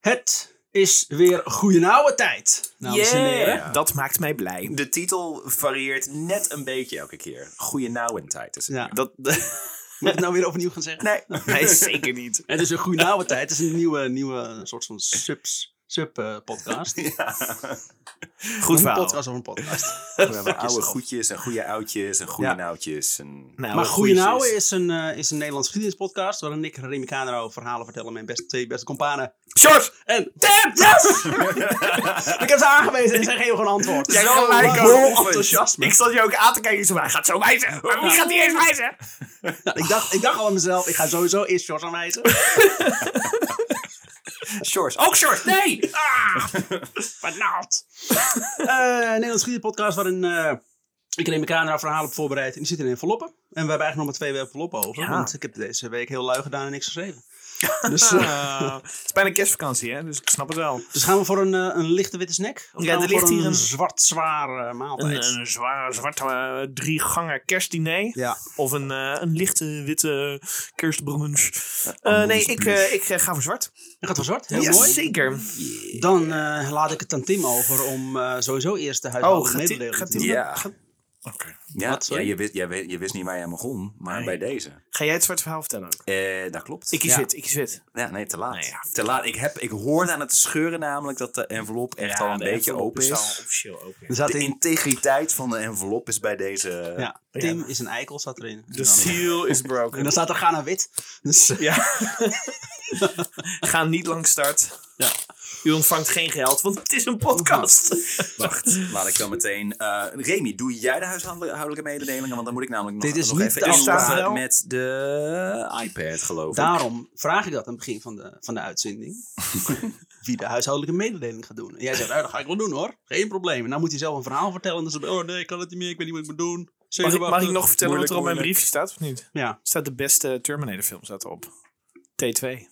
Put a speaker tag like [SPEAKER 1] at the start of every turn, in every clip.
[SPEAKER 1] Het is weer goeie oude tijd, dames en heren.
[SPEAKER 2] Ja. Dat maakt mij blij.
[SPEAKER 3] De titel varieert net een beetje elke keer. Goeie nou in tijd is het.
[SPEAKER 1] Ja.
[SPEAKER 2] Dat,
[SPEAKER 1] Moet ik het nou weer opnieuw gaan zeggen?
[SPEAKER 3] Nee.
[SPEAKER 2] nee, zeker niet.
[SPEAKER 1] Het is een goeie oude tijd. Het is een nieuwe, nieuwe soort van subs, sub eh, podcast.
[SPEAKER 2] Goed
[SPEAKER 1] een
[SPEAKER 2] verhaal.
[SPEAKER 1] podcast of een podcast.
[SPEAKER 3] We hebben oude goedjes en goede oudjes en goede
[SPEAKER 1] Ja.
[SPEAKER 3] nauwtjes. En...
[SPEAKER 2] Nou,
[SPEAKER 1] maar
[SPEAKER 2] wat
[SPEAKER 1] Goeie
[SPEAKER 2] goeies
[SPEAKER 1] Nouwen is een, eh, is een Nederlands geschiedenispodcast. Waarin ik, Remy Kanero, verhalen vertel aan mijn beste, twee beste kompanen.
[SPEAKER 2] George!
[SPEAKER 1] En Tim! Yes! ik heb ze aangewezen en ze geven gewoon antwoord.
[SPEAKER 2] Jij
[SPEAKER 3] Zo,
[SPEAKER 2] gelijk
[SPEAKER 3] wow.
[SPEAKER 2] ook.
[SPEAKER 1] Vol enthousiasme.
[SPEAKER 2] Ik zat je ook aan te kijken. Ik zei, maar hij gaat zo wijzen. Maar wie gaat die eens wijzen?
[SPEAKER 1] Ja, ik, dacht, ik dacht al aan mezelf, ik ga sowieso eerst George aanwijzen.
[SPEAKER 3] Shores.
[SPEAKER 2] Ook George, nee! Ah, vernaald.
[SPEAKER 1] Eh, een Nederlands podcast waarin eh, ik neem mijn camera verhalen op voorbereid. En die zitten in enveloppen. En we hebben eigenlijk nog maar twee enveloppen over.
[SPEAKER 2] Ja.
[SPEAKER 1] Want ik heb deze week heel lui gedaan en niks geschreven. Dus, eh,
[SPEAKER 2] Ah, het is bijna kerstvakantie, hè? dus ik snap het wel.
[SPEAKER 1] dus gaan we voor een, eh, een lichte witte snack? Of
[SPEAKER 2] Ja,
[SPEAKER 1] gaan we
[SPEAKER 2] er ligt
[SPEAKER 1] voor
[SPEAKER 2] hier een-
[SPEAKER 1] zwart zwaar eh,
[SPEAKER 2] Een,
[SPEAKER 1] maaltijd.
[SPEAKER 2] een zware, zwarte eh, drie gangen kerstdiner.
[SPEAKER 1] ja.
[SPEAKER 2] Of een, eh, een lichte witte kerstbrunch. Eh,
[SPEAKER 1] Oh,
[SPEAKER 3] anders
[SPEAKER 2] nee, ik, eh, ik eh, ga voor zwart.
[SPEAKER 1] Dat gaat voor zwart, heel
[SPEAKER 2] ja,
[SPEAKER 1] mooi.
[SPEAKER 2] zeker.
[SPEAKER 1] Dan eh, laat ik het aan Tim over om eh, sowieso eerst de
[SPEAKER 2] Oh,
[SPEAKER 1] huishoudelijke
[SPEAKER 2] gaat die-
[SPEAKER 1] mededeling
[SPEAKER 2] gaat
[SPEAKER 1] te
[SPEAKER 2] die-
[SPEAKER 1] doen.
[SPEAKER 3] Ja.
[SPEAKER 2] gaat- Oké.
[SPEAKER 3] Ja,
[SPEAKER 1] Wat,
[SPEAKER 3] ja
[SPEAKER 1] sorry?
[SPEAKER 3] je, wist, jij weet- je wist niet waar je aan begon, maar
[SPEAKER 2] Nee.
[SPEAKER 3] bij deze.
[SPEAKER 2] Ga jij het zwarte verhaal vertellen ook?
[SPEAKER 3] Eh, dat klopt.
[SPEAKER 2] Ik kies
[SPEAKER 1] Ja.
[SPEAKER 2] wit, ik kies wit.
[SPEAKER 3] Ja, nee, te laat.
[SPEAKER 2] Nee, ja.
[SPEAKER 3] Te laat. Ik, heb, ik hoorde aan het scheuren namelijk dat de envelop echt al een beetje open is.
[SPEAKER 2] officieel open.
[SPEAKER 1] Er zat
[SPEAKER 3] De
[SPEAKER 1] in,
[SPEAKER 3] integriteit van de envelop is bij deze...
[SPEAKER 1] ja, Tim is een eikel, zat erin.
[SPEAKER 2] The
[SPEAKER 1] en
[SPEAKER 2] seal is
[SPEAKER 1] dan,
[SPEAKER 2] broken.
[SPEAKER 1] en dan staat er Ghana wit. Dus, eh,
[SPEAKER 2] Ja. Ga niet lang start.
[SPEAKER 1] Ja.
[SPEAKER 2] U ontvangt geen geld, want het is een podcast.
[SPEAKER 3] Wacht, laat ik dan meteen... eh Remy, doe jij de huishoudelijke mededelingen? Want dan moet ik namelijk nog,
[SPEAKER 1] Dit is
[SPEAKER 3] nog
[SPEAKER 1] niet
[SPEAKER 3] even
[SPEAKER 1] de
[SPEAKER 2] afspraak.
[SPEAKER 3] inloggen met de iPad, geloof ik.
[SPEAKER 1] Daarom vraag ik dat aan het begin van de, van de uitzending. Wie de huishoudelijke mededeling gaat doen. En jij zegt, nou, dat ga ik wel doen hoor. Geen probleem. En dan moet hij zelf een verhaal vertellen. Dus, oh nee, ik kan het niet meer. Ik weet niet wat ik moet doen.
[SPEAKER 2] Mag ik, mag ik
[SPEAKER 1] Zenuwachtig.
[SPEAKER 2] nog vertellen
[SPEAKER 1] Moeilijk,
[SPEAKER 2] wat er op mijn
[SPEAKER 1] moeilijk.
[SPEAKER 2] briefje staat of niet?
[SPEAKER 1] Ja.
[SPEAKER 2] Er staat de beste Terminator film staat erop. T2.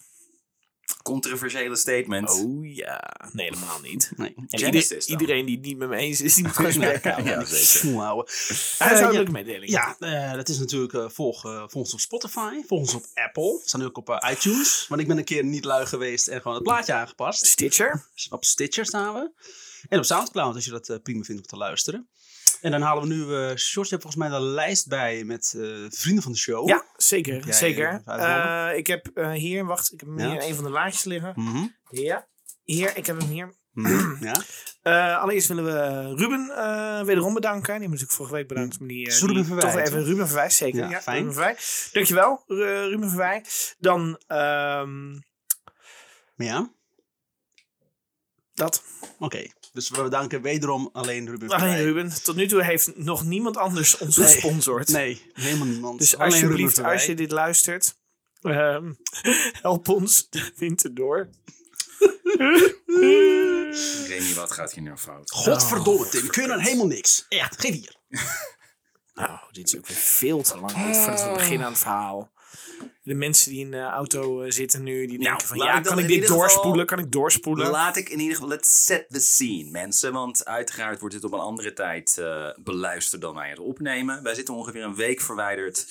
[SPEAKER 3] Controversiële statement.
[SPEAKER 2] Oh ja. Nee, helemaal niet.
[SPEAKER 1] Nee.
[SPEAKER 2] En
[SPEAKER 3] Janice
[SPEAKER 2] ieder-
[SPEAKER 3] is dan.
[SPEAKER 2] iedereen die het niet met me eens is, die moet gewoon
[SPEAKER 1] Nee,
[SPEAKER 2] zijn bek houden.
[SPEAKER 3] Ja, zeker.
[SPEAKER 1] Moe houden.
[SPEAKER 2] Eh, Huishoudelijke mededeling.
[SPEAKER 1] Ja, eh, dat is natuurlijk eh volg, eh, volg ons op Spotify, volg ons op Apple. We staan nu ook op eh, iTunes. Want ik ben een keer niet lui geweest en gewoon het plaatje aangepast.
[SPEAKER 2] Stitcher.
[SPEAKER 1] Dus Op Stitcher staan we. En op Soundcloud, als je dat eh, prima vindt om te luisteren. En dan halen we nu... eh George, je hebt volgens mij een lijst bij met eh, vrienden van de show.
[SPEAKER 2] Ja, zeker.
[SPEAKER 1] Jij, eh,
[SPEAKER 2] zeker.
[SPEAKER 1] huishouden?
[SPEAKER 2] Eh, ik heb eh, hier, wacht, ik heb hem
[SPEAKER 1] Ja.
[SPEAKER 2] hier in een van de laadjes liggen.
[SPEAKER 1] Mhm.
[SPEAKER 2] Ja. Hier, ik heb hem hier.
[SPEAKER 1] ja.
[SPEAKER 2] Eh, allereerst willen we Ruben eh, wederom bedanken. Die hebben we natuurlijk vorige week bedankt. Maar die, eh,
[SPEAKER 1] Is Ruben
[SPEAKER 2] die-
[SPEAKER 1] Verwij,
[SPEAKER 2] Toch weer
[SPEAKER 1] toch?
[SPEAKER 2] even Ruben Verwij, zeker.
[SPEAKER 1] Ja,
[SPEAKER 2] Ja,
[SPEAKER 1] fijn.
[SPEAKER 2] Ruben Verwij. Dankjewel, Ru- Ruben Verwij. Dan ehm,
[SPEAKER 1] Ja,
[SPEAKER 2] dat.
[SPEAKER 1] oké. Dus we bedanken wederom alleen Ruben.
[SPEAKER 2] Alleen
[SPEAKER 1] Verwij.
[SPEAKER 2] Ruben. Tot nu toe heeft nog niemand anders ons
[SPEAKER 1] Nee.
[SPEAKER 2] gesponsord.
[SPEAKER 1] Nee, helemaal niemand.
[SPEAKER 2] Dus
[SPEAKER 1] alleen Ruben
[SPEAKER 2] alsjeblieft,
[SPEAKER 1] Verwij.
[SPEAKER 2] als je dit luistert, ehm, help ons de winter door.
[SPEAKER 3] Remy, wat gaat hier nou fout?
[SPEAKER 1] Godverdomme,
[SPEAKER 2] Oh.
[SPEAKER 1] Tim. Kun je dan helemaal niks? Echt, geef hier.
[SPEAKER 2] Nou, dit is ook weer veel te lang voordat we beginnen aan het verhaal. De mensen die in de auto eh, zitten nu, die denken van
[SPEAKER 3] laat
[SPEAKER 2] ja,
[SPEAKER 3] ik dan
[SPEAKER 2] kan ik
[SPEAKER 3] in
[SPEAKER 2] dit
[SPEAKER 3] ieder geval-
[SPEAKER 2] doorspoelen? Kan ik doorspoelen?
[SPEAKER 3] Laat ik in ieder geval, let's set the scene, mensen. Want uiteraard wordt dit op een andere tijd eh, beluisterd dan wij het opnemen. Wij zitten ongeveer een week verwijderd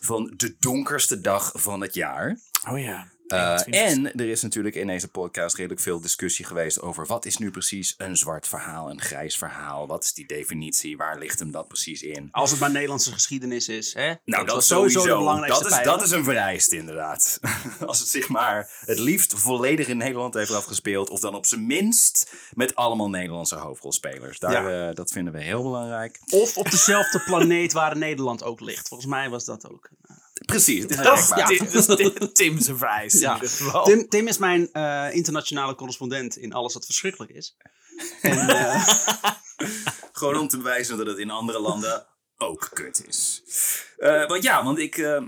[SPEAKER 3] van de donkerste dag van het jaar.
[SPEAKER 2] Oh ja.
[SPEAKER 3] Eh,
[SPEAKER 2] 21ste.
[SPEAKER 3] en er is natuurlijk in deze podcast redelijk veel discussie geweest over wat is nu precies een zwart verhaal, een grijs verhaal. Wat is die definitie? Waar ligt hem dat precies in?
[SPEAKER 1] Als het maar Nederlandse geschiedenis is. Hè?
[SPEAKER 3] Nou, dat,
[SPEAKER 1] was
[SPEAKER 3] is sowieso
[SPEAKER 1] de belangrijkste
[SPEAKER 3] dat is,
[SPEAKER 1] pijler.
[SPEAKER 3] dat is een vereiste, inderdaad. Als het zich maar het liefst volledig in Nederland heeft afgespeeld. Of dan op zijn minst met allemaal Nederlandse hoofdrolspelers. Daar, eh, dat vinden we heel belangrijk.
[SPEAKER 1] Of op dezelfde planeet waar Nederland ook ligt. Volgens mij was dat ook.
[SPEAKER 3] Precies, het eh, is een
[SPEAKER 2] Dat is
[SPEAKER 3] rekbaar.
[SPEAKER 2] Tim- dat is Tim- Tim zijn vereist
[SPEAKER 1] Ja.
[SPEAKER 2] in ieder geval.
[SPEAKER 1] Tim, Tim is mijn eh, internationale correspondent in alles wat verschrikkelijk is. En, eh,
[SPEAKER 3] Gewoon om te bewijzen dat het in andere landen ook kut is. Eh, want ja, want ik... eh,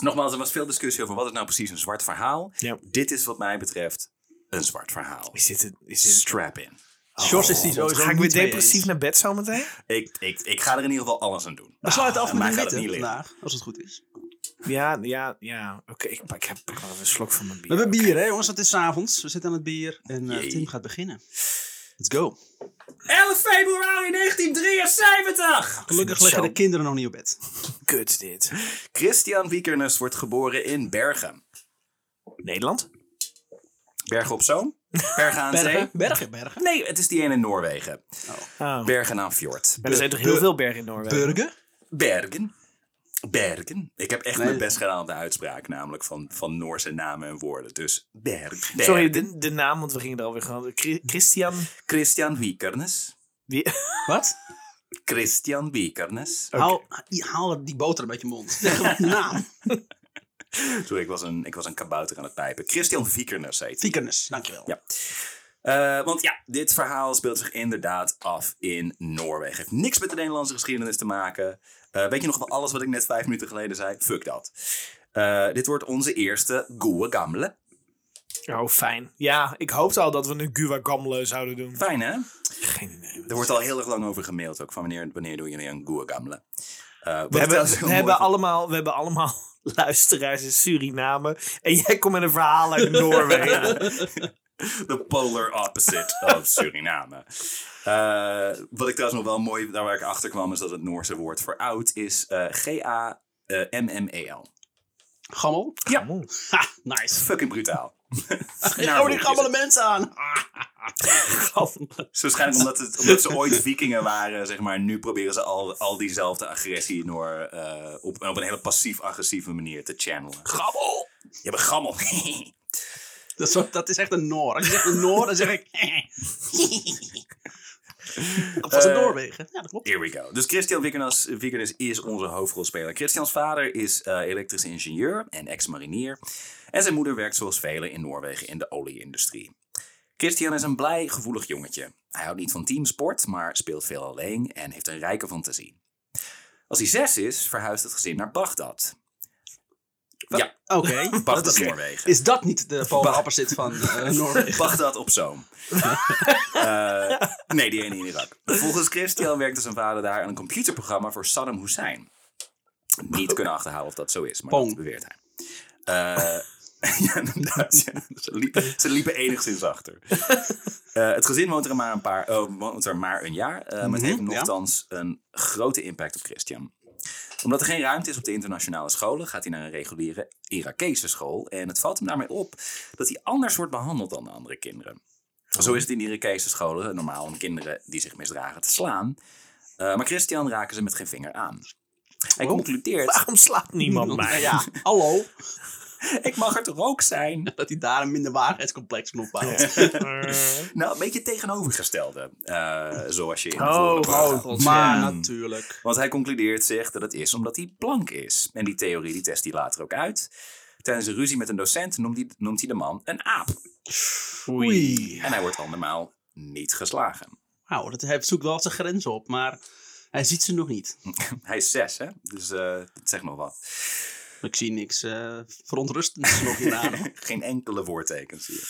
[SPEAKER 3] nogmaals, er was veel discussie over wat is nou precies een zwart verhaal.
[SPEAKER 2] Ja.
[SPEAKER 3] Dit is wat mij betreft een zwart verhaal.
[SPEAKER 2] Is dit het? Is dit... Oh,
[SPEAKER 3] Strap in.
[SPEAKER 1] George is die sowieso
[SPEAKER 2] Ga ik weer
[SPEAKER 1] niet mee
[SPEAKER 2] depressief
[SPEAKER 1] eens.
[SPEAKER 2] naar bed zometeen?
[SPEAKER 3] Ik, ik, ik ga er in ieder geval alles aan doen.
[SPEAKER 1] We sluiten af
[SPEAKER 3] Ah, mij
[SPEAKER 1] met een
[SPEAKER 3] gaat het
[SPEAKER 1] witte
[SPEAKER 3] niet liggen.
[SPEAKER 1] vandaag, als het goed is.
[SPEAKER 2] Ja, ja, ja. Oké, ik, pak- ik heb ik pak even een slok van mijn bier.
[SPEAKER 1] We hebben bier, hè jongens. Het is 's avonds. We zitten aan het bier en eh,
[SPEAKER 3] Jee.
[SPEAKER 1] Tim gaat beginnen. Let's go.
[SPEAKER 3] 11 februari 1973!
[SPEAKER 1] Gelukkig
[SPEAKER 2] het
[SPEAKER 1] liggen
[SPEAKER 2] zo-
[SPEAKER 1] de kinderen nog niet op bed.
[SPEAKER 2] Kut dit.
[SPEAKER 3] Christian Wiekernes wordt geboren in Bergen.
[SPEAKER 2] Nederland?
[SPEAKER 3] Bergen op Zoom? Bergen aan Zee.
[SPEAKER 1] Bergen, bergen, bergen.
[SPEAKER 3] Nee, het is die ene in Noorwegen.
[SPEAKER 2] Oh.
[SPEAKER 3] Bergen aan Fjord.
[SPEAKER 2] Maar er zijn toch heel veel bergen in Noorwegen?
[SPEAKER 1] Burger?
[SPEAKER 3] Bergen. Bergen. Ik heb echt
[SPEAKER 1] Nee.
[SPEAKER 3] mijn best gedaan op de uitspraak, namelijk van, van Noorse namen en woorden. Dus Berg.
[SPEAKER 2] Sorry,
[SPEAKER 3] Bergen.
[SPEAKER 2] de, de naam, want we gingen er alweer gewoon. Chri- Christian.
[SPEAKER 3] Christian Wiekernes.
[SPEAKER 2] Wie?
[SPEAKER 1] Wat?
[SPEAKER 3] Christian Wiekernes.
[SPEAKER 1] Haal, haal die boter uit je mond. Zeg maar de naam.
[SPEAKER 3] Sorry, ik was, een, ik was een kabouter aan het pijpen. Christian Wiekernes heet hij.
[SPEAKER 1] Fiekernis, dankjewel.
[SPEAKER 3] Ja. Eh, want ja, dit verhaal speelt zich inderdaad af in Noorwegen. Heeft niks met de Nederlandse geschiedenis te maken. Eh, weet je nog wel alles wat ik net vijf minuten geleden zei? Fuck dat. Eh, dit wordt onze eerste goede gamle.
[SPEAKER 2] Oh, fijn. Ja, ik hoopte al dat we een Guwa Gamle zouden doen.
[SPEAKER 3] Fijn hè?
[SPEAKER 2] Geen idee.
[SPEAKER 3] Er wordt al heel erg lang over gemaild ook. Van wanneer, wanneer doen jullie een goede gamle? Eh, wat
[SPEAKER 2] We hebben,
[SPEAKER 3] trouwens heel
[SPEAKER 2] we,
[SPEAKER 3] mooi
[SPEAKER 2] hebben
[SPEAKER 3] vond-
[SPEAKER 2] allemaal, we hebben allemaal luisteraars in Suriname. En jij komt met een verhaal uit Noorwegen.
[SPEAKER 3] The polar opposite of Suriname. Eh, wat ik trouwens nog wel mooi, daar waar ik achter kwam, is dat het Noorse woord voor oud is eh, G-A-M-M-E-L.
[SPEAKER 1] Gammel?
[SPEAKER 3] Ja.
[SPEAKER 2] Oeh.
[SPEAKER 1] Ha, nice.
[SPEAKER 3] Fucking brutaal.
[SPEAKER 1] Ik hou Oh, die gammele mensen aan. Gammel.
[SPEAKER 3] Ze waarschijnlijk omdat, het, omdat ze ooit vikingen waren, zeg maar. Nu proberen ze al, al diezelfde agressie door, eh, op, op een hele passief-agressieve manier te channelen.
[SPEAKER 1] Gammel.
[SPEAKER 3] Je bent gammel.
[SPEAKER 1] Dat is, dat is echt een Noor. Als je zegt een Noor, dan zeg ik... Of was het
[SPEAKER 3] Eh,
[SPEAKER 1] Noorwegen? Ja, dat klopt.
[SPEAKER 3] Here we go. Dus Christian Wickernas Wickernes is onze hoofdrolspeler. Christians vader is eh, elektrisch ingenieur en ex-marinier. En zijn moeder werkt zoals velen in Noorwegen in de olieindustrie. Christian is een blij, gevoelig jongetje. Hij houdt niet van teamsport, maar speelt veel alleen en heeft een rijke fantasie. Als hij zes is, verhuist het gezin naar Bagdad. Ja,
[SPEAKER 1] Oké.
[SPEAKER 3] Bagdad,
[SPEAKER 1] Dat is-
[SPEAKER 3] Noorwegen.
[SPEAKER 1] Is dat niet de polar
[SPEAKER 3] Bah.
[SPEAKER 1] opposite van eh, Noorwegen?
[SPEAKER 3] Bagdad op Zoom. Eh, nee, die ene in Irak. Volgens Christian werkte zijn vader daar aan een computerprogramma voor Saddam Hussein. Niet kunnen achterhalen of dat zo is, maar
[SPEAKER 1] Pong.
[SPEAKER 3] dat beweert hij. Eh, ja, inderdaad, ja. ze, liepen, ze liepen enigszins achter. Eh, het gezin woont er maar een, paar, eh, woont er maar een jaar, eh, maar het heeft
[SPEAKER 1] Mhm, ja.
[SPEAKER 3] nogthans een grote impact op Christian. Omdat er geen ruimte is op de internationale scholen, gaat hij naar een reguliere Irakese school. En het valt hem daarmee op dat hij anders wordt behandeld dan de andere kinderen. Zo is het in de Irakese scholen normaal om kinderen die zich misdragen te slaan. Eh, maar Christian raken ze met geen vinger aan. Hij
[SPEAKER 1] Oh.
[SPEAKER 3] concludeert,
[SPEAKER 2] Waarom slaapt niemand
[SPEAKER 1] Nou
[SPEAKER 2] mij?
[SPEAKER 1] ja, hallo.
[SPEAKER 3] ik mag er toch ook zijn?
[SPEAKER 1] Dat hij daar een minderwaardigheidscomplex van opbouwt.
[SPEAKER 3] Nou, een beetje het tegenovergestelde, eh, zoals je in de
[SPEAKER 2] Oh,
[SPEAKER 3] vorige
[SPEAKER 2] oh,
[SPEAKER 3] vraag-
[SPEAKER 2] god.
[SPEAKER 1] Maar
[SPEAKER 3] Ja.
[SPEAKER 1] natuurlijk.
[SPEAKER 3] Want hij concludeert zich dat het is omdat hij blank is. En die theorie die test hij later ook uit. Tijdens een ruzie met een docent noemt hij, noemt hij de man een aap.
[SPEAKER 1] Oei.
[SPEAKER 3] En hij wordt andermaal niet geslagen.
[SPEAKER 1] Nou, dat, hij zoekt wel zijn grenzen op, maar hij ziet ze nog niet.
[SPEAKER 3] Hij is zes, hè? Dus eh dat zegt nog wat.
[SPEAKER 1] Ik zie niks eh verontrustends nog in aan.
[SPEAKER 3] Geen enkele woordteken zie je.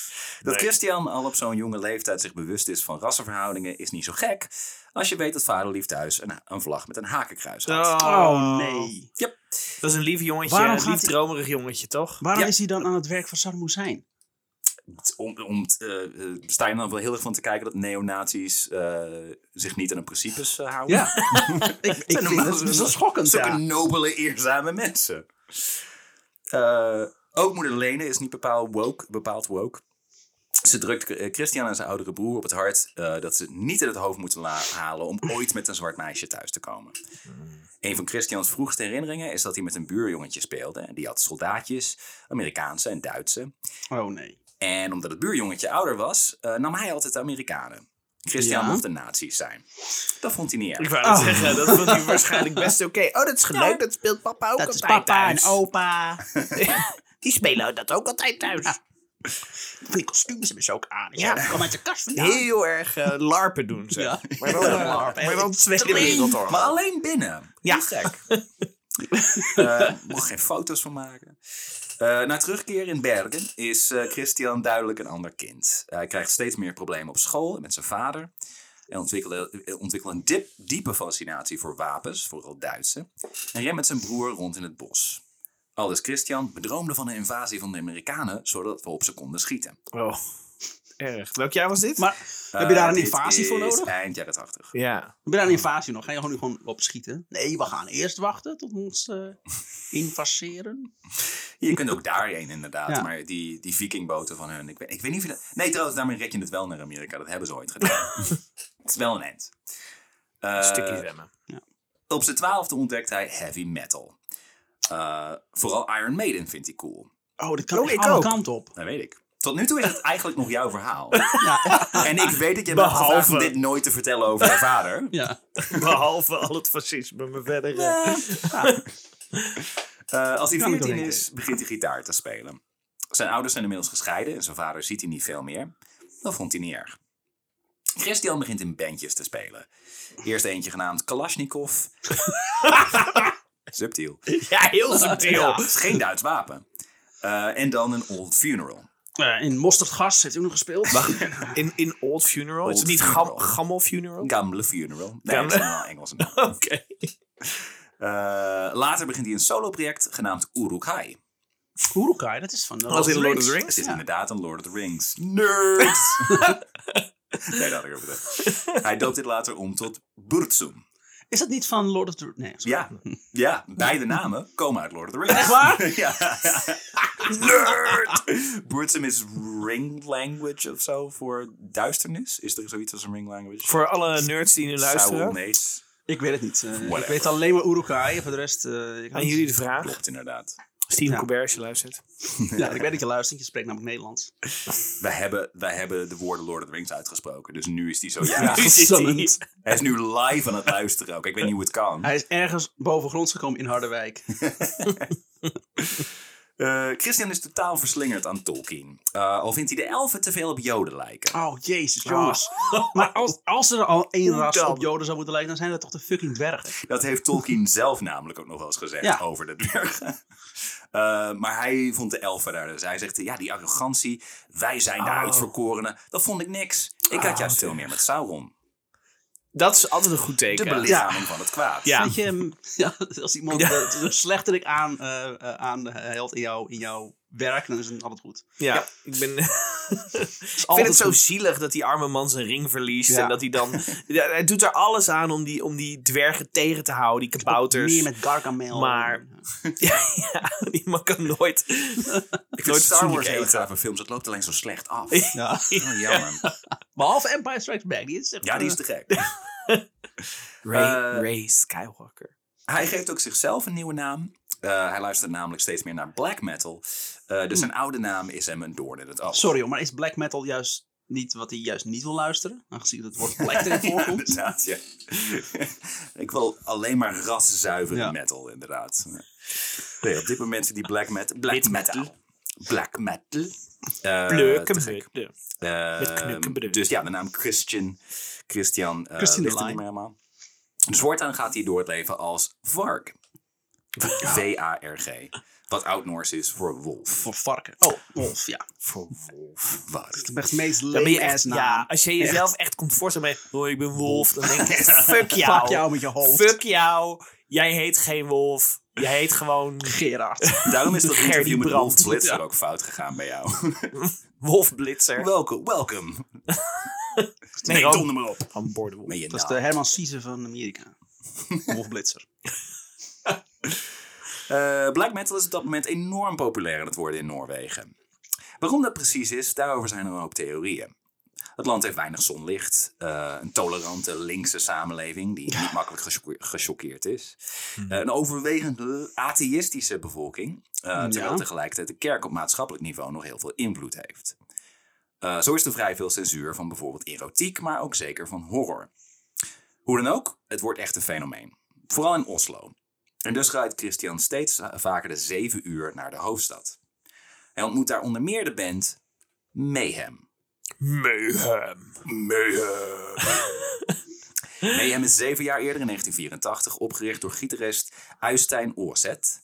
[SPEAKER 3] Dat
[SPEAKER 2] Nee.
[SPEAKER 3] Christian al op zo'n jonge leeftijd zich bewust is van rassenverhoudingen is niet zo gek. Als je weet dat vaderlief thuis een, een vlag met een hakenkruis had.
[SPEAKER 1] Oh nee.
[SPEAKER 2] Dat is een lief jongetje.
[SPEAKER 1] Waarom
[SPEAKER 2] een
[SPEAKER 1] gaat
[SPEAKER 2] lief
[SPEAKER 1] hij-
[SPEAKER 2] dromerig jongetje, toch?
[SPEAKER 1] Waarom
[SPEAKER 3] Ja.
[SPEAKER 1] is hij dan aan het werk van Saddam Hussein?
[SPEAKER 3] om, om t- eh, eh, sta je dan wel heel erg van te kijken dat neonazies eh, zich niet aan hun
[SPEAKER 2] Dus,
[SPEAKER 3] principes eh, houden?
[SPEAKER 1] Ja. ik ik vind
[SPEAKER 3] normaal
[SPEAKER 1] dat, dat is
[SPEAKER 3] zo-
[SPEAKER 1] wel schokkend,
[SPEAKER 3] Zulke
[SPEAKER 1] ja.
[SPEAKER 3] nobele, eerzame mensen. Eh, ook moeder Lene is niet bepaald woke, bepaald woke. Ze drukt eh, Christian en zijn oudere broer op het hart eh, dat ze het niet in het hoofd moeten la- halen om ooit met een zwart meisje thuis te komen. Een van Christians vroegste herinneringen is dat hij met een buurjongetje speelde. Die had soldaatjes, Amerikaanse en Duitse.
[SPEAKER 1] Oh nee.
[SPEAKER 3] En omdat het buurjongetje ouder was, eh, nam hij altijd de Amerikanen. Christian
[SPEAKER 1] Ja.
[SPEAKER 3] mocht de nazi's zijn. Dat vond hij niet erg.
[SPEAKER 2] Ik wou net zeggen, dat vond hij waarschijnlijk best oké. Oh, dat is gelijk, dat speelt papa ook
[SPEAKER 1] Dat is
[SPEAKER 2] altijd
[SPEAKER 1] papa
[SPEAKER 2] thuis.
[SPEAKER 1] en opa.
[SPEAKER 2] Die spelen dat ook altijd thuis.
[SPEAKER 1] Van die kostuums hebben ze ook aan.
[SPEAKER 2] Ja.
[SPEAKER 1] Ja. Dat kwam uit de kast vandaan.
[SPEAKER 2] Heel erg eh, larpen doen ze.
[SPEAKER 1] Ja.
[SPEAKER 2] Maar dan,
[SPEAKER 1] Ja,
[SPEAKER 2] eh,
[SPEAKER 1] larpen.
[SPEAKER 2] maar dan Tweede
[SPEAKER 1] Twee.
[SPEAKER 2] Wereldoorlog.
[SPEAKER 3] Maar alleen binnen.
[SPEAKER 2] Ja.
[SPEAKER 3] Heel gek. Eh mocht geen foto's van maken. Eh, na terugkeer in Bergen is eh, Christian duidelijk een ander kind. hij krijgt steeds meer problemen op school en met zijn vader. Hij ontwikkelde- eh, ontwikkelt een dip- diepe fascinatie voor wapens, vooral Duitse. En rent met zijn broer rond in het bos. Aldus Christian bedroomde van de invasie van de Amerikanen, zodat we op ze konden schieten.
[SPEAKER 2] Oh. erg. Welk jaar was dit?
[SPEAKER 1] Maar eh, Heb je daar een
[SPEAKER 3] Eh, dit
[SPEAKER 1] invasie voor
[SPEAKER 3] is
[SPEAKER 1] nodig?
[SPEAKER 3] Eind jaren 80.
[SPEAKER 2] ja.
[SPEAKER 1] heb je daar een invasie nog? Ga je gewoon, gewoon op schieten? Nee, we gaan eerst wachten tot we ons eh invaseren.
[SPEAKER 3] Je kunt ook daarheen inderdaad.
[SPEAKER 1] Ja.
[SPEAKER 3] Maar die, die vikingboten van hun. Ik weet, ik weet niet of je dat... Nee, trouwens, daarmee red je het wel naar Amerika. Dat hebben ze ooit gedaan. het is wel een end. Eh,
[SPEAKER 2] Stukje zwemmen.
[SPEAKER 3] Op zijn twaalfde ontdekt hij heavy metal. Eh, vooral Iron Maiden vindt hij cool.
[SPEAKER 1] Oh, dat kan
[SPEAKER 2] Oh,
[SPEAKER 1] echt
[SPEAKER 2] ik
[SPEAKER 1] alle
[SPEAKER 2] ook.
[SPEAKER 1] kanten op.
[SPEAKER 3] Dat weet ik. Tot nu toe is het eigenlijk nog jouw verhaal.
[SPEAKER 1] Ja,
[SPEAKER 3] En ik weet dat je me hebt
[SPEAKER 2] Behalve-
[SPEAKER 3] gevraagd om dit nooit te vertellen over je vader.
[SPEAKER 1] ja.
[SPEAKER 2] Behalve al het fascisme, maar verder... eh,
[SPEAKER 3] Eh, als hij
[SPEAKER 1] Kan ik
[SPEAKER 3] 14
[SPEAKER 1] doorheen
[SPEAKER 3] is, begint hij gitaar te spelen. Zijn ouders zijn inmiddels gescheiden en zijn vader ziet hij niet veel meer. Dat vond hij niet erg. Christian begint in bandjes te spelen. Eerst eentje genaamd Kalashnikov. Subtiel.
[SPEAKER 2] Ja, heel subtiel.
[SPEAKER 3] Ja, het is geen Duits wapen. Eh, en dan een Old Funeral.
[SPEAKER 1] Eh, in Mosterdgas heeft hij ook nog gespeeld.
[SPEAKER 2] In, in Old Funeral?
[SPEAKER 3] Old
[SPEAKER 2] is het niet
[SPEAKER 3] Funeral.
[SPEAKER 2] gam, Gammel Funeral?
[SPEAKER 3] Gamble Funeral. Nee,
[SPEAKER 2] Gamble.
[SPEAKER 3] dat is wel Engels.
[SPEAKER 2] Oké.
[SPEAKER 3] Eh, later begint hij een soloproject genaamd Uruk-hai.
[SPEAKER 1] Hoerokai, dat is van de
[SPEAKER 2] Was in Lord of the
[SPEAKER 3] Het
[SPEAKER 2] Rings?
[SPEAKER 3] is
[SPEAKER 1] Ja.
[SPEAKER 3] inderdaad een Lord of the Rings. Nerds! nee, dat had ik ook bedacht. Hij doopt dit later om tot Burtsum.
[SPEAKER 1] Is dat niet van Lord of the Nee, sorry.
[SPEAKER 3] Ja, ja, beide namen komen uit Lord of the Rings.
[SPEAKER 1] Echt waar?
[SPEAKER 3] ja. Nerd! Burtsum is ring language of zo voor duisternis. Is er zoiets als een ring language?
[SPEAKER 2] Voor alle nerds die nu luisteren,
[SPEAKER 3] Sauronees.
[SPEAKER 1] Ik weet het niet. eh, ik
[SPEAKER 3] Whatever.
[SPEAKER 1] weet alleen maar Urukai. Voor de rest... eh, ik
[SPEAKER 2] aan jullie de vraag.
[SPEAKER 3] Klopt, inderdaad.
[SPEAKER 2] Steven
[SPEAKER 1] Ja.
[SPEAKER 2] Colbert, als je luistert.
[SPEAKER 1] Ja, ik weet dat je luistert. Je spreekt namelijk Nederlands.
[SPEAKER 3] Wij hebben, wij hebben de woorden Lord of the Rings uitgesproken. Dus nu is die zo...
[SPEAKER 1] Ja, gesummand.
[SPEAKER 3] Hij is nu live aan het luisteren ook. Ik weet niet hoe het kan.
[SPEAKER 1] Hij is ergens bovengronds gekomen in Harderwijk.
[SPEAKER 3] Eh, Christian is totaal verslingerd aan Tolkien. Eh, al vindt hij de elfen te veel op joden lijken.
[SPEAKER 2] Ah.
[SPEAKER 1] Oh, jezus, jongens. Maar als, als er al één
[SPEAKER 2] Hoe
[SPEAKER 1] ras
[SPEAKER 2] dan?
[SPEAKER 1] op joden zou moeten lijken, dan zijn dat toch de fucking dwergen.
[SPEAKER 3] Dat heeft Tolkien zelf namelijk ook nog wel eens gezegd
[SPEAKER 1] Ja.
[SPEAKER 3] over de dwergen. Eh, maar hij vond de elfen daar. Dus hij zegt, ja, die arrogantie, wij zijn de
[SPEAKER 2] Oh.
[SPEAKER 3] uitverkorenen. Dat vond ik niks. Ik had
[SPEAKER 2] Ah,
[SPEAKER 3] juist
[SPEAKER 2] oké.
[SPEAKER 3] veel meer met Sauron.
[SPEAKER 2] Dat is altijd een goed
[SPEAKER 3] De
[SPEAKER 2] teken.
[SPEAKER 3] belichaming van het kwaad.
[SPEAKER 2] eh, Ja.
[SPEAKER 1] Weet je, m, ja, als iemand eh,
[SPEAKER 2] Ja.
[SPEAKER 1] de, de slechterik aan, eh eh, aan eh, helpt in, jou, in jouw werk, dan is het altijd goed.
[SPEAKER 2] Ja, ik ben. ik vind
[SPEAKER 1] altijd
[SPEAKER 2] het zo
[SPEAKER 1] goed.
[SPEAKER 2] zielig dat die arme man zijn ring verliest.
[SPEAKER 1] Ja.
[SPEAKER 2] En dat hij dan. Ja, hij doet er alles aan om die, om die dwergen tegen te houden, die kabouters.
[SPEAKER 1] Meer met Gargamel.
[SPEAKER 2] Maar- ja, ja, die man kan nooit.
[SPEAKER 3] Ik vind
[SPEAKER 2] Nooit
[SPEAKER 3] Star Wars
[SPEAKER 2] fatsoenlijk
[SPEAKER 3] hele
[SPEAKER 2] eten.
[SPEAKER 3] gave films. Dat loopt alleen zo slecht af.
[SPEAKER 1] Ja.
[SPEAKER 3] Oh, jammer.
[SPEAKER 1] Behalve Empire Strikes Back. Die is echt,
[SPEAKER 3] Ja, die is
[SPEAKER 1] eh,
[SPEAKER 3] te gek.
[SPEAKER 2] Ray,
[SPEAKER 3] Eh,
[SPEAKER 2] Ray Skywalker.
[SPEAKER 3] Hij geeft ook zichzelf een nieuwe naam. Eh, hij luistert namelijk steeds meer naar black metal. Eh,
[SPEAKER 2] Hm.
[SPEAKER 3] dus zijn oude naam is hem een doorn in het oog.
[SPEAKER 1] Sorry hoor, maar is black metal juist niet wat hij juist niet wil luisteren? Aangezien het woord black erin
[SPEAKER 3] Ja,
[SPEAKER 1] voorkomt.
[SPEAKER 3] inderdaad, ja. Ik wil alleen maar raszuivere
[SPEAKER 1] Ja.
[SPEAKER 3] metal, inderdaad. Nee, op dit moment zit die black, met black
[SPEAKER 2] Wit
[SPEAKER 3] metal.
[SPEAKER 2] metal.
[SPEAKER 3] Black metal. Eh,
[SPEAKER 2] Pleuken
[SPEAKER 3] te gek.
[SPEAKER 2] beuk.
[SPEAKER 3] Eh,
[SPEAKER 2] Met knukkenbrug.
[SPEAKER 3] Dus ja, de naam Christian. Christian. eh
[SPEAKER 1] Christian de
[SPEAKER 3] ligt
[SPEAKER 1] Lime.
[SPEAKER 3] er niet meer helemaal. Dus voortaan gaat hij door het leven als Varg. V-A-R-G. Wat Oud-Noors is voor wolf.
[SPEAKER 1] Voor varken. Oh, wolf, ja.
[SPEAKER 3] Voor wolf. Varg.
[SPEAKER 1] Het is echt het meest
[SPEAKER 2] Dan ben je
[SPEAKER 1] lame
[SPEAKER 2] echt,
[SPEAKER 1] ass naam.
[SPEAKER 2] ja, als je jezelf echt, comfort bij. Oh, ik ben wolf. Dan denk ik: fuck jou.
[SPEAKER 1] Fuck jou met je hoofd.
[SPEAKER 2] Fuck jou. Jij heet geen wolf. Jij heet gewoon
[SPEAKER 1] Gerard.
[SPEAKER 3] Daarom is dat
[SPEAKER 2] Gerdy
[SPEAKER 3] interview met Wolf
[SPEAKER 2] Brandt.
[SPEAKER 3] Blitzer
[SPEAKER 2] Ja.
[SPEAKER 3] ook fout gegaan bij jou.
[SPEAKER 2] wolfblitzer.
[SPEAKER 3] Welkom, welkom.
[SPEAKER 2] Nee,
[SPEAKER 3] Nee,
[SPEAKER 2] ook-
[SPEAKER 3] donder maar op. nou.
[SPEAKER 2] Gewoon bordenwolf.
[SPEAKER 3] Met je
[SPEAKER 1] Dat is de
[SPEAKER 3] naam.
[SPEAKER 1] Herman Sieze van Amerika. Wolfblitzer.
[SPEAKER 3] Eh, black metal is op dat moment enorm populair aan het worden in Noorwegen. Waarom dat precies is, daarover zijn er een hoop theorieën. Het land heeft weinig zonlicht, eh, een tolerante linkse samenleving die niet makkelijk gechoque- gechoqueerd is. Eh, een overwegend atheïstische bevolking, eh, terwijl
[SPEAKER 1] Ja.
[SPEAKER 3] tegelijkertijd de kerk op maatschappelijk niveau nog heel veel invloed heeft. Eh, zo is er vrij veel censuur van bijvoorbeeld erotiek, maar ook zeker van horror. Hoe dan ook, het wordt echt een fenomeen. Vooral in Oslo. En dus rijdt Christian steeds vaker de zeven uur naar de hoofdstad. Hij ontmoet daar onder meer de band Mayhem.
[SPEAKER 2] Mayhem.
[SPEAKER 3] Mayhem. Mayhem is zeven jaar eerder in 1984 opgericht door gitarist Uistijn Oorzet.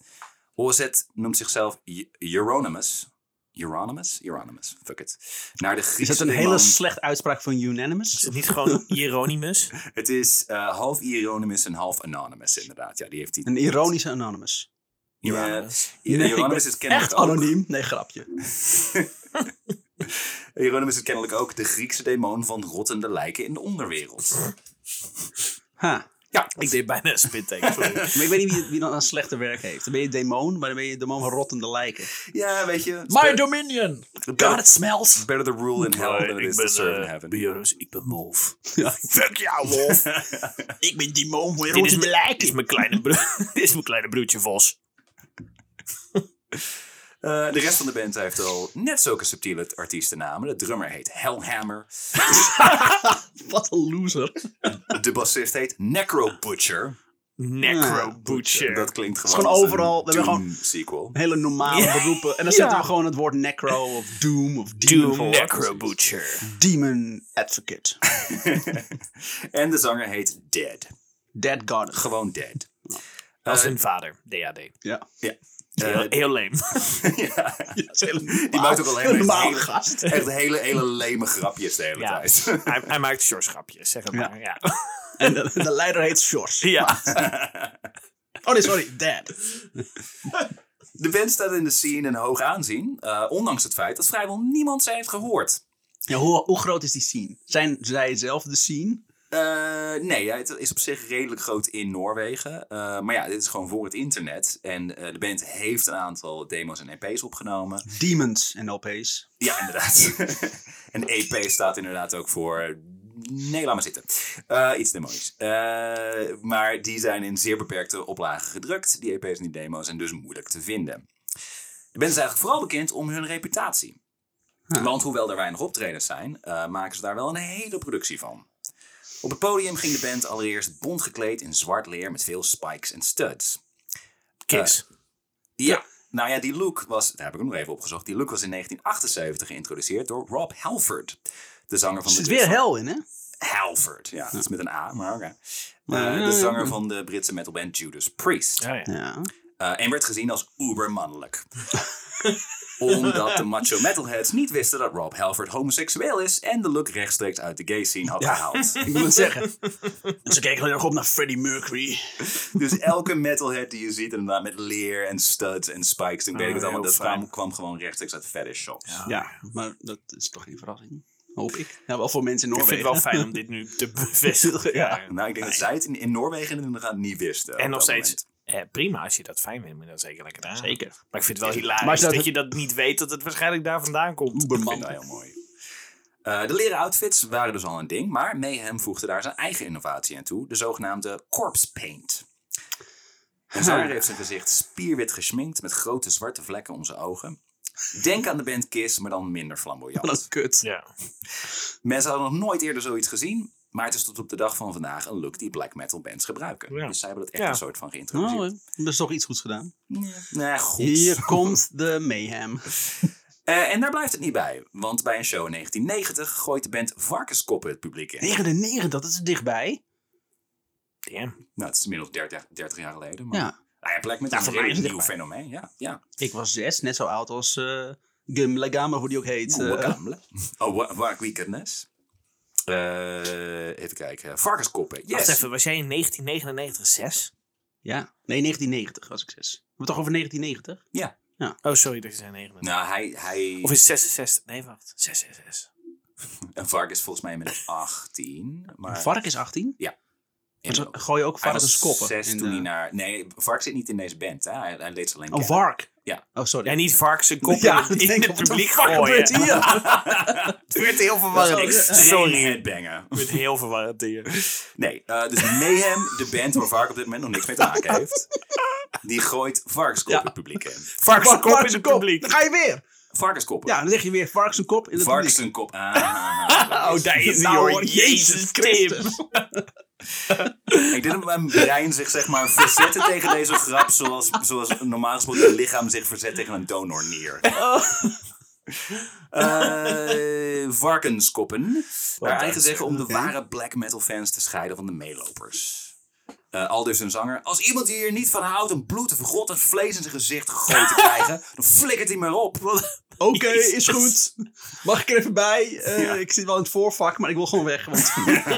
[SPEAKER 3] Oorzet noemt zichzelf Je- Euronymous. Euronymous? Euronymous, fuck it. Naar de
[SPEAKER 1] Is
[SPEAKER 3] Griekse
[SPEAKER 1] dat een hele
[SPEAKER 3] demon-
[SPEAKER 1] slechte uitspraak van
[SPEAKER 2] Is
[SPEAKER 1] Unanimous?
[SPEAKER 2] het niet gewoon Hieronymus?
[SPEAKER 3] Het is eh, half Euronymous en half Anonymous inderdaad. Ja, die heeft die...
[SPEAKER 1] Een ironische Anonymous.
[SPEAKER 3] Ja,
[SPEAKER 2] Hieronymus.
[SPEAKER 1] Nee, ik
[SPEAKER 3] Euronymous
[SPEAKER 1] ben
[SPEAKER 3] is kennelijk
[SPEAKER 1] Echt
[SPEAKER 3] ook-
[SPEAKER 1] anoniem? Nee, grapje.
[SPEAKER 3] Hieronymus is kennelijk ook de Griekse demon van rottende lijken in de onderwereld.
[SPEAKER 1] Ha.
[SPEAKER 3] Ja,
[SPEAKER 2] Ik deed bijna een spitteken, sorry.
[SPEAKER 1] Maar ik weet niet wie, wie dan een slechte werk heeft. Dan ben je demon, maar dan ben je demon van rottende lijken.
[SPEAKER 3] ja weet je. it's
[SPEAKER 2] My
[SPEAKER 3] better-
[SPEAKER 2] Dominion!
[SPEAKER 1] God, it smells! uh,
[SPEAKER 3] it's better the rule in hell than it is to serve in heaven.
[SPEAKER 2] eh, ik ben wolf.
[SPEAKER 1] Ja.
[SPEAKER 2] Fuck jou, wolf!
[SPEAKER 1] Ik ben demon van
[SPEAKER 2] Dit is,
[SPEAKER 1] rottende
[SPEAKER 2] mijn,
[SPEAKER 1] lijken.
[SPEAKER 2] dit is mijn kleine broer, dit is mijn kleine broertje Vos.
[SPEAKER 3] Eh, de rest van de band heeft al net zulke subtiele artiestennamen. De drummer heet Hellhammer.
[SPEAKER 1] Wat een loser.
[SPEAKER 3] De bassist heet Necro Butcher.
[SPEAKER 2] Necro Butcher.
[SPEAKER 3] Dat klinkt gewoon,
[SPEAKER 1] gewoon
[SPEAKER 3] als een
[SPEAKER 1] overal. We hebben
[SPEAKER 3] Doom
[SPEAKER 1] gewoon-
[SPEAKER 3] sequel.
[SPEAKER 1] Hele normale
[SPEAKER 2] Ja.
[SPEAKER 1] beroepen. En dan
[SPEAKER 2] Ja.
[SPEAKER 1] zetten we gewoon het woord necro of doom of demon
[SPEAKER 2] Doom
[SPEAKER 1] voor.
[SPEAKER 2] Necro Butcher.
[SPEAKER 1] Demon advocate.
[SPEAKER 3] en de zanger heet Dead.
[SPEAKER 1] Dead god.
[SPEAKER 3] Gewoon Dead.
[SPEAKER 2] Als hun vader, DAD.
[SPEAKER 1] Ja.
[SPEAKER 3] Ja.
[SPEAKER 2] Heel, Eh, heel leem.
[SPEAKER 3] Eh, ja.
[SPEAKER 1] Die
[SPEAKER 3] maakt ook alleen maar
[SPEAKER 1] normaal
[SPEAKER 3] hele-
[SPEAKER 1] gast.
[SPEAKER 3] Echt hele, hele leme grapjes de hele
[SPEAKER 2] Ja.
[SPEAKER 3] tijd.
[SPEAKER 2] hij, hij maakt shortschapjes, zeg het
[SPEAKER 1] Ja.
[SPEAKER 2] maar. Ja.
[SPEAKER 1] En de, de leider heet Shores.
[SPEAKER 2] ja.
[SPEAKER 1] Oh nee, sorry. Dead.
[SPEAKER 3] De band staat in de scene in hoog aanzien. eh, ondanks het feit dat vrijwel niemand ze heeft gehoord.
[SPEAKER 1] Ja, hoe, hoe groot is die scene? Zijn zij zelf de scene?
[SPEAKER 3] Eh, nee, ja, het is op zich redelijk groot in Noorwegen. Eh, maar ja, dit is gewoon voor het internet. En eh, de band heeft een aantal demo's en EP's opgenomen.
[SPEAKER 1] Demons en LP's.
[SPEAKER 3] Ja, inderdaad. en EP staat inderdaad ook voor. Nee, laat maar zitten. Eh, iets demonisch. Eh, maar die zijn in zeer beperkte oplagen gedrukt. Die EP's en die demo's zijn dus moeilijk te vinden. De band is eigenlijk vooral bekend om hun reputatie. Want hoewel er weinig optredens zijn, eh, maken ze daar wel een hele productie van. Op het podium ging de band allereerst bont gekleed in zwart leer met veel spikes en studs.
[SPEAKER 2] Kiss.
[SPEAKER 3] Ja. Nou ja, die look was, daar heb ik hem nog even opgezocht, die look was in 1978 geïntroduceerd door Rob Halford. De zanger van
[SPEAKER 1] Er
[SPEAKER 3] de
[SPEAKER 1] zit
[SPEAKER 3] Britse-
[SPEAKER 1] weer hel in, hè?
[SPEAKER 3] Halford, ja, dat is met een A, maar oké.
[SPEAKER 1] Ja,
[SPEAKER 3] Eh,
[SPEAKER 1] ja,
[SPEAKER 3] de
[SPEAKER 1] ja.
[SPEAKER 3] zanger van de Britse metalband Judas Priest.
[SPEAKER 2] Ja, ja.
[SPEAKER 1] Ja.
[SPEAKER 3] Eh, en werd gezien als ubermannelijk. Omdat de macho metalheads niet wisten dat Rob Halford homoseksueel is en de look rechtstreeks uit de gay scene had gehaald.
[SPEAKER 1] Ik moet het zeggen. En ze kijken heel erg op naar Freddie Mercury.
[SPEAKER 3] Dus elke metalhead die je ziet, inderdaad met leer en studs en spikes, toen weet ik het
[SPEAKER 2] Ah,
[SPEAKER 3] allemaal,
[SPEAKER 2] heel
[SPEAKER 3] dat
[SPEAKER 2] fijn.
[SPEAKER 3] kwam, kwam gewoon rechtstreeks uit fetish shops.
[SPEAKER 1] Ja, maar dat is toch geen verrassing. Hoop ik. Ja, wel voor mensen in
[SPEAKER 2] Ik vind
[SPEAKER 1] Noorwegen.
[SPEAKER 2] het wel fijn om dit nu te bevestigen.
[SPEAKER 1] Ja.
[SPEAKER 3] Nou, ik denk dat zij het in, in Noorwegen inderdaad niet wisten. op
[SPEAKER 2] En nog
[SPEAKER 3] dat
[SPEAKER 2] steeds
[SPEAKER 3] moment.
[SPEAKER 2] eh, prima als je dat fijn vindt, moet je dat zeker lekker aan.
[SPEAKER 1] Zeker.
[SPEAKER 2] Maar ik vind het wel hilarisch
[SPEAKER 1] Maar als je
[SPEAKER 2] dat,
[SPEAKER 1] dat-
[SPEAKER 2] je dat niet weet, dat het waarschijnlijk daar vandaan komt.
[SPEAKER 3] Ik vind dat
[SPEAKER 1] Oeberman.
[SPEAKER 3] heel mooi. Eh, de leren outfits waren dus al een ding, maar Mayhem voegde daar zijn eigen innovatie aan toe, de zogenaamde corpse paint. Een zanger heeft zijn gezicht spierwit gesminkt met grote zwarte vlekken om zijn ogen. Denk aan de band Kiss, maar dan minder
[SPEAKER 1] Wat
[SPEAKER 3] flamboyant.
[SPEAKER 1] een kut.
[SPEAKER 2] Ja.
[SPEAKER 3] Mensen hadden nog nooit eerder zoiets gezien, maar het is tot op de dag van vandaag een look die black metal bands gebruiken.
[SPEAKER 2] Ja.
[SPEAKER 3] Dus zij hebben dat echt
[SPEAKER 2] Ja. Nou,
[SPEAKER 3] een soort van geïntroduceerd.
[SPEAKER 1] Nou, hè, dat is toch iets goeds gedaan.
[SPEAKER 3] Nee, goed.
[SPEAKER 1] Hier komt de mayhem.
[SPEAKER 3] Eh, en daar blijft het niet bij, want bij een show in 1990 gooit de band varkenskoppen het publiek in.
[SPEAKER 1] 99, dat is dichtbij.
[SPEAKER 2] Damn.
[SPEAKER 3] Nou, het is inmiddels 30, 30 jaar geleden, maar
[SPEAKER 1] Ja.
[SPEAKER 3] nou ja, Black Metal
[SPEAKER 1] Nou,
[SPEAKER 3] is
[SPEAKER 1] voor
[SPEAKER 3] een
[SPEAKER 1] mij
[SPEAKER 3] heel
[SPEAKER 1] is het
[SPEAKER 3] nieuw fenomeen. Ja, ja.
[SPEAKER 1] Ik was zes, net zo oud als eh Gim Legame, hoe die ook heet. eh.
[SPEAKER 3] Oeh, oh, wa- waar weekendness. Eh even kijken. Varkenskoppen, yes.
[SPEAKER 2] Wacht even, was jij in 1999 6?
[SPEAKER 1] ja, nee, 1990 was ik zes. We hebben het toch over 1990?
[SPEAKER 2] Oh, sorry, dat je zei 99.
[SPEAKER 3] Nou, hij, hij...
[SPEAKER 2] Of is het 66? Nee, wacht. 666.
[SPEAKER 3] Een vark is volgens mij inmiddels 18. Maar
[SPEAKER 1] Een vark is Dus 18. Maar ze
[SPEAKER 3] inmiddels.
[SPEAKER 1] gooien ook
[SPEAKER 3] Hij was
[SPEAKER 1] varkenskoppen.
[SPEAKER 3] zes
[SPEAKER 1] in,
[SPEAKER 3] toen
[SPEAKER 1] eh,
[SPEAKER 3] hij naar... Nee, vark zit niet in deze band. Hè? Hij, hij leed ze alleen
[SPEAKER 1] Oh,
[SPEAKER 3] kennen.
[SPEAKER 1] vark.
[SPEAKER 3] Ja.
[SPEAKER 1] Oh, sorry.
[SPEAKER 2] Ja, niet varkens en koppen
[SPEAKER 1] Ja,
[SPEAKER 2] in,
[SPEAKER 1] ik
[SPEAKER 2] in
[SPEAKER 1] denk,
[SPEAKER 2] het
[SPEAKER 1] wat de
[SPEAKER 2] publiek
[SPEAKER 1] fuck
[SPEAKER 2] gooien.
[SPEAKER 1] gebeurt hier?
[SPEAKER 3] Het werd heel
[SPEAKER 1] Dat
[SPEAKER 3] verwarrend.
[SPEAKER 1] is ook-
[SPEAKER 3] Sorry,
[SPEAKER 2] Sorry.
[SPEAKER 3] headbanger.
[SPEAKER 2] Ik word heel verwarrend hier.
[SPEAKER 3] Nee, eh, dus Mayhem, de band waar Vark op dit moment nog niks mee te maken heeft. Die gooit varkenskoppen het publiek in.
[SPEAKER 2] Varkenskop in het
[SPEAKER 1] Varkenskop.
[SPEAKER 2] publiek.
[SPEAKER 1] Dan ga je weer.
[SPEAKER 3] Varkenskoppen.
[SPEAKER 1] Ja, dan zeg je weer varkenskop in het publiek.
[SPEAKER 3] Varkenskop. Ah, ah, ah.
[SPEAKER 2] Oh, daar is hij
[SPEAKER 1] Nou,
[SPEAKER 2] hoor.
[SPEAKER 1] hoor,
[SPEAKER 2] Jezus
[SPEAKER 1] Jezus
[SPEAKER 2] Tim.
[SPEAKER 3] Ik denk dat mijn brein zich zeg maar verzetten tegen deze grap. Zoals, zoals normaal gesproken je lichaam zich verzet tegen een donornier.
[SPEAKER 1] Oh.
[SPEAKER 3] Eh, varkenskoppen. Naar eigen zeggen om de ware black metal fans te scheiden van de meelopers. Eh al dus een zanger. Als iemand hier niet van houdt om bloed te vergrotten en vlees in zijn gezicht gegooid te krijgen, dan flikkert hij maar op.
[SPEAKER 1] Oké, is
[SPEAKER 2] Jezus.
[SPEAKER 1] goed. Mag ik er even bij? Eh,
[SPEAKER 3] Ja.
[SPEAKER 1] Ik zit wel in het voorvak, maar ik wil gewoon weg. Want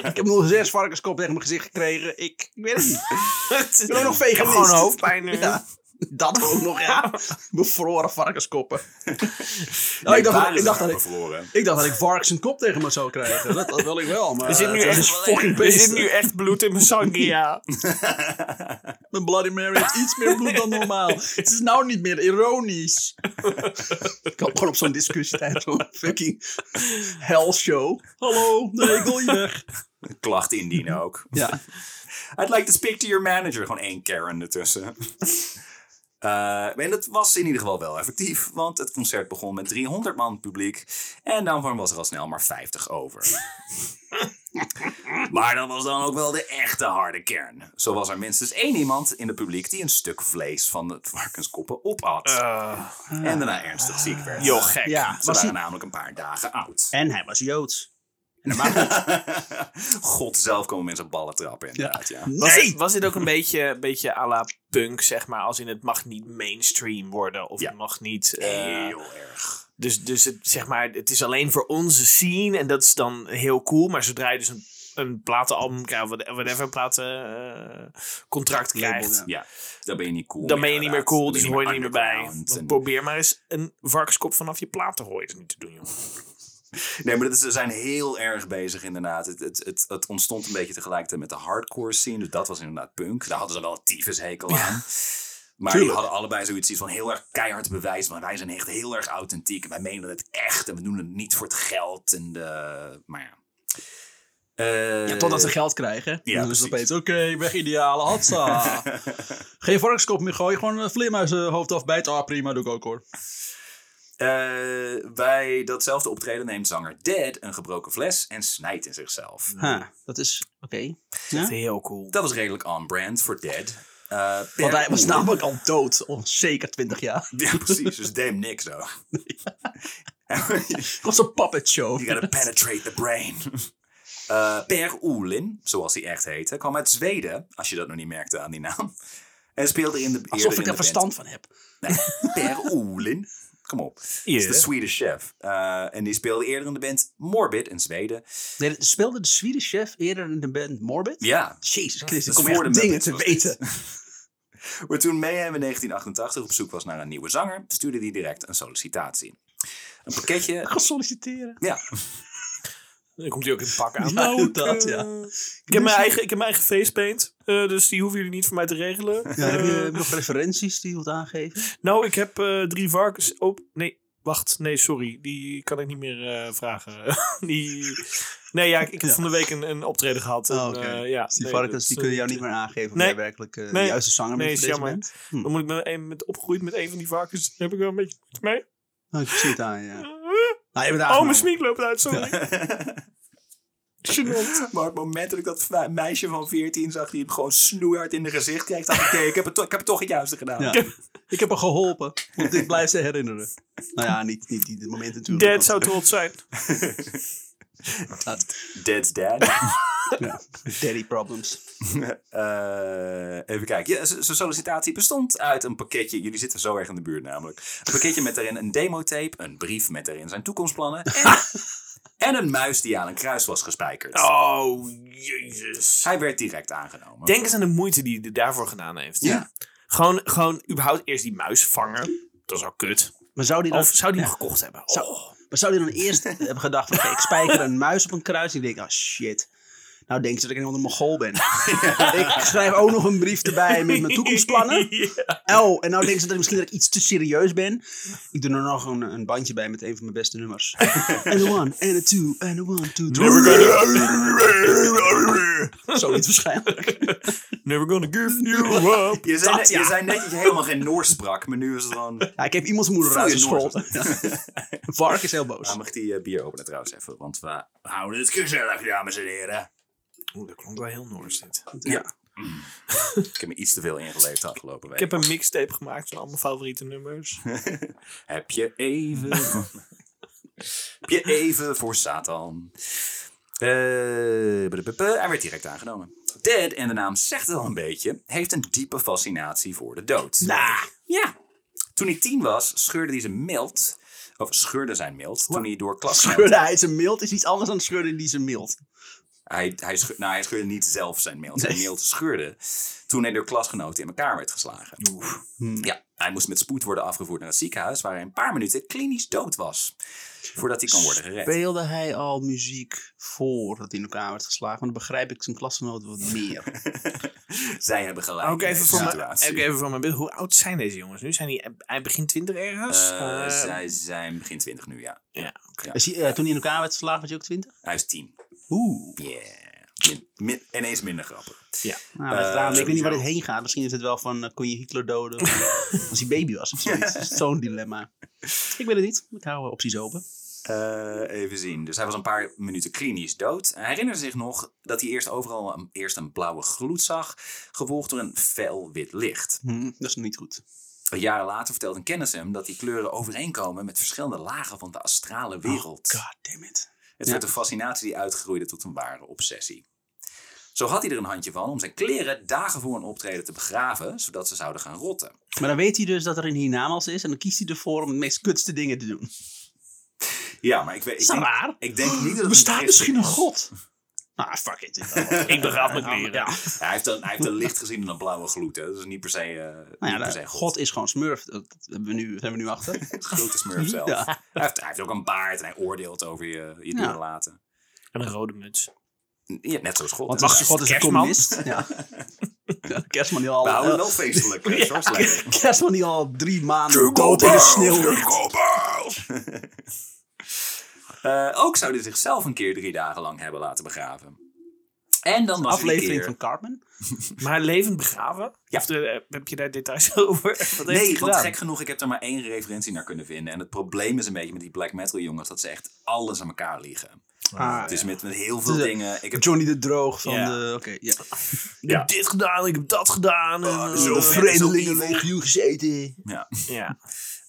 [SPEAKER 1] ik heb nog zes varkenskoppen tegen mijn gezicht gekregen. Ik, ik weet het niet. Ik ben ook nog
[SPEAKER 2] Ik heb
[SPEAKER 1] veganist.
[SPEAKER 2] gewoon hoofdpijn nu.
[SPEAKER 1] Ja. Dat ook nog, ja. Bevroren varkenskoppen. nou,
[SPEAKER 3] Nee,
[SPEAKER 1] ik, dacht,
[SPEAKER 3] paren
[SPEAKER 1] dat- ik, dacht dat
[SPEAKER 3] zijn
[SPEAKER 1] ik,
[SPEAKER 3] bevroren.
[SPEAKER 1] ik dacht dat ik varkens een kop tegen me zou krijgen. Dat, dat wil ik wel, maar
[SPEAKER 2] Er zit, nu
[SPEAKER 1] het was
[SPEAKER 2] echt,
[SPEAKER 1] een fucking
[SPEAKER 2] er zit
[SPEAKER 1] beest.
[SPEAKER 2] nu echt bloed in mijn sangria.
[SPEAKER 1] Mijn Bloody Mary heeft iets meer bloed dan normaal. Het is nou niet meer ironisch. ik kan gewoon op zo'n discussie tijdens zo'n fucking hellshow. Hallo, nee, ik wil hier weg.
[SPEAKER 3] Klacht indienen ook.
[SPEAKER 1] Ja,
[SPEAKER 3] I'd like to speak to your manager. Gewoon één Karen ertussen. Eh, en dat was in ieder geval wel effectief, want het concert begon met 300 man publiek en daarvan was er al snel maar 50 over. maar dat was dan ook wel de echte harde kern. Zo was er minstens één iemand in het publiek die een stuk vlees van het varkenskoppen opat en daarna ernstig ziek werd.
[SPEAKER 2] Yo, gek.
[SPEAKER 1] ja
[SPEAKER 3] Ze
[SPEAKER 1] Eh. was
[SPEAKER 3] waren
[SPEAKER 1] hij...
[SPEAKER 3] namelijk een paar dagen oud.
[SPEAKER 1] En hij was Joods.
[SPEAKER 3] God zelf komen mensen ballen trappen inderdaad, ja.
[SPEAKER 2] Was, het- was dit ook een beetje, beetje à la punk, zeg maar? Als in het mag niet mainstream worden. Of
[SPEAKER 3] Ja.
[SPEAKER 2] het mag niet... eh,
[SPEAKER 3] Heel erg.
[SPEAKER 2] Dus, dus het, zeg maar, het is alleen voor onze scene en dat is dan heel cool. Maar zodra je dus een, een platenalbum krijgt, wat- whatever, een platencontract
[SPEAKER 1] Label,
[SPEAKER 2] krijgt,
[SPEAKER 1] ja.
[SPEAKER 3] Ja, dan ben je niet cool
[SPEAKER 2] dan ben je niet meer
[SPEAKER 3] inderdaad.
[SPEAKER 2] cool,
[SPEAKER 3] Dan
[SPEAKER 2] dus
[SPEAKER 3] ben
[SPEAKER 2] hoor je niet meer bij.
[SPEAKER 3] underground
[SPEAKER 2] Want
[SPEAKER 3] en-
[SPEAKER 2] Probeer maar eens een varkenskop vanaf je platenhooier niet te doen, joh.
[SPEAKER 3] Nee, maar dat is, ze zijn heel erg bezig inderdaad. Het, het, het, het ontstond een beetje tegelijkertijd met de hardcore scene. Dus dat was inderdaad punk. Daar hadden ze wel een tyfushekel aan. Maar die
[SPEAKER 1] Tuurlijk.
[SPEAKER 3] hadden allebei zoiets van heel erg keihard bewijs. Maar wij zijn echt heel erg authentiek. En wij menen het echt. En we doen het niet voor het geld. En de... Maar ja. Eh,
[SPEAKER 1] Ja, totdat ze geld krijgen.
[SPEAKER 3] Ja,
[SPEAKER 1] Ja, dan is
[SPEAKER 3] precies.
[SPEAKER 1] het opeens, oké, weg ideale, hatsa. Geen varkenskop meer gooien, gewoon een vleermuis eh, hoofd afbijten. Ah, prima, doe ik ook hoor.
[SPEAKER 3] Eh, bij datzelfde optreden neemt zanger Dead een gebroken fles en snijdt in zichzelf.
[SPEAKER 1] Ha, dat is, oké. Ja?
[SPEAKER 2] Heel cool.
[SPEAKER 3] Dat was redelijk on-brand voor Dead. Eh, per
[SPEAKER 1] Want hij was
[SPEAKER 3] uur-
[SPEAKER 1] namelijk al dood, al zeker 20 jaar.
[SPEAKER 3] Ja, precies. Dus damn niks zo.
[SPEAKER 1] Het was een puppet show.
[SPEAKER 3] You gotta penetrate the brain. Eh, per Oelin, zoals hij echt heette, kwam uit Zweden, als je dat nog niet merkte aan die naam. En speelde in de
[SPEAKER 1] Alsof ik
[SPEAKER 3] er
[SPEAKER 1] er verstand van heb.
[SPEAKER 3] per Oelin. Kom op. Is de Swedish chef. Eh, en die speelde eerder in de band Morbid in Zweden.
[SPEAKER 1] Nee, speelde de Swedish chef eerder in de band Morbid?
[SPEAKER 3] Ja,
[SPEAKER 1] Jezus Christus, ik
[SPEAKER 3] Dat
[SPEAKER 1] kom
[SPEAKER 3] is
[SPEAKER 1] echt
[SPEAKER 3] Dus voor de
[SPEAKER 1] dingen
[SPEAKER 3] Muppets,
[SPEAKER 1] te
[SPEAKER 3] was dit.
[SPEAKER 1] weten.
[SPEAKER 3] Maar toen Mayhem in 1988 op zoek was naar een nieuwe zanger, stuurde hij direct een sollicitatie. Een pakketje.
[SPEAKER 1] Ga solliciteren.
[SPEAKER 3] Ja,
[SPEAKER 2] Dan komt hij ook in pak aan.
[SPEAKER 1] Ja,
[SPEAKER 2] Nou, ik,
[SPEAKER 1] dat,
[SPEAKER 2] eh,
[SPEAKER 1] ja.
[SPEAKER 2] Ik heb mijn eigen, ik heb mijn eigen facepaint, eh, dus die hoeven jullie niet voor mij te regelen.
[SPEAKER 1] Ja, heb
[SPEAKER 2] Eh,
[SPEAKER 1] je nog referenties die je wilt aangeven?
[SPEAKER 2] Nou, ik heb eh, drie varkens. Oh, nee, wacht. Nee, sorry. Die kan ik niet meer eh, vragen. die... Nee, ja, ik, ik heb
[SPEAKER 1] Ja.
[SPEAKER 2] van de week een, een optreden gehad.
[SPEAKER 1] Oh,
[SPEAKER 2] En,
[SPEAKER 1] oké.
[SPEAKER 2] eh, ja,
[SPEAKER 1] Die
[SPEAKER 2] nee,
[SPEAKER 1] varkens
[SPEAKER 2] dat- eh,
[SPEAKER 1] die kunnen jou niet meer aangeven of
[SPEAKER 2] Nee.
[SPEAKER 1] jij werkelijk eh,
[SPEAKER 2] Nee.
[SPEAKER 1] de juiste zanger
[SPEAKER 2] Nee,
[SPEAKER 1] bent
[SPEAKER 2] is
[SPEAKER 1] voor deze
[SPEAKER 2] jammer.
[SPEAKER 1] band.
[SPEAKER 2] Dan moet ik met, een- met, opgegroeid met een van die varkens. Daar heb ik wel een beetje moeite mee.
[SPEAKER 1] Oh, ik zie het aan, ja.
[SPEAKER 2] Eh,
[SPEAKER 1] Nou, je bent
[SPEAKER 2] oh, mijn
[SPEAKER 1] aangenomen.
[SPEAKER 2] smiek loopt uit, sorry. Gênant.
[SPEAKER 3] Maar op het moment dat ik dat va- meisje van 14 zag, die hem gewoon snoeihard in de gezicht kreeg, dacht ik, "Oké, ik, heb het to- ik heb het toch het juiste gedaan.
[SPEAKER 1] Ja. Ik heb haar geholpen, want ik blijf ze herinneren. Nou ja, niet, niet, niet dit moment natuurlijk.
[SPEAKER 2] Dad zou trots zijn.
[SPEAKER 3] Dead's dad.
[SPEAKER 1] Ja. Daddy problems.
[SPEAKER 3] Eh, even kijken. Ja, z- Zo'n sollicitatie bestond uit een pakketje. Jullie zitten zo erg in de buurt namelijk. Een pakketje met daarin een demotape, een brief met daarin zijn toekomstplannen en, en een muis die aan een kruis was gespijkerd.
[SPEAKER 2] Oh, jezus.
[SPEAKER 3] Hij werd direct aangenomen.
[SPEAKER 2] Denk eens aan de moeite die hij daarvoor gedaan heeft.
[SPEAKER 1] Ja.
[SPEAKER 2] Gewoon, gewoon überhaupt eerst die muis vangen. Dat is al kut.
[SPEAKER 1] Maar zou die dan,
[SPEAKER 2] Of zou die hem gekocht hebben?
[SPEAKER 1] Zou-
[SPEAKER 2] Oh.
[SPEAKER 1] maar zou die dan eerst hebben gedacht van... oké, ik spijker een muis op een kruis. En ik denk, ah shit. Nou denkt ze dat ik een andere Mongool ben. Ik schrijf ook nog een brief erbij met mijn toekomstplannen. Oh, en nou denkt ze dat ik misschien dat ik iets te serieus ben. Ik doe er nog een, een bandje bij met een van mijn beste nummers. And a one, and a two, and a one, two, three. Zoiets waarschijnlijk.
[SPEAKER 2] Never gonna give you up.
[SPEAKER 3] Je zei,
[SPEAKER 1] Dat,
[SPEAKER 3] net-
[SPEAKER 1] ja.
[SPEAKER 3] je zei net dat je helemaal geen Noors sprak, maar nu is het gewoon...
[SPEAKER 1] Ja, ik heb iemands moeder
[SPEAKER 3] Voel je
[SPEAKER 1] uitgescholden. Vark is heel boos.
[SPEAKER 3] Nou, mag die eh, bier openen trouwens even, want we houden het gezellig, dames en heren.
[SPEAKER 2] Oeh, dat klonk wel heel Noors dit.
[SPEAKER 3] Ja. Ik heb me iets te veel ingeleefd de afgelopen week.
[SPEAKER 2] Ik heb een mixtape gemaakt van al mijn favoriete nummers.
[SPEAKER 3] Heb je even... heb je even voor Satan. Eh, budububu, hij werd direct aangenomen. Dead, en de naam zegt het al een beetje, heeft een diepe fascinatie voor de dood.
[SPEAKER 2] Nou.
[SPEAKER 1] Nah.
[SPEAKER 3] Ja. Toen hij tien was, scheurde hij zijn milt... Of scheurde zijn milt, toen hij door klas...
[SPEAKER 1] Schudden hij zijn mild is iets anders dan schudden die zijn mild.
[SPEAKER 3] Hij, hij, scheur- nou, hij scheurde niet zelf zijn mail. Zijn
[SPEAKER 1] Nee.
[SPEAKER 3] mail scheurde toen hij door klasgenoten in elkaar werd geslagen.
[SPEAKER 2] Hmm.
[SPEAKER 3] Ja, hij moest met spoed worden afgevoerd naar het ziekenhuis... waar hij een paar minuten klinisch dood was. Voordat hij kon worden gered.
[SPEAKER 1] Speelde hij al muziek voordat hij in elkaar werd geslagen? Want dan begrijp ik zijn klasgenoten wat meer.
[SPEAKER 3] Zij hebben
[SPEAKER 1] Ah,
[SPEAKER 3] gelijk
[SPEAKER 2] Ook
[SPEAKER 3] in
[SPEAKER 2] even,
[SPEAKER 3] deze
[SPEAKER 2] voor mijn, ook
[SPEAKER 3] situatie.
[SPEAKER 2] even voor mijn beeld. Hoe oud zijn deze jongens nu? Zijn die hij begin 20 ergens?
[SPEAKER 3] Eh,
[SPEAKER 2] Eh,
[SPEAKER 3] zij zijn begin 20 nu, ja.
[SPEAKER 2] ja.
[SPEAKER 1] Is hij, eh, toen hij in elkaar werd geslagen was hij ook 20?
[SPEAKER 3] Hij is 10.
[SPEAKER 1] Oeh.
[SPEAKER 3] Yeah. Min, min- ineens minder grappig.
[SPEAKER 2] ja.
[SPEAKER 1] Nou, maar
[SPEAKER 3] Eh,
[SPEAKER 1] daarom, ik weet niet waar dit
[SPEAKER 3] sowieso.
[SPEAKER 1] heen gaat. Misschien is het wel van, eh, kon je Hitler doden? Of als hij baby was of zoiets. Het is Zo'n dilemma. Ik weet het niet. Ik hou eh, opties open.
[SPEAKER 3] Eh, even zien. Dus hij was een paar minuten klinisch dood. Hij herinnerde zich nog dat hij eerst overal een, eerst een blauwe gloed zag, gevolgd door een fel wit licht.
[SPEAKER 1] Hm, dat is nog niet goed.
[SPEAKER 3] Jaren later vertelt een kennis hem dat die kleuren overeenkomen met verschillende lagen van de astrale wereld.
[SPEAKER 1] Oh, God damn it.
[SPEAKER 3] Het
[SPEAKER 1] Ja.
[SPEAKER 3] werd een fascinatie die uitgroeide tot een ware obsessie. Zo had hij er een handje van om zijn kleren dagen voor een optreden te begraven, zodat ze zouden gaan rotten.
[SPEAKER 1] Maar dan weet hij dus dat er een hiernamaals is. En dan kiest hij ervoor om de meest kutste dingen te doen.
[SPEAKER 3] Ja, maar ik weet.
[SPEAKER 1] Is
[SPEAKER 3] Ik
[SPEAKER 1] dat
[SPEAKER 3] denk,
[SPEAKER 1] raar?
[SPEAKER 3] ik denk niet dat het
[SPEAKER 1] Bestaat
[SPEAKER 3] christen
[SPEAKER 1] misschien een
[SPEAKER 3] is.
[SPEAKER 1] god? Ah, fuck it.
[SPEAKER 2] Ik begraaf mijn kleren.
[SPEAKER 1] Ja.
[SPEAKER 3] Ja, hij, heeft een, hij heeft een licht gezien en een blauwe gloed. Hè. Dat is niet per se, eh,
[SPEAKER 1] Nou
[SPEAKER 3] niet
[SPEAKER 1] ja,
[SPEAKER 3] per
[SPEAKER 1] de-
[SPEAKER 3] se
[SPEAKER 1] God is gewoon smurf. Dat hebben we nu, zijn we nu achter.
[SPEAKER 3] Grote smurf zelf.
[SPEAKER 1] Ja.
[SPEAKER 3] Hij, heeft, hij heeft ook een baard en hij oordeelt over je, je doen
[SPEAKER 1] Ja.
[SPEAKER 3] en laten.
[SPEAKER 2] En een rode muts.
[SPEAKER 3] Ja, net zoals God.
[SPEAKER 1] Want
[SPEAKER 3] hè.
[SPEAKER 1] wacht, God is een
[SPEAKER 2] Kerstman?
[SPEAKER 1] communist. Ja. Ja, de kerstman die al,
[SPEAKER 3] We houden
[SPEAKER 1] eh,
[SPEAKER 3] wel feestelijk. eh, zoals lekker.
[SPEAKER 1] kerstman die al drie maanden dood in de sneeuw ligt.
[SPEAKER 3] Eh, ook zou hij zichzelf een keer drie dagen lang hebben laten begraven. En dan was hij
[SPEAKER 1] Aflevering
[SPEAKER 3] een
[SPEAKER 1] van
[SPEAKER 3] keer...
[SPEAKER 1] Cartman.
[SPEAKER 2] Maar levend begraven?
[SPEAKER 3] Ja.
[SPEAKER 2] Of eh, heb je daar details over? Wat heeft hij
[SPEAKER 3] Nee, want
[SPEAKER 2] gedaan?
[SPEAKER 3] gek genoeg, ik heb er maar één referentie naar kunnen vinden. En het probleem is een beetje met die black metal jongens... dat ze echt alles aan elkaar liggen.
[SPEAKER 1] Ah,
[SPEAKER 3] het is
[SPEAKER 1] ja.
[SPEAKER 3] met, met heel veel
[SPEAKER 1] Het is-
[SPEAKER 3] dingen... Ik heb
[SPEAKER 1] Johnny de Droog van
[SPEAKER 2] Ja.
[SPEAKER 1] de... Oké, ja. Oh,
[SPEAKER 2] Ik heb dit gedaan, ik heb dat gedaan.
[SPEAKER 3] Ah,
[SPEAKER 2] en,
[SPEAKER 3] zo
[SPEAKER 2] eh,
[SPEAKER 1] De
[SPEAKER 3] vet.
[SPEAKER 1] Vreemdelingenlegioen gezeten.
[SPEAKER 2] Ja,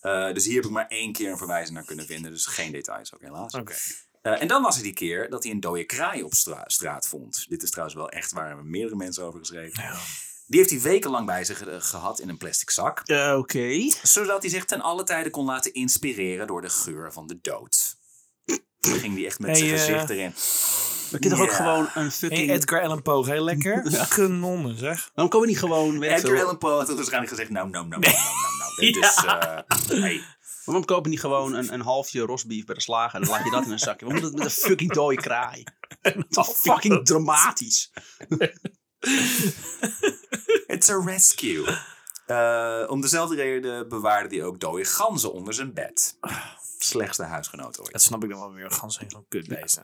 [SPEAKER 3] Eh, dus hier heb ik maar één keer een verwijzing naar kunnen vinden. Dus geen details ook helaas.
[SPEAKER 2] oké.
[SPEAKER 3] Eh, en dan was het die keer dat hij een dode kraai op stra- straat vond. Dit is trouwens wel echt waar. Er hebben meerdere mensen over geschreven.
[SPEAKER 2] Ja.
[SPEAKER 3] Die heeft hij wekenlang bij zich eh, gehad in een plastic zak.
[SPEAKER 1] Eh, Oké.
[SPEAKER 3] Zodat hij zich ten alle tijde kon laten inspireren door de geur van de dood. Toen ging hij echt met
[SPEAKER 2] Hey,
[SPEAKER 3] zijn
[SPEAKER 2] eh,
[SPEAKER 3] gezicht erin.
[SPEAKER 1] We kunnen toch ook
[SPEAKER 3] Ja.
[SPEAKER 1] gewoon een
[SPEAKER 2] Hey,
[SPEAKER 1] fucking...
[SPEAKER 2] Edgar Allan Poe, heel lekker. Kanonnen, zeg.
[SPEAKER 1] Waarom komen we niet gewoon... Weet ik
[SPEAKER 3] Edgar
[SPEAKER 1] veel,
[SPEAKER 3] Allan Poe had waarschijnlijk gezegd, nou, nou, nou, nou, nou, nou, nou. Dit is, eh, hey.
[SPEAKER 1] waarom kopen we niet gewoon een, een halfje rosbief bij de slager? Dan laat je dat in een zakje. Waarom moet het met een fucking dode kraai? Dat is fucking dramatisch.
[SPEAKER 3] It's a rescue. Eh, om dezelfde reden bewaarde hij ook dode ganzen onder zijn bed. Slechtste huisgenoot ooit.
[SPEAKER 2] Dat snap ik dan wel weer. Gans zijn zo'n kutbeest.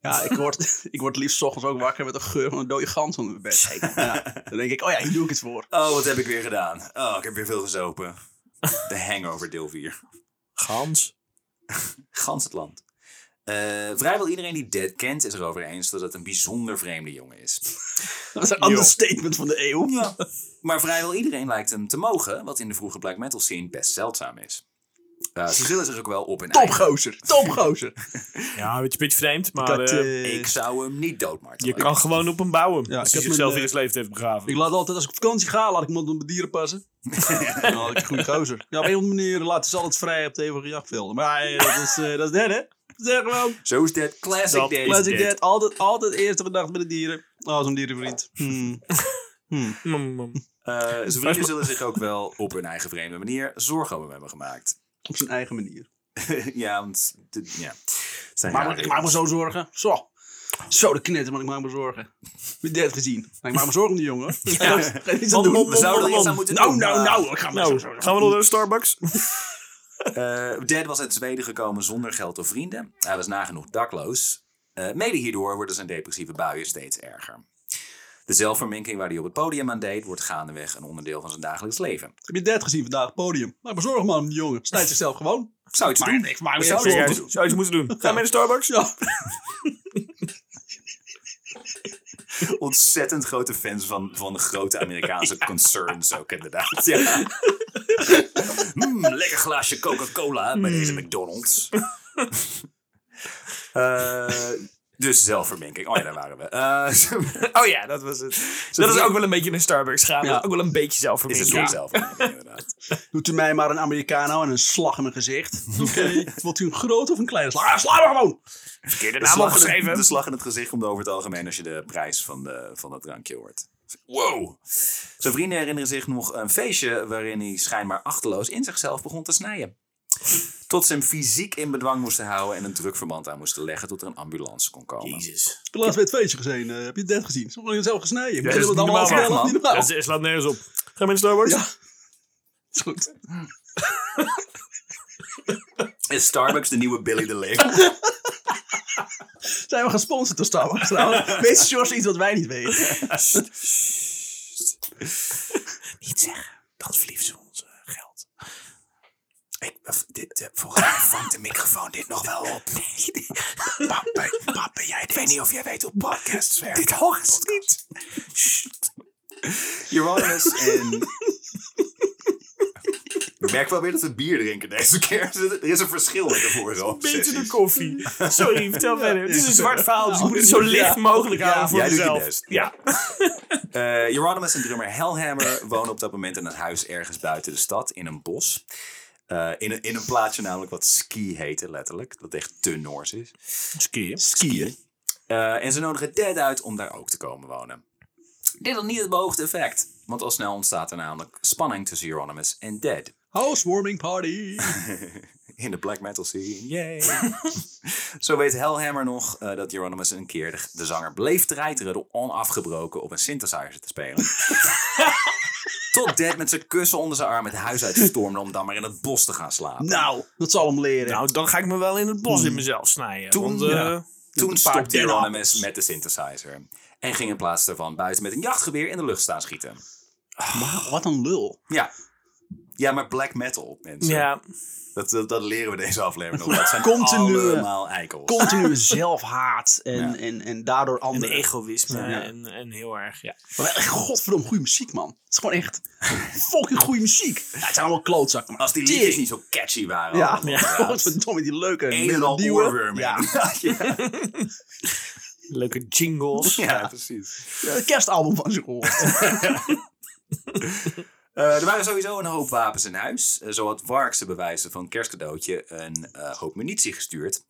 [SPEAKER 1] Ja, ik word, ik word liefst 's ochtends ook wakker met een geur van een dode gans onder mijn bed. Ja, dan denk ik, oh ja, hier doe ik het voor.
[SPEAKER 3] Oh, wat heb ik weer gedaan? Oh, ik heb weer veel gezopen. De Hangover deel 4.
[SPEAKER 2] Gans.
[SPEAKER 3] Gans het land. Eh, vrijwel iedereen die Dead kent is erover eens dat het een bijzonder vreemde jongen is.
[SPEAKER 1] Dat is
[SPEAKER 2] Yo.
[SPEAKER 1] een understatement van de eeuw.
[SPEAKER 3] Ja. Maar vrijwel iedereen lijkt hem te mogen, wat in de vroege black metal scene best zeldzaam is. Eh, ze zullen zich ook wel op en
[SPEAKER 1] Topgozer, topgozer.
[SPEAKER 2] Ja, een beetje, beetje vreemd, maar
[SPEAKER 1] had,
[SPEAKER 2] eh,
[SPEAKER 1] eh,
[SPEAKER 3] Ik zou hem niet doodmartelen.
[SPEAKER 2] je kan gewoon op hem bouwen.
[SPEAKER 1] Ja,
[SPEAKER 2] als
[SPEAKER 1] ik
[SPEAKER 2] hij
[SPEAKER 1] heb
[SPEAKER 2] zichzelf
[SPEAKER 1] mijn,
[SPEAKER 2] in zijn leven heeft begraven.
[SPEAKER 1] Ik laat altijd, als ik op vakantie ga, laat ik iemand op mijn dieren passen. Dan had ik een goede gozer. Ja, op een of andere manier laten ze altijd vrij op de eeuwige jachtvelden. Maar eh, dat is, eh, dat is dead, hè? Dat is dead gewoon.
[SPEAKER 3] Zo is Dead classic
[SPEAKER 2] Dat
[SPEAKER 3] Dead.
[SPEAKER 2] is
[SPEAKER 1] Classic
[SPEAKER 2] dead.
[SPEAKER 1] dead. Altijd, altijd eerst op de nacht met de dieren. Oh, zo'n dierenvriend. Hmm. Hmm.
[SPEAKER 2] Mm, mm.
[SPEAKER 3] Eh, zijn vrienden zullen zich ook wel op hun eigen vreemde manier zorgen om hem hebben gemaakt.
[SPEAKER 1] Op zijn eigen manier.
[SPEAKER 3] ja, want... dit- ja. Het Zijn
[SPEAKER 1] Maar
[SPEAKER 3] rare
[SPEAKER 1] ik maak me zo zorgen. Zo. Zo de knetter, maar ik maak me zorgen. Heb je dit gezien? Maar ik maak me zorgen om die jongen. hoor.
[SPEAKER 2] Ja.
[SPEAKER 1] Ga je niets aan
[SPEAKER 2] Mom,
[SPEAKER 1] doen.
[SPEAKER 2] mom,
[SPEAKER 3] We zouden er iets aan moeten
[SPEAKER 1] Nou,
[SPEAKER 3] doen.
[SPEAKER 1] nou,
[SPEAKER 3] maar-
[SPEAKER 1] nou. Ik ga maar zo,
[SPEAKER 2] Nou,
[SPEAKER 1] zo, zo.
[SPEAKER 2] gaan we nog naar de Starbucks?
[SPEAKER 3] Eh, Dad was uit Zweden gekomen zonder geld of vrienden. Hij was nagenoeg dakloos. Eh, mede hierdoor worden zijn depressieve buien steeds erger. De zelfverminking waar hij op het podium aan deed, wordt gaandeweg een onderdeel van zijn dagelijks leven.
[SPEAKER 1] Heb je dit gezien vandaag op het podium? Maak me zorgen man om die jongen. Snijdt zichzelf gewoon.
[SPEAKER 3] Ik zou iets
[SPEAKER 1] Maar
[SPEAKER 3] doen.
[SPEAKER 1] ik maak
[SPEAKER 3] Ik
[SPEAKER 1] me
[SPEAKER 3] zou
[SPEAKER 1] echt
[SPEAKER 3] het
[SPEAKER 1] zorgen.
[SPEAKER 3] doen.
[SPEAKER 2] Zou je iets moeten doen? Ga
[SPEAKER 1] Ja.
[SPEAKER 2] mee naar de Starbucks?
[SPEAKER 1] Ja.
[SPEAKER 3] Ontzettend grote fans van, van de grote Amerikaanse concerns ook inderdaad. Ja. Mm, lekker glaasje Coca-Cola
[SPEAKER 1] Hmm.
[SPEAKER 3] bij deze McDonald's. Eh, dus zelfverminking. Oh ja, daar waren we. Eh,
[SPEAKER 2] Oh ja, dat was het. dat is ook wel een beetje naar Starbucks gaan. Dat is ook wel een beetje
[SPEAKER 3] is een
[SPEAKER 2] zelfverminking.
[SPEAKER 3] soort zelfverminking inderdaad.
[SPEAKER 1] Doet u mij maar een Americano en een slag in mijn gezicht. Oké. Wilt u een grote of een kleine slag? Ah, sla maar gewoon.
[SPEAKER 2] Verkeerde
[SPEAKER 3] De
[SPEAKER 2] naam
[SPEAKER 3] slag, in
[SPEAKER 2] opgeschreven.
[SPEAKER 3] het, de slag in het gezicht komt over het algemeen als je de prijs van, de, van dat drankje hoort. Wow! Zijn vrienden herinneren zich nog een feestje waarin hij schijnbaar achteloos in zichzelf begon te snijden. Tot ze hem fysiek in bedwang moesten houden en een drukverband aan moesten leggen tot er een ambulance kon komen.
[SPEAKER 2] Jezus.
[SPEAKER 1] Ik heb laatst bij het feestje gezien. eh, heb je het net gezien? Ze worden zelf gesneden.
[SPEAKER 2] dat
[SPEAKER 1] Ja,
[SPEAKER 2] is
[SPEAKER 1] dat het
[SPEAKER 2] niet
[SPEAKER 1] allemaal
[SPEAKER 2] normaal,
[SPEAKER 1] vertellen,
[SPEAKER 3] man.
[SPEAKER 1] is niet normaal.
[SPEAKER 2] Dat is- slaat nergens op. Gaan mensen naar worden?
[SPEAKER 1] Ja. Is goed.
[SPEAKER 3] Is Starbucks de nieuwe Billy de Leeuw?
[SPEAKER 1] Zijn we gesponsord door Starbucks trouwens? Weet George iets wat wij niet weten?
[SPEAKER 2] Niet zeggen. Dan verliefd ze ons eh, geld.
[SPEAKER 3] Ik, dit, eh, volgens mij vangt de microfoon dit nog wel op. Pap, ben- pap, ben jij dit? Ik weet niet of jij weet hoe podcasts werken. Dit hoort niet. Uranus en... Ik merk wel weer dat we bier drinken deze keer. Er is een verschil in de vorige
[SPEAKER 2] Beter de
[SPEAKER 3] sessies.
[SPEAKER 2] koffie. Sorry, vertel verder. Het is een zwart verhaal, dus ik moet het
[SPEAKER 1] Ja.
[SPEAKER 2] zo licht mogelijk
[SPEAKER 1] Ja.
[SPEAKER 2] houden voor
[SPEAKER 3] Jij doet je
[SPEAKER 2] mezelf.
[SPEAKER 3] best.
[SPEAKER 2] Ja.
[SPEAKER 3] Eh Euronymous en drummer Hellhammer wonen op dat moment in een huis ergens buiten de stad, in een bos. Eh, in, een, in een plaatsje namelijk wat Ski heette, letterlijk. Dat echt te Noors is.
[SPEAKER 2] Skiën.
[SPEAKER 3] Skiën. Eh, en ze nodigen Dead uit om daar ook te komen wonen. Dit had niet het beoogde effect, want al snel ontstaat er namelijk spanning tussen Euronymous en Dead.
[SPEAKER 1] Housewarming party.
[SPEAKER 3] In de black metal scene, yay! Zo weet Hellhammer nog eh, dat Euronymous een keer de, de zanger bleef treiteren door onafgebroken op een synthesizer te spelen. Tot Dead met zijn kussen onder zijn arm het huis uitstormde om dan maar in het bos te gaan slapen.
[SPEAKER 1] Nou, dat zal hem leren.
[SPEAKER 2] Nou, dan ga ik me wel in het bos in mezelf snijden.
[SPEAKER 3] Hmm. Toen,
[SPEAKER 2] want, eh,
[SPEAKER 3] ja.
[SPEAKER 1] Een
[SPEAKER 3] Toen
[SPEAKER 1] paar
[SPEAKER 3] stopte
[SPEAKER 1] tennenappels.
[SPEAKER 3] Euronymous met de synthesizer en ging in plaats daarvan buiten met een jachtgeweer in de lucht staan schieten.
[SPEAKER 1] Wauw, wat een lul.
[SPEAKER 3] Ja. Ja, maar black metal, mensen.
[SPEAKER 2] ja.
[SPEAKER 3] Dat, dat, dat leren we deze aflevering nog. Dat zijn
[SPEAKER 1] Continue.
[SPEAKER 3] allemaal eikels.
[SPEAKER 1] Continue zelfhaat en,
[SPEAKER 3] Ja.
[SPEAKER 1] en, en daardoor
[SPEAKER 2] En de
[SPEAKER 1] anderen.
[SPEAKER 2] egoïsme
[SPEAKER 1] Ja.
[SPEAKER 2] en, en heel erg, ja.
[SPEAKER 1] Maar echt godverdomme goede muziek, man. Het is gewoon echt fucking goede muziek. Ja, het zijn allemaal klootzakken, maar
[SPEAKER 3] Als die
[SPEAKER 1] tering.
[SPEAKER 3] liedjes niet zo catchy waren.
[SPEAKER 1] Ja,
[SPEAKER 3] allemaal,
[SPEAKER 1] ja. godverdomme, die leuke
[SPEAKER 3] Een en al
[SPEAKER 1] melodieën.
[SPEAKER 3] oorworm.
[SPEAKER 1] Ja.
[SPEAKER 3] ja.
[SPEAKER 2] Leuke jingles.
[SPEAKER 3] ja, precies.
[SPEAKER 1] Ja, Het kerstalbum van zich gehoord.
[SPEAKER 3] Eh, er waren sowieso een hoop wapens in huis. Eh, zo had Wark ze bewijzen van kerstcadeautje een eh, hoop munitie gestuurd.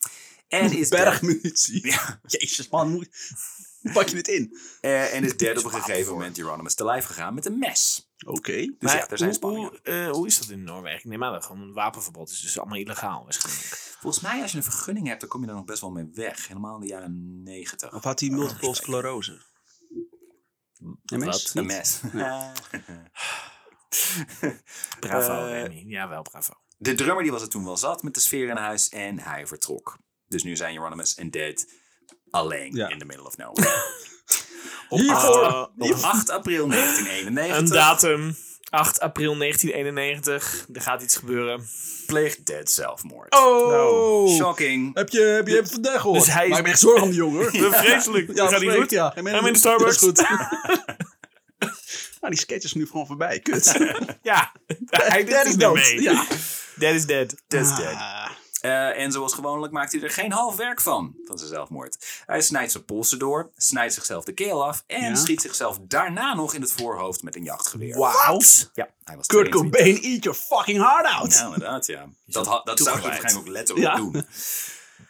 [SPEAKER 3] En is Dead-
[SPEAKER 1] Bergmunitie.
[SPEAKER 3] Ja.
[SPEAKER 1] Jezus, man. Hoe hoe pak je dit in?
[SPEAKER 3] eh, en is Dead op een gegeven moment Euronymous te lijf gegaan met een mes.
[SPEAKER 1] Oké.
[SPEAKER 3] Dus
[SPEAKER 2] Maar
[SPEAKER 3] ja, er zijn
[SPEAKER 2] hoe,
[SPEAKER 3] spanningen.
[SPEAKER 2] hoe, eh, hoe is dat in Noorwegen? Ik neem aan dat gewoon een wapenverbod is, dus allemaal illegaal waarschijnlijk.
[SPEAKER 3] Volgens mij als je een vergunning hebt, dan kom je er nog best wel mee weg. Helemaal in de jaren negentig.
[SPEAKER 1] Of had hij multiple sclerose? Een mes?
[SPEAKER 3] Een mes.
[SPEAKER 2] Bravo,
[SPEAKER 3] Eh,
[SPEAKER 2] Remy. Ja, wel bravo.
[SPEAKER 3] De drummer die was het toen wel zat met de sfeer in huis en hij vertrok. Dus nu zijn Euronymous en Dead alleen
[SPEAKER 1] Ja.
[SPEAKER 3] in the middle of nowhere.
[SPEAKER 1] Hiervoor.
[SPEAKER 2] Ah,
[SPEAKER 3] Op 8 april
[SPEAKER 1] eh,
[SPEAKER 2] een
[SPEAKER 3] 1991
[SPEAKER 2] datum. 8 april 1991. Er gaat iets gebeuren.
[SPEAKER 3] pleegt Dead zelfmoord.
[SPEAKER 1] Oh.
[SPEAKER 3] Shocking.
[SPEAKER 1] Heb je, heb je, heb je vandaag gehoord?
[SPEAKER 2] Dus hij is-
[SPEAKER 1] Maak me echt zorgen om die jongen. hoor.
[SPEAKER 2] Vreselijk.
[SPEAKER 1] Ja,
[SPEAKER 2] gaat niet
[SPEAKER 1] perfect,
[SPEAKER 2] goed.
[SPEAKER 1] Ja.
[SPEAKER 2] Gaan we in de Starbucks?
[SPEAKER 1] Ja, is goed. nou, die sketch is nu gewoon voorbij. Kut.
[SPEAKER 2] Ja. Hij
[SPEAKER 1] Dead
[SPEAKER 2] deed is
[SPEAKER 1] is
[SPEAKER 2] niet
[SPEAKER 1] dood.
[SPEAKER 2] mee.
[SPEAKER 1] Ja.
[SPEAKER 2] Dead is dead.
[SPEAKER 3] Dead's Dead.
[SPEAKER 1] Ah.
[SPEAKER 3] Eh, en zoals gewoonlijk maakt hij er geen half werk van, van zijn zelfmoord. Hij snijdt zijn polsen door, snijdt zichzelf de keel af en
[SPEAKER 1] Ja.
[SPEAKER 3] schiet zichzelf daarna nog in het voorhoofd met een jachtgeweer.
[SPEAKER 1] Wauw.
[SPEAKER 3] Ja, hij was
[SPEAKER 1] Kurt
[SPEAKER 3] 22.
[SPEAKER 1] Cobain, eat your fucking heart out.
[SPEAKER 3] Ja, inderdaad, ja. Dat, ha- dat zou je
[SPEAKER 2] toegewijd.
[SPEAKER 3] waarschijnlijk ook letterlijk
[SPEAKER 1] Ja.
[SPEAKER 3] doen.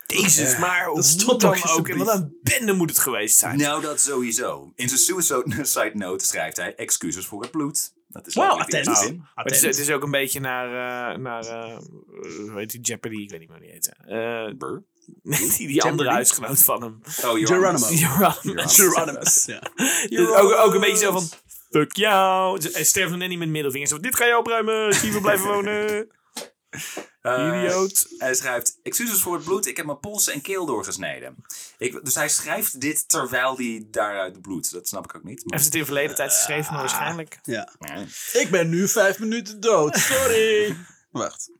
[SPEAKER 2] Jezus, maar hoe
[SPEAKER 1] stopt
[SPEAKER 2] dan
[SPEAKER 1] toch
[SPEAKER 2] ook. En
[SPEAKER 1] alsjeblieft.
[SPEAKER 2] wat een bende moet het geweest zijn.
[SPEAKER 3] Nou, dat sowieso. In zijn suicide note schrijft hij excuses voor het bloed. Dat is
[SPEAKER 1] Wauw,
[SPEAKER 3] wel de eerste
[SPEAKER 1] attent.
[SPEAKER 3] zin.
[SPEAKER 2] Maar nou, het, is,
[SPEAKER 1] Attent.
[SPEAKER 2] het is ook een beetje naar, eh, naar eh, hoe heet die, Jeopardy, ik weet niet meer hoe die heet. Eh,
[SPEAKER 3] Brr.
[SPEAKER 2] die die andere huisgenoot van hem.
[SPEAKER 3] Oh,
[SPEAKER 1] Geronimo.
[SPEAKER 2] Jeroen.
[SPEAKER 1] Geronimus. Ja.
[SPEAKER 2] Dus ook, ook een beetje zo van, fuck jou. En sterf nog net niet met middelvingers. Zo, dit ga je opruimen, zie we blijven wonen.
[SPEAKER 3] Eh,
[SPEAKER 2] Idioot.
[SPEAKER 3] Hij schrijft, excuses voor het bloed, ik heb mijn polsen en keel doorgesneden. Ik, dus hij schrijft dit terwijl hij daaruit bloedt. Dat snap ik ook niet. maar-
[SPEAKER 2] Heeft het in verleden tijd geschreven, maar waarschijnlijk.
[SPEAKER 1] Ja.
[SPEAKER 3] Nee.
[SPEAKER 1] Ik ben nu vijf minuten dood. Sorry. Wacht.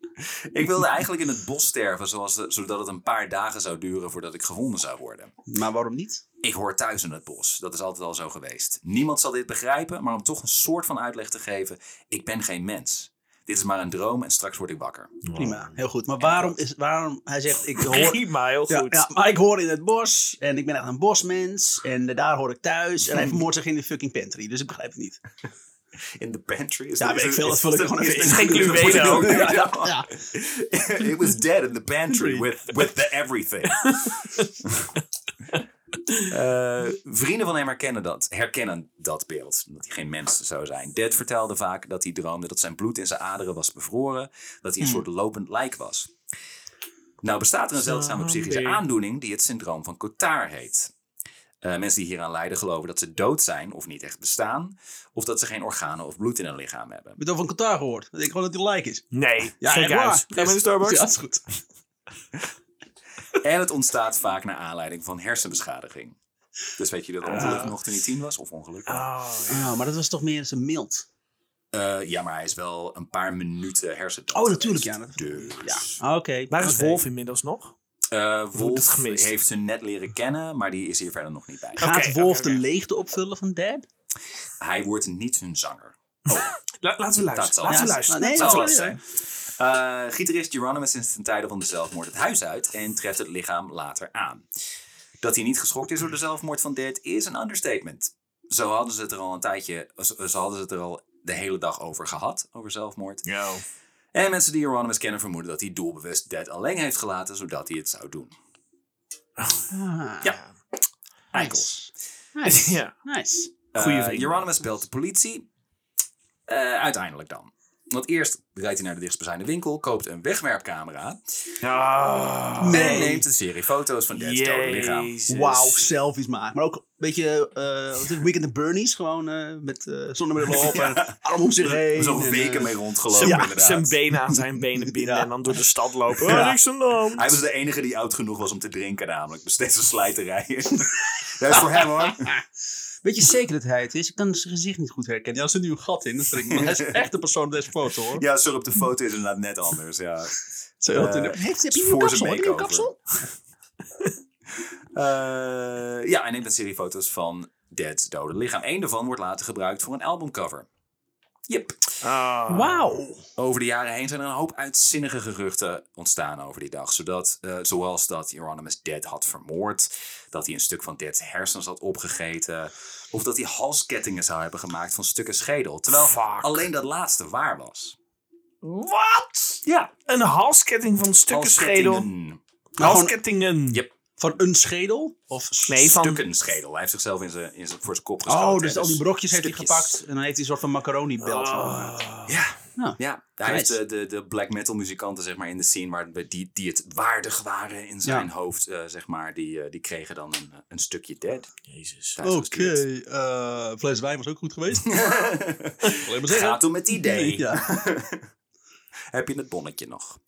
[SPEAKER 3] Ik wilde eigenlijk in het bos sterven, zoals, zodat het een paar dagen zou duren voordat ik gevonden zou worden.
[SPEAKER 1] Maar waarom niet?
[SPEAKER 3] Ik hoor thuis in het bos. Dat is altijd al zo geweest. Niemand zal dit begrijpen, maar om toch een soort van uitleg te geven: ik ben geen mens. Dit is maar een droom en straks word ik wakker.
[SPEAKER 1] Prima. Heel goed. Maar waarom is... Waarom hij zegt... Ik hoor...
[SPEAKER 2] Prima, heel
[SPEAKER 1] Ja,
[SPEAKER 2] goed.
[SPEAKER 1] ja, maar ik hoor in het bos en ik ben
[SPEAKER 2] Hmm.
[SPEAKER 1] echt een bosmens en eh, daar hoor ik thuis en hij vermoordt zich in de fucking pantry, dus ik begrijp het niet.
[SPEAKER 3] in the pantry. Is
[SPEAKER 1] Ja,
[SPEAKER 3] dat-
[SPEAKER 1] weet
[SPEAKER 3] is
[SPEAKER 1] ik veel, dat
[SPEAKER 3] is-
[SPEAKER 1] vul ik
[SPEAKER 3] is-
[SPEAKER 1] gewoon even
[SPEAKER 3] is-
[SPEAKER 1] in.
[SPEAKER 3] is-
[SPEAKER 2] Geen
[SPEAKER 3] is-
[SPEAKER 2] Cluedo.
[SPEAKER 3] is-
[SPEAKER 2] Ja.
[SPEAKER 1] Ja.
[SPEAKER 3] It was dead in the pantry with, with the everything. Eh, vrienden van hem herkennen dat, herkennen dat beeld, dat hij geen mens zou zijn. Dead vertelde vaak dat hij droomde dat zijn bloed in zijn aderen was bevroren, dat hij
[SPEAKER 1] Hmm.
[SPEAKER 3] een soort lopend lijk was. Nou bestaat er een zeldzame psychische
[SPEAKER 2] Zombie.
[SPEAKER 3] aandoening die het syndroom van Cotard heet. Eh, mensen die hieraan lijden geloven dat ze dood zijn of niet echt bestaan, of dat ze geen organen of bloed in hun lichaam hebben.
[SPEAKER 1] Heb je het al van Qatar gehoord? Dat ik gewoon dat hij like is.
[SPEAKER 2] Nee, ja,
[SPEAKER 1] echt
[SPEAKER 2] gek
[SPEAKER 1] waar.
[SPEAKER 2] uit. Ga je met de Starbucks?
[SPEAKER 1] Ja, dat is goed.
[SPEAKER 3] En het ontstaat vaak naar aanleiding van hersenbeschadiging. Dus weet je dat ongeluk nog toen hij tien was? Of ongeluk?
[SPEAKER 2] Oh, ja.
[SPEAKER 1] Ja, Ah, maar dat was toch meer zijn mild.
[SPEAKER 3] Eh, ja, maar hij is wel een paar minuten hersendood.
[SPEAKER 1] Oh, natuurlijk,
[SPEAKER 3] geweest.
[SPEAKER 1] ja, dat-
[SPEAKER 3] Dus.
[SPEAKER 1] Ah, Oké.
[SPEAKER 2] Waar is
[SPEAKER 1] oké.
[SPEAKER 2] Wolf inmiddels nog?
[SPEAKER 3] Eh,
[SPEAKER 2] Wordt het
[SPEAKER 3] Wolf
[SPEAKER 2] gemist?
[SPEAKER 3] heeft ze net leren kennen, maar die is hier verder nog niet bij.
[SPEAKER 1] Gaat
[SPEAKER 2] Oké,
[SPEAKER 1] Wolf
[SPEAKER 2] oké,
[SPEAKER 1] de
[SPEAKER 2] oké.
[SPEAKER 1] leegte opvullen van Dad?
[SPEAKER 3] Hij wordt niet hun zanger.
[SPEAKER 2] La- laten we
[SPEAKER 3] Dat zal
[SPEAKER 2] luisteren. Laten we
[SPEAKER 1] Ja,
[SPEAKER 2] luisteren.
[SPEAKER 1] nee,
[SPEAKER 2] Laten we
[SPEAKER 1] dat zal
[SPEAKER 2] luisteren.
[SPEAKER 3] Eh, gitarist Geronimus is ten tijde van de zelfmoord het huis uit en treft het lichaam later aan. Dat hij niet geschokt is door de zelfmoord van Dead is een understatement. Zo hadden ze het er al een tijdje, zo zo hadden ze het er al de hele dag over gehad, over zelfmoord. En mensen die Hieronymus kennen vermoeden dat hij doelbewust Dead alleen heeft gelaten, zodat hij het zou doen.
[SPEAKER 1] Ah,
[SPEAKER 3] Ja.
[SPEAKER 1] Nice. Nice.
[SPEAKER 2] Ja.
[SPEAKER 1] nice.
[SPEAKER 2] Goeie
[SPEAKER 3] Eh,
[SPEAKER 2] vriend.
[SPEAKER 3] Hieronymus belt de politie. Eh, uiteindelijk dan. Want eerst rijdt hij naar de dichtstbijzijnde winkel, koopt een wegwerpcamera
[SPEAKER 2] Oh.
[SPEAKER 3] en neemt een serie foto's van Dead's dode lichaam.
[SPEAKER 2] Jezus.
[SPEAKER 1] Wauw, selfies maken. Maar ook een beetje, eh wat is het, Weekend at Bernie's, gewoon eh, met eh zonnebril op en arm om zich heen.
[SPEAKER 3] Dus Zo'n
[SPEAKER 1] en,
[SPEAKER 3] weken
[SPEAKER 1] eh,
[SPEAKER 3] mee rondgelopen
[SPEAKER 2] Zijn,
[SPEAKER 3] inderdaad.
[SPEAKER 2] zijn benen aan zijn benen binden
[SPEAKER 1] Ja.
[SPEAKER 2] en dan door de stad lopen.
[SPEAKER 1] Ja.
[SPEAKER 2] Oh, niks aan de hand.
[SPEAKER 3] Hij was de enige die oud genoeg was om te drinken namelijk. Dus steeds een slijterij. Dat is voor hem hoor.
[SPEAKER 1] Weet je zeker dat hij het is? Ik kan zijn gezicht niet goed herkennen. Ja, er zit nu een gat in. Dat vind ik, maar hij is echt de persoon op deze foto hoor.
[SPEAKER 3] Ja, sorry, op de foto is inderdaad net anders. Ja.
[SPEAKER 1] Zo, dat-
[SPEAKER 3] eh,
[SPEAKER 1] heeft, heb
[SPEAKER 3] is
[SPEAKER 1] je een
[SPEAKER 3] voor
[SPEAKER 1] kapsel?
[SPEAKER 3] zijn
[SPEAKER 1] Heb je een
[SPEAKER 3] makeover.
[SPEAKER 1] kapsel?
[SPEAKER 3] Eh, ja, hij neemt een serie foto's van Dead's dode lichaam. Eén daarvan wordt later gebruikt voor een albumcover. Yep.
[SPEAKER 2] Ah.
[SPEAKER 1] Wauw.
[SPEAKER 3] Over de jaren heen zijn er een hoop uitzinnige geruchten ontstaan over die dag. Zodat, eh, zoals dat Hieronymus Dead had vermoord. Dat hij een stuk van Dead's hersens had opgegeten. Of dat hij halskettingen zou hebben gemaakt van stukken schedel. Terwijl
[SPEAKER 2] Fuck.
[SPEAKER 3] alleen dat laatste waar was.
[SPEAKER 2] Wat?
[SPEAKER 3] Ja,
[SPEAKER 2] Een halsketting van stukken schedel.
[SPEAKER 3] halskettingen.
[SPEAKER 2] Halskettingen.
[SPEAKER 3] Ja.
[SPEAKER 1] Van een schedel? Of
[SPEAKER 2] Nee, van...
[SPEAKER 3] Stukken schedel. Hij heeft zichzelf in zijn, in zijn, voor zijn kop geschoten.
[SPEAKER 1] Oh,
[SPEAKER 3] hè,
[SPEAKER 1] dus al die brokjes heeft hij
[SPEAKER 3] Eh, stukjes.
[SPEAKER 1] gepakt. En dan heeft hij een soort van Oh. macaroni-belt.
[SPEAKER 2] Ah.
[SPEAKER 3] Ja.
[SPEAKER 1] Nou,
[SPEAKER 3] ja, hij heeft
[SPEAKER 1] nice.
[SPEAKER 3] de, de, de black metal muzikanten zeg maar, in de scene waar, die, die het waardig waren in zijn
[SPEAKER 1] Ja.
[SPEAKER 3] hoofd, eh, zeg maar, die, eh, die kregen dan een, een stukje dead.
[SPEAKER 2] Jezus.
[SPEAKER 3] thuis gestuurd.
[SPEAKER 1] eh, fles wijn was ook goed geweest. Alleen maar
[SPEAKER 3] Gaat om het idee.
[SPEAKER 1] Ja.
[SPEAKER 3] Heb je het bonnetje nog?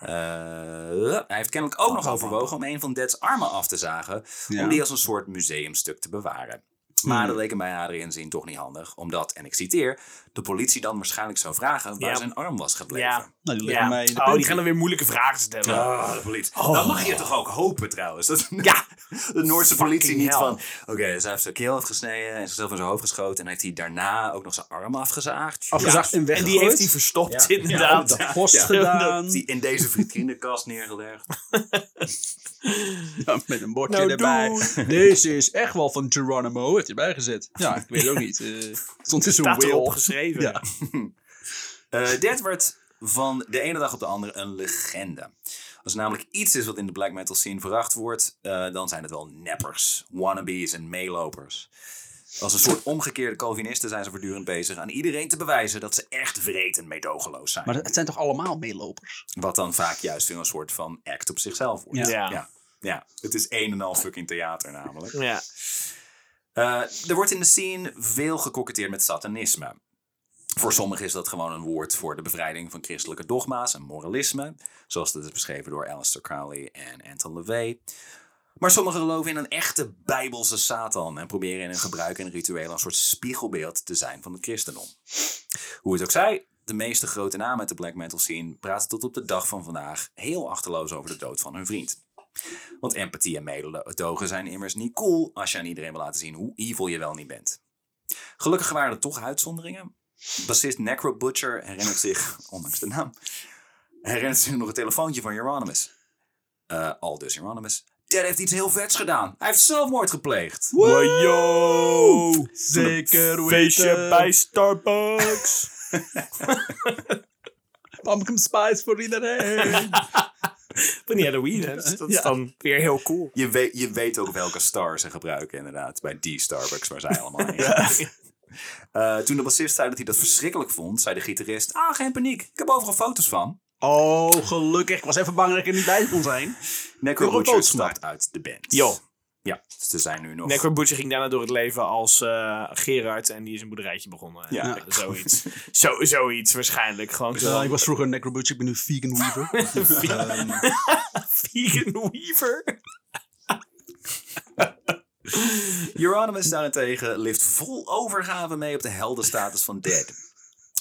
[SPEAKER 3] Eh, hij heeft kennelijk ook nog overwogen om een van Dead's armen af te zagen, om
[SPEAKER 1] Ja. Hmm.
[SPEAKER 3] die als een soort museumstuk te bewaren. Maar dat leek hem bij haar inzien toch niet handig, omdat, en ik citeer, de politie dan waarschijnlijk zou vragen waar
[SPEAKER 2] Ja.
[SPEAKER 3] zijn arm was gebleven.
[SPEAKER 2] Ja.
[SPEAKER 1] Nou, die leggen
[SPEAKER 2] ja.
[SPEAKER 1] mij in de
[SPEAKER 2] Oh, die
[SPEAKER 1] pen.
[SPEAKER 2] gaan dan weer moeilijke vragen stellen.
[SPEAKER 3] Ah, de politie. Dat
[SPEAKER 1] Oh.
[SPEAKER 3] mag je toch ook hopen trouwens. Dat
[SPEAKER 2] Ja.
[SPEAKER 3] de Noorse politie niet
[SPEAKER 2] hell.
[SPEAKER 3] van... Oké, dus hij heeft zijn keel afgesneden en zichzelf in zijn hoofd geschoten. En heeft hij daarna ook nog zijn arm afgezaagd.
[SPEAKER 1] Afgezaagd en
[SPEAKER 2] En
[SPEAKER 1] weggegooid.
[SPEAKER 2] die heeft hij verstopt,
[SPEAKER 3] Ja.
[SPEAKER 2] inderdaad.
[SPEAKER 1] op de post
[SPEAKER 3] Ja.
[SPEAKER 1] gedaan.
[SPEAKER 3] Die in deze vriendinnenkast neergelegd.
[SPEAKER 1] Ja, met een bordje
[SPEAKER 2] Nou,
[SPEAKER 1] erbij. Deze is echt wel van Geronimo. Heeft hij bijgezet. Ja, ik weet het ook niet. Eh, stond in zijn
[SPEAKER 2] Staat erop
[SPEAKER 1] will.
[SPEAKER 2] geschreven.
[SPEAKER 1] Ja.
[SPEAKER 3] Eh Dead werd van de ene dag op de andere een legende. Als er namelijk iets is wat in de black metal scene veracht wordt, eh, dan zijn het wel neppers, wannabes en meelopers. Als een soort omgekeerde Calvinisten zijn ze voortdurend bezig aan iedereen te bewijzen dat ze echt vreed en meedogenloos zijn.
[SPEAKER 1] Maar het zijn toch allemaal meelopers?
[SPEAKER 3] Wat dan vaak juist weer een soort van act op zichzelf wordt.
[SPEAKER 1] Ja.
[SPEAKER 2] Ja.
[SPEAKER 3] ja. Ja. het is een en al fucking theater namelijk.
[SPEAKER 2] Ja.
[SPEAKER 3] Eh, er wordt in de scene veel gekoketteerd met satanisme. Voor sommigen is dat gewoon een woord voor de bevrijding van christelijke dogma's en moralisme. Zoals dat is beschreven door Aleister Crowley en Anton LaVey. Maar sommigen geloven in een echte bijbelse Satan en proberen in hun gebruik en rituelen een soort spiegelbeeld te zijn van het christendom. Hoe het ook zij, de meeste grote namen uit de black metal scene praten tot op de dag van vandaag heel achterloos over de dood van hun vriend. Want empathie en mededogen zijn immers niet cool als je aan iedereen wil laten zien hoe evil je wel niet bent. Gelukkig waren er toch uitzonderingen. Bassist Necro Butcher herinnert zich, ondanks de naam, herinnert zich nog het telefoontje van Hieronymus. Eh, al dus Hieronymus. Ted heeft iets heel vets gedaan. Hij heeft zelfmoord gepleegd.
[SPEAKER 2] Wajo!
[SPEAKER 1] Zeker
[SPEAKER 2] Feestje
[SPEAKER 1] weten.
[SPEAKER 2] bij Starbucks.
[SPEAKER 1] Pumpkin spice voor iedereen.
[SPEAKER 2] Van Halloween, hè? Dus dat is
[SPEAKER 1] Ja.
[SPEAKER 2] dan weer heel cool.
[SPEAKER 3] Je weet, je weet ook welke star ze gebruiken inderdaad. Bij die Starbucks waar zij allemaal heen gaan. Eh, toen de bassist zei dat hij dat verschrikkelijk vond, zei de gitarist... Ah, geen paniek. Ik heb overal foto's van.
[SPEAKER 1] oh, gelukkig. Ik was even bang dat ik er niet bij kon zijn.
[SPEAKER 3] Necro
[SPEAKER 1] Nog een
[SPEAKER 3] Butcher
[SPEAKER 1] foto's gemaakt.
[SPEAKER 3] stapt uit de band.
[SPEAKER 2] Jo.
[SPEAKER 3] Ja, dus er zijn nu nog...
[SPEAKER 2] Necro Butcher ging daarna door het leven als eh, Gerard en die is een boerderijtje begonnen.
[SPEAKER 3] Ja.
[SPEAKER 2] Ja. zoiets. Zo, zoiets waarschijnlijk. Gewoon
[SPEAKER 1] Ja,
[SPEAKER 2] zo.
[SPEAKER 1] Eh, ik was vroeger een necrobutcher, ik ben nu vegan weaver. Ehm,
[SPEAKER 2] Vegan Weaver.
[SPEAKER 3] Euronymous daarentegen lift vol overgave mee op de heldenstatus van Dead.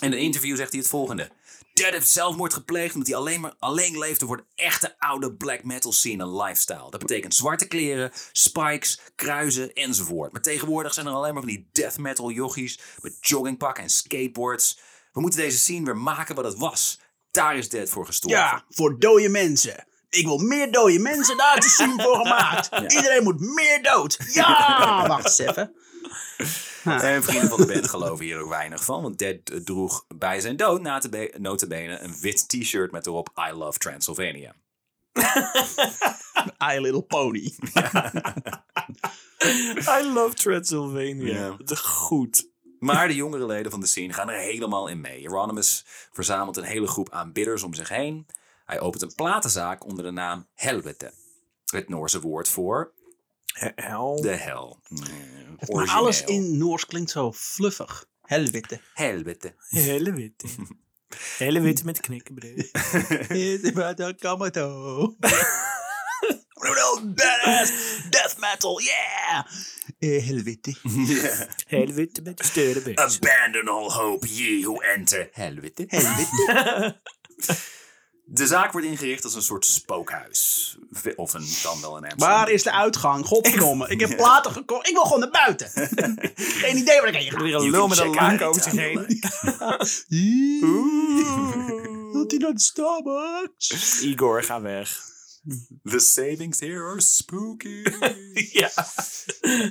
[SPEAKER 3] In een interview zegt hij het volgende. Dead heeft zelfmoord gepleegd omdat hij alleen maar alleen leefde voor de echte oude black metal scene en lifestyle. Dat betekent zwarte kleren, spikes, kruisen enzovoort. Maar tegenwoordig zijn er alleen maar van die death metal jochies met joggingpakken en skateboards. We moeten deze scene weer maken wat het was. Daar is Dead voor gestorven.
[SPEAKER 1] ja, voor dode mensen. Ik wil meer dode mensen, daar te zien voor gemaakt. Iedereen moet meer dood. Ja! Wacht eens even.
[SPEAKER 3] En vrienden van de band geloven hier ook weinig van. Want Dead eh, droeg bij zijn dood na te be- notabene een wit t-shirt met erop I love Transylvania.
[SPEAKER 1] I Little Pony.
[SPEAKER 2] I love Transylvania.
[SPEAKER 3] Ja.
[SPEAKER 2] De goed.
[SPEAKER 3] Maar de jongere leden van de scene gaan er helemaal in mee. Euronymous verzamelt een hele groep aanbidders om zich heen. Hij opent een platenzaak onder de naam Helvete. Het Noorse woord voor
[SPEAKER 2] Hel.
[SPEAKER 3] de hel. Mm,
[SPEAKER 1] Maar
[SPEAKER 3] origineel.
[SPEAKER 1] alles in Noors klinkt zo fluffig. Helwitte.
[SPEAKER 3] Helvete.
[SPEAKER 2] Hele witte. Hele witte met knikkenbreed.
[SPEAKER 1] Is about a Kamato. Brutal badass death metal, yeah! Eh, Helwitte.
[SPEAKER 2] Hele witte met steurenbeest.
[SPEAKER 3] Abandon all hope, ye who enter Helvete.
[SPEAKER 1] Helwitte.
[SPEAKER 3] De zaak wordt ingericht als een soort spookhuis. Of een, dan wel een Amsterdam.
[SPEAKER 1] Waar is de uitgang? Godverdomme. Ik heb platen gekocht. Ik wil gewoon naar buiten. Geen idee waar ik heen ga.
[SPEAKER 2] Weer
[SPEAKER 3] You
[SPEAKER 2] een lul
[SPEAKER 3] can
[SPEAKER 2] met een
[SPEAKER 3] check
[SPEAKER 2] laak
[SPEAKER 3] out
[SPEAKER 2] over zich heen.
[SPEAKER 1] Wilt u naar de Starbucks?
[SPEAKER 2] Igor, ga weg.
[SPEAKER 3] The savings here are spooky.
[SPEAKER 2] Ja.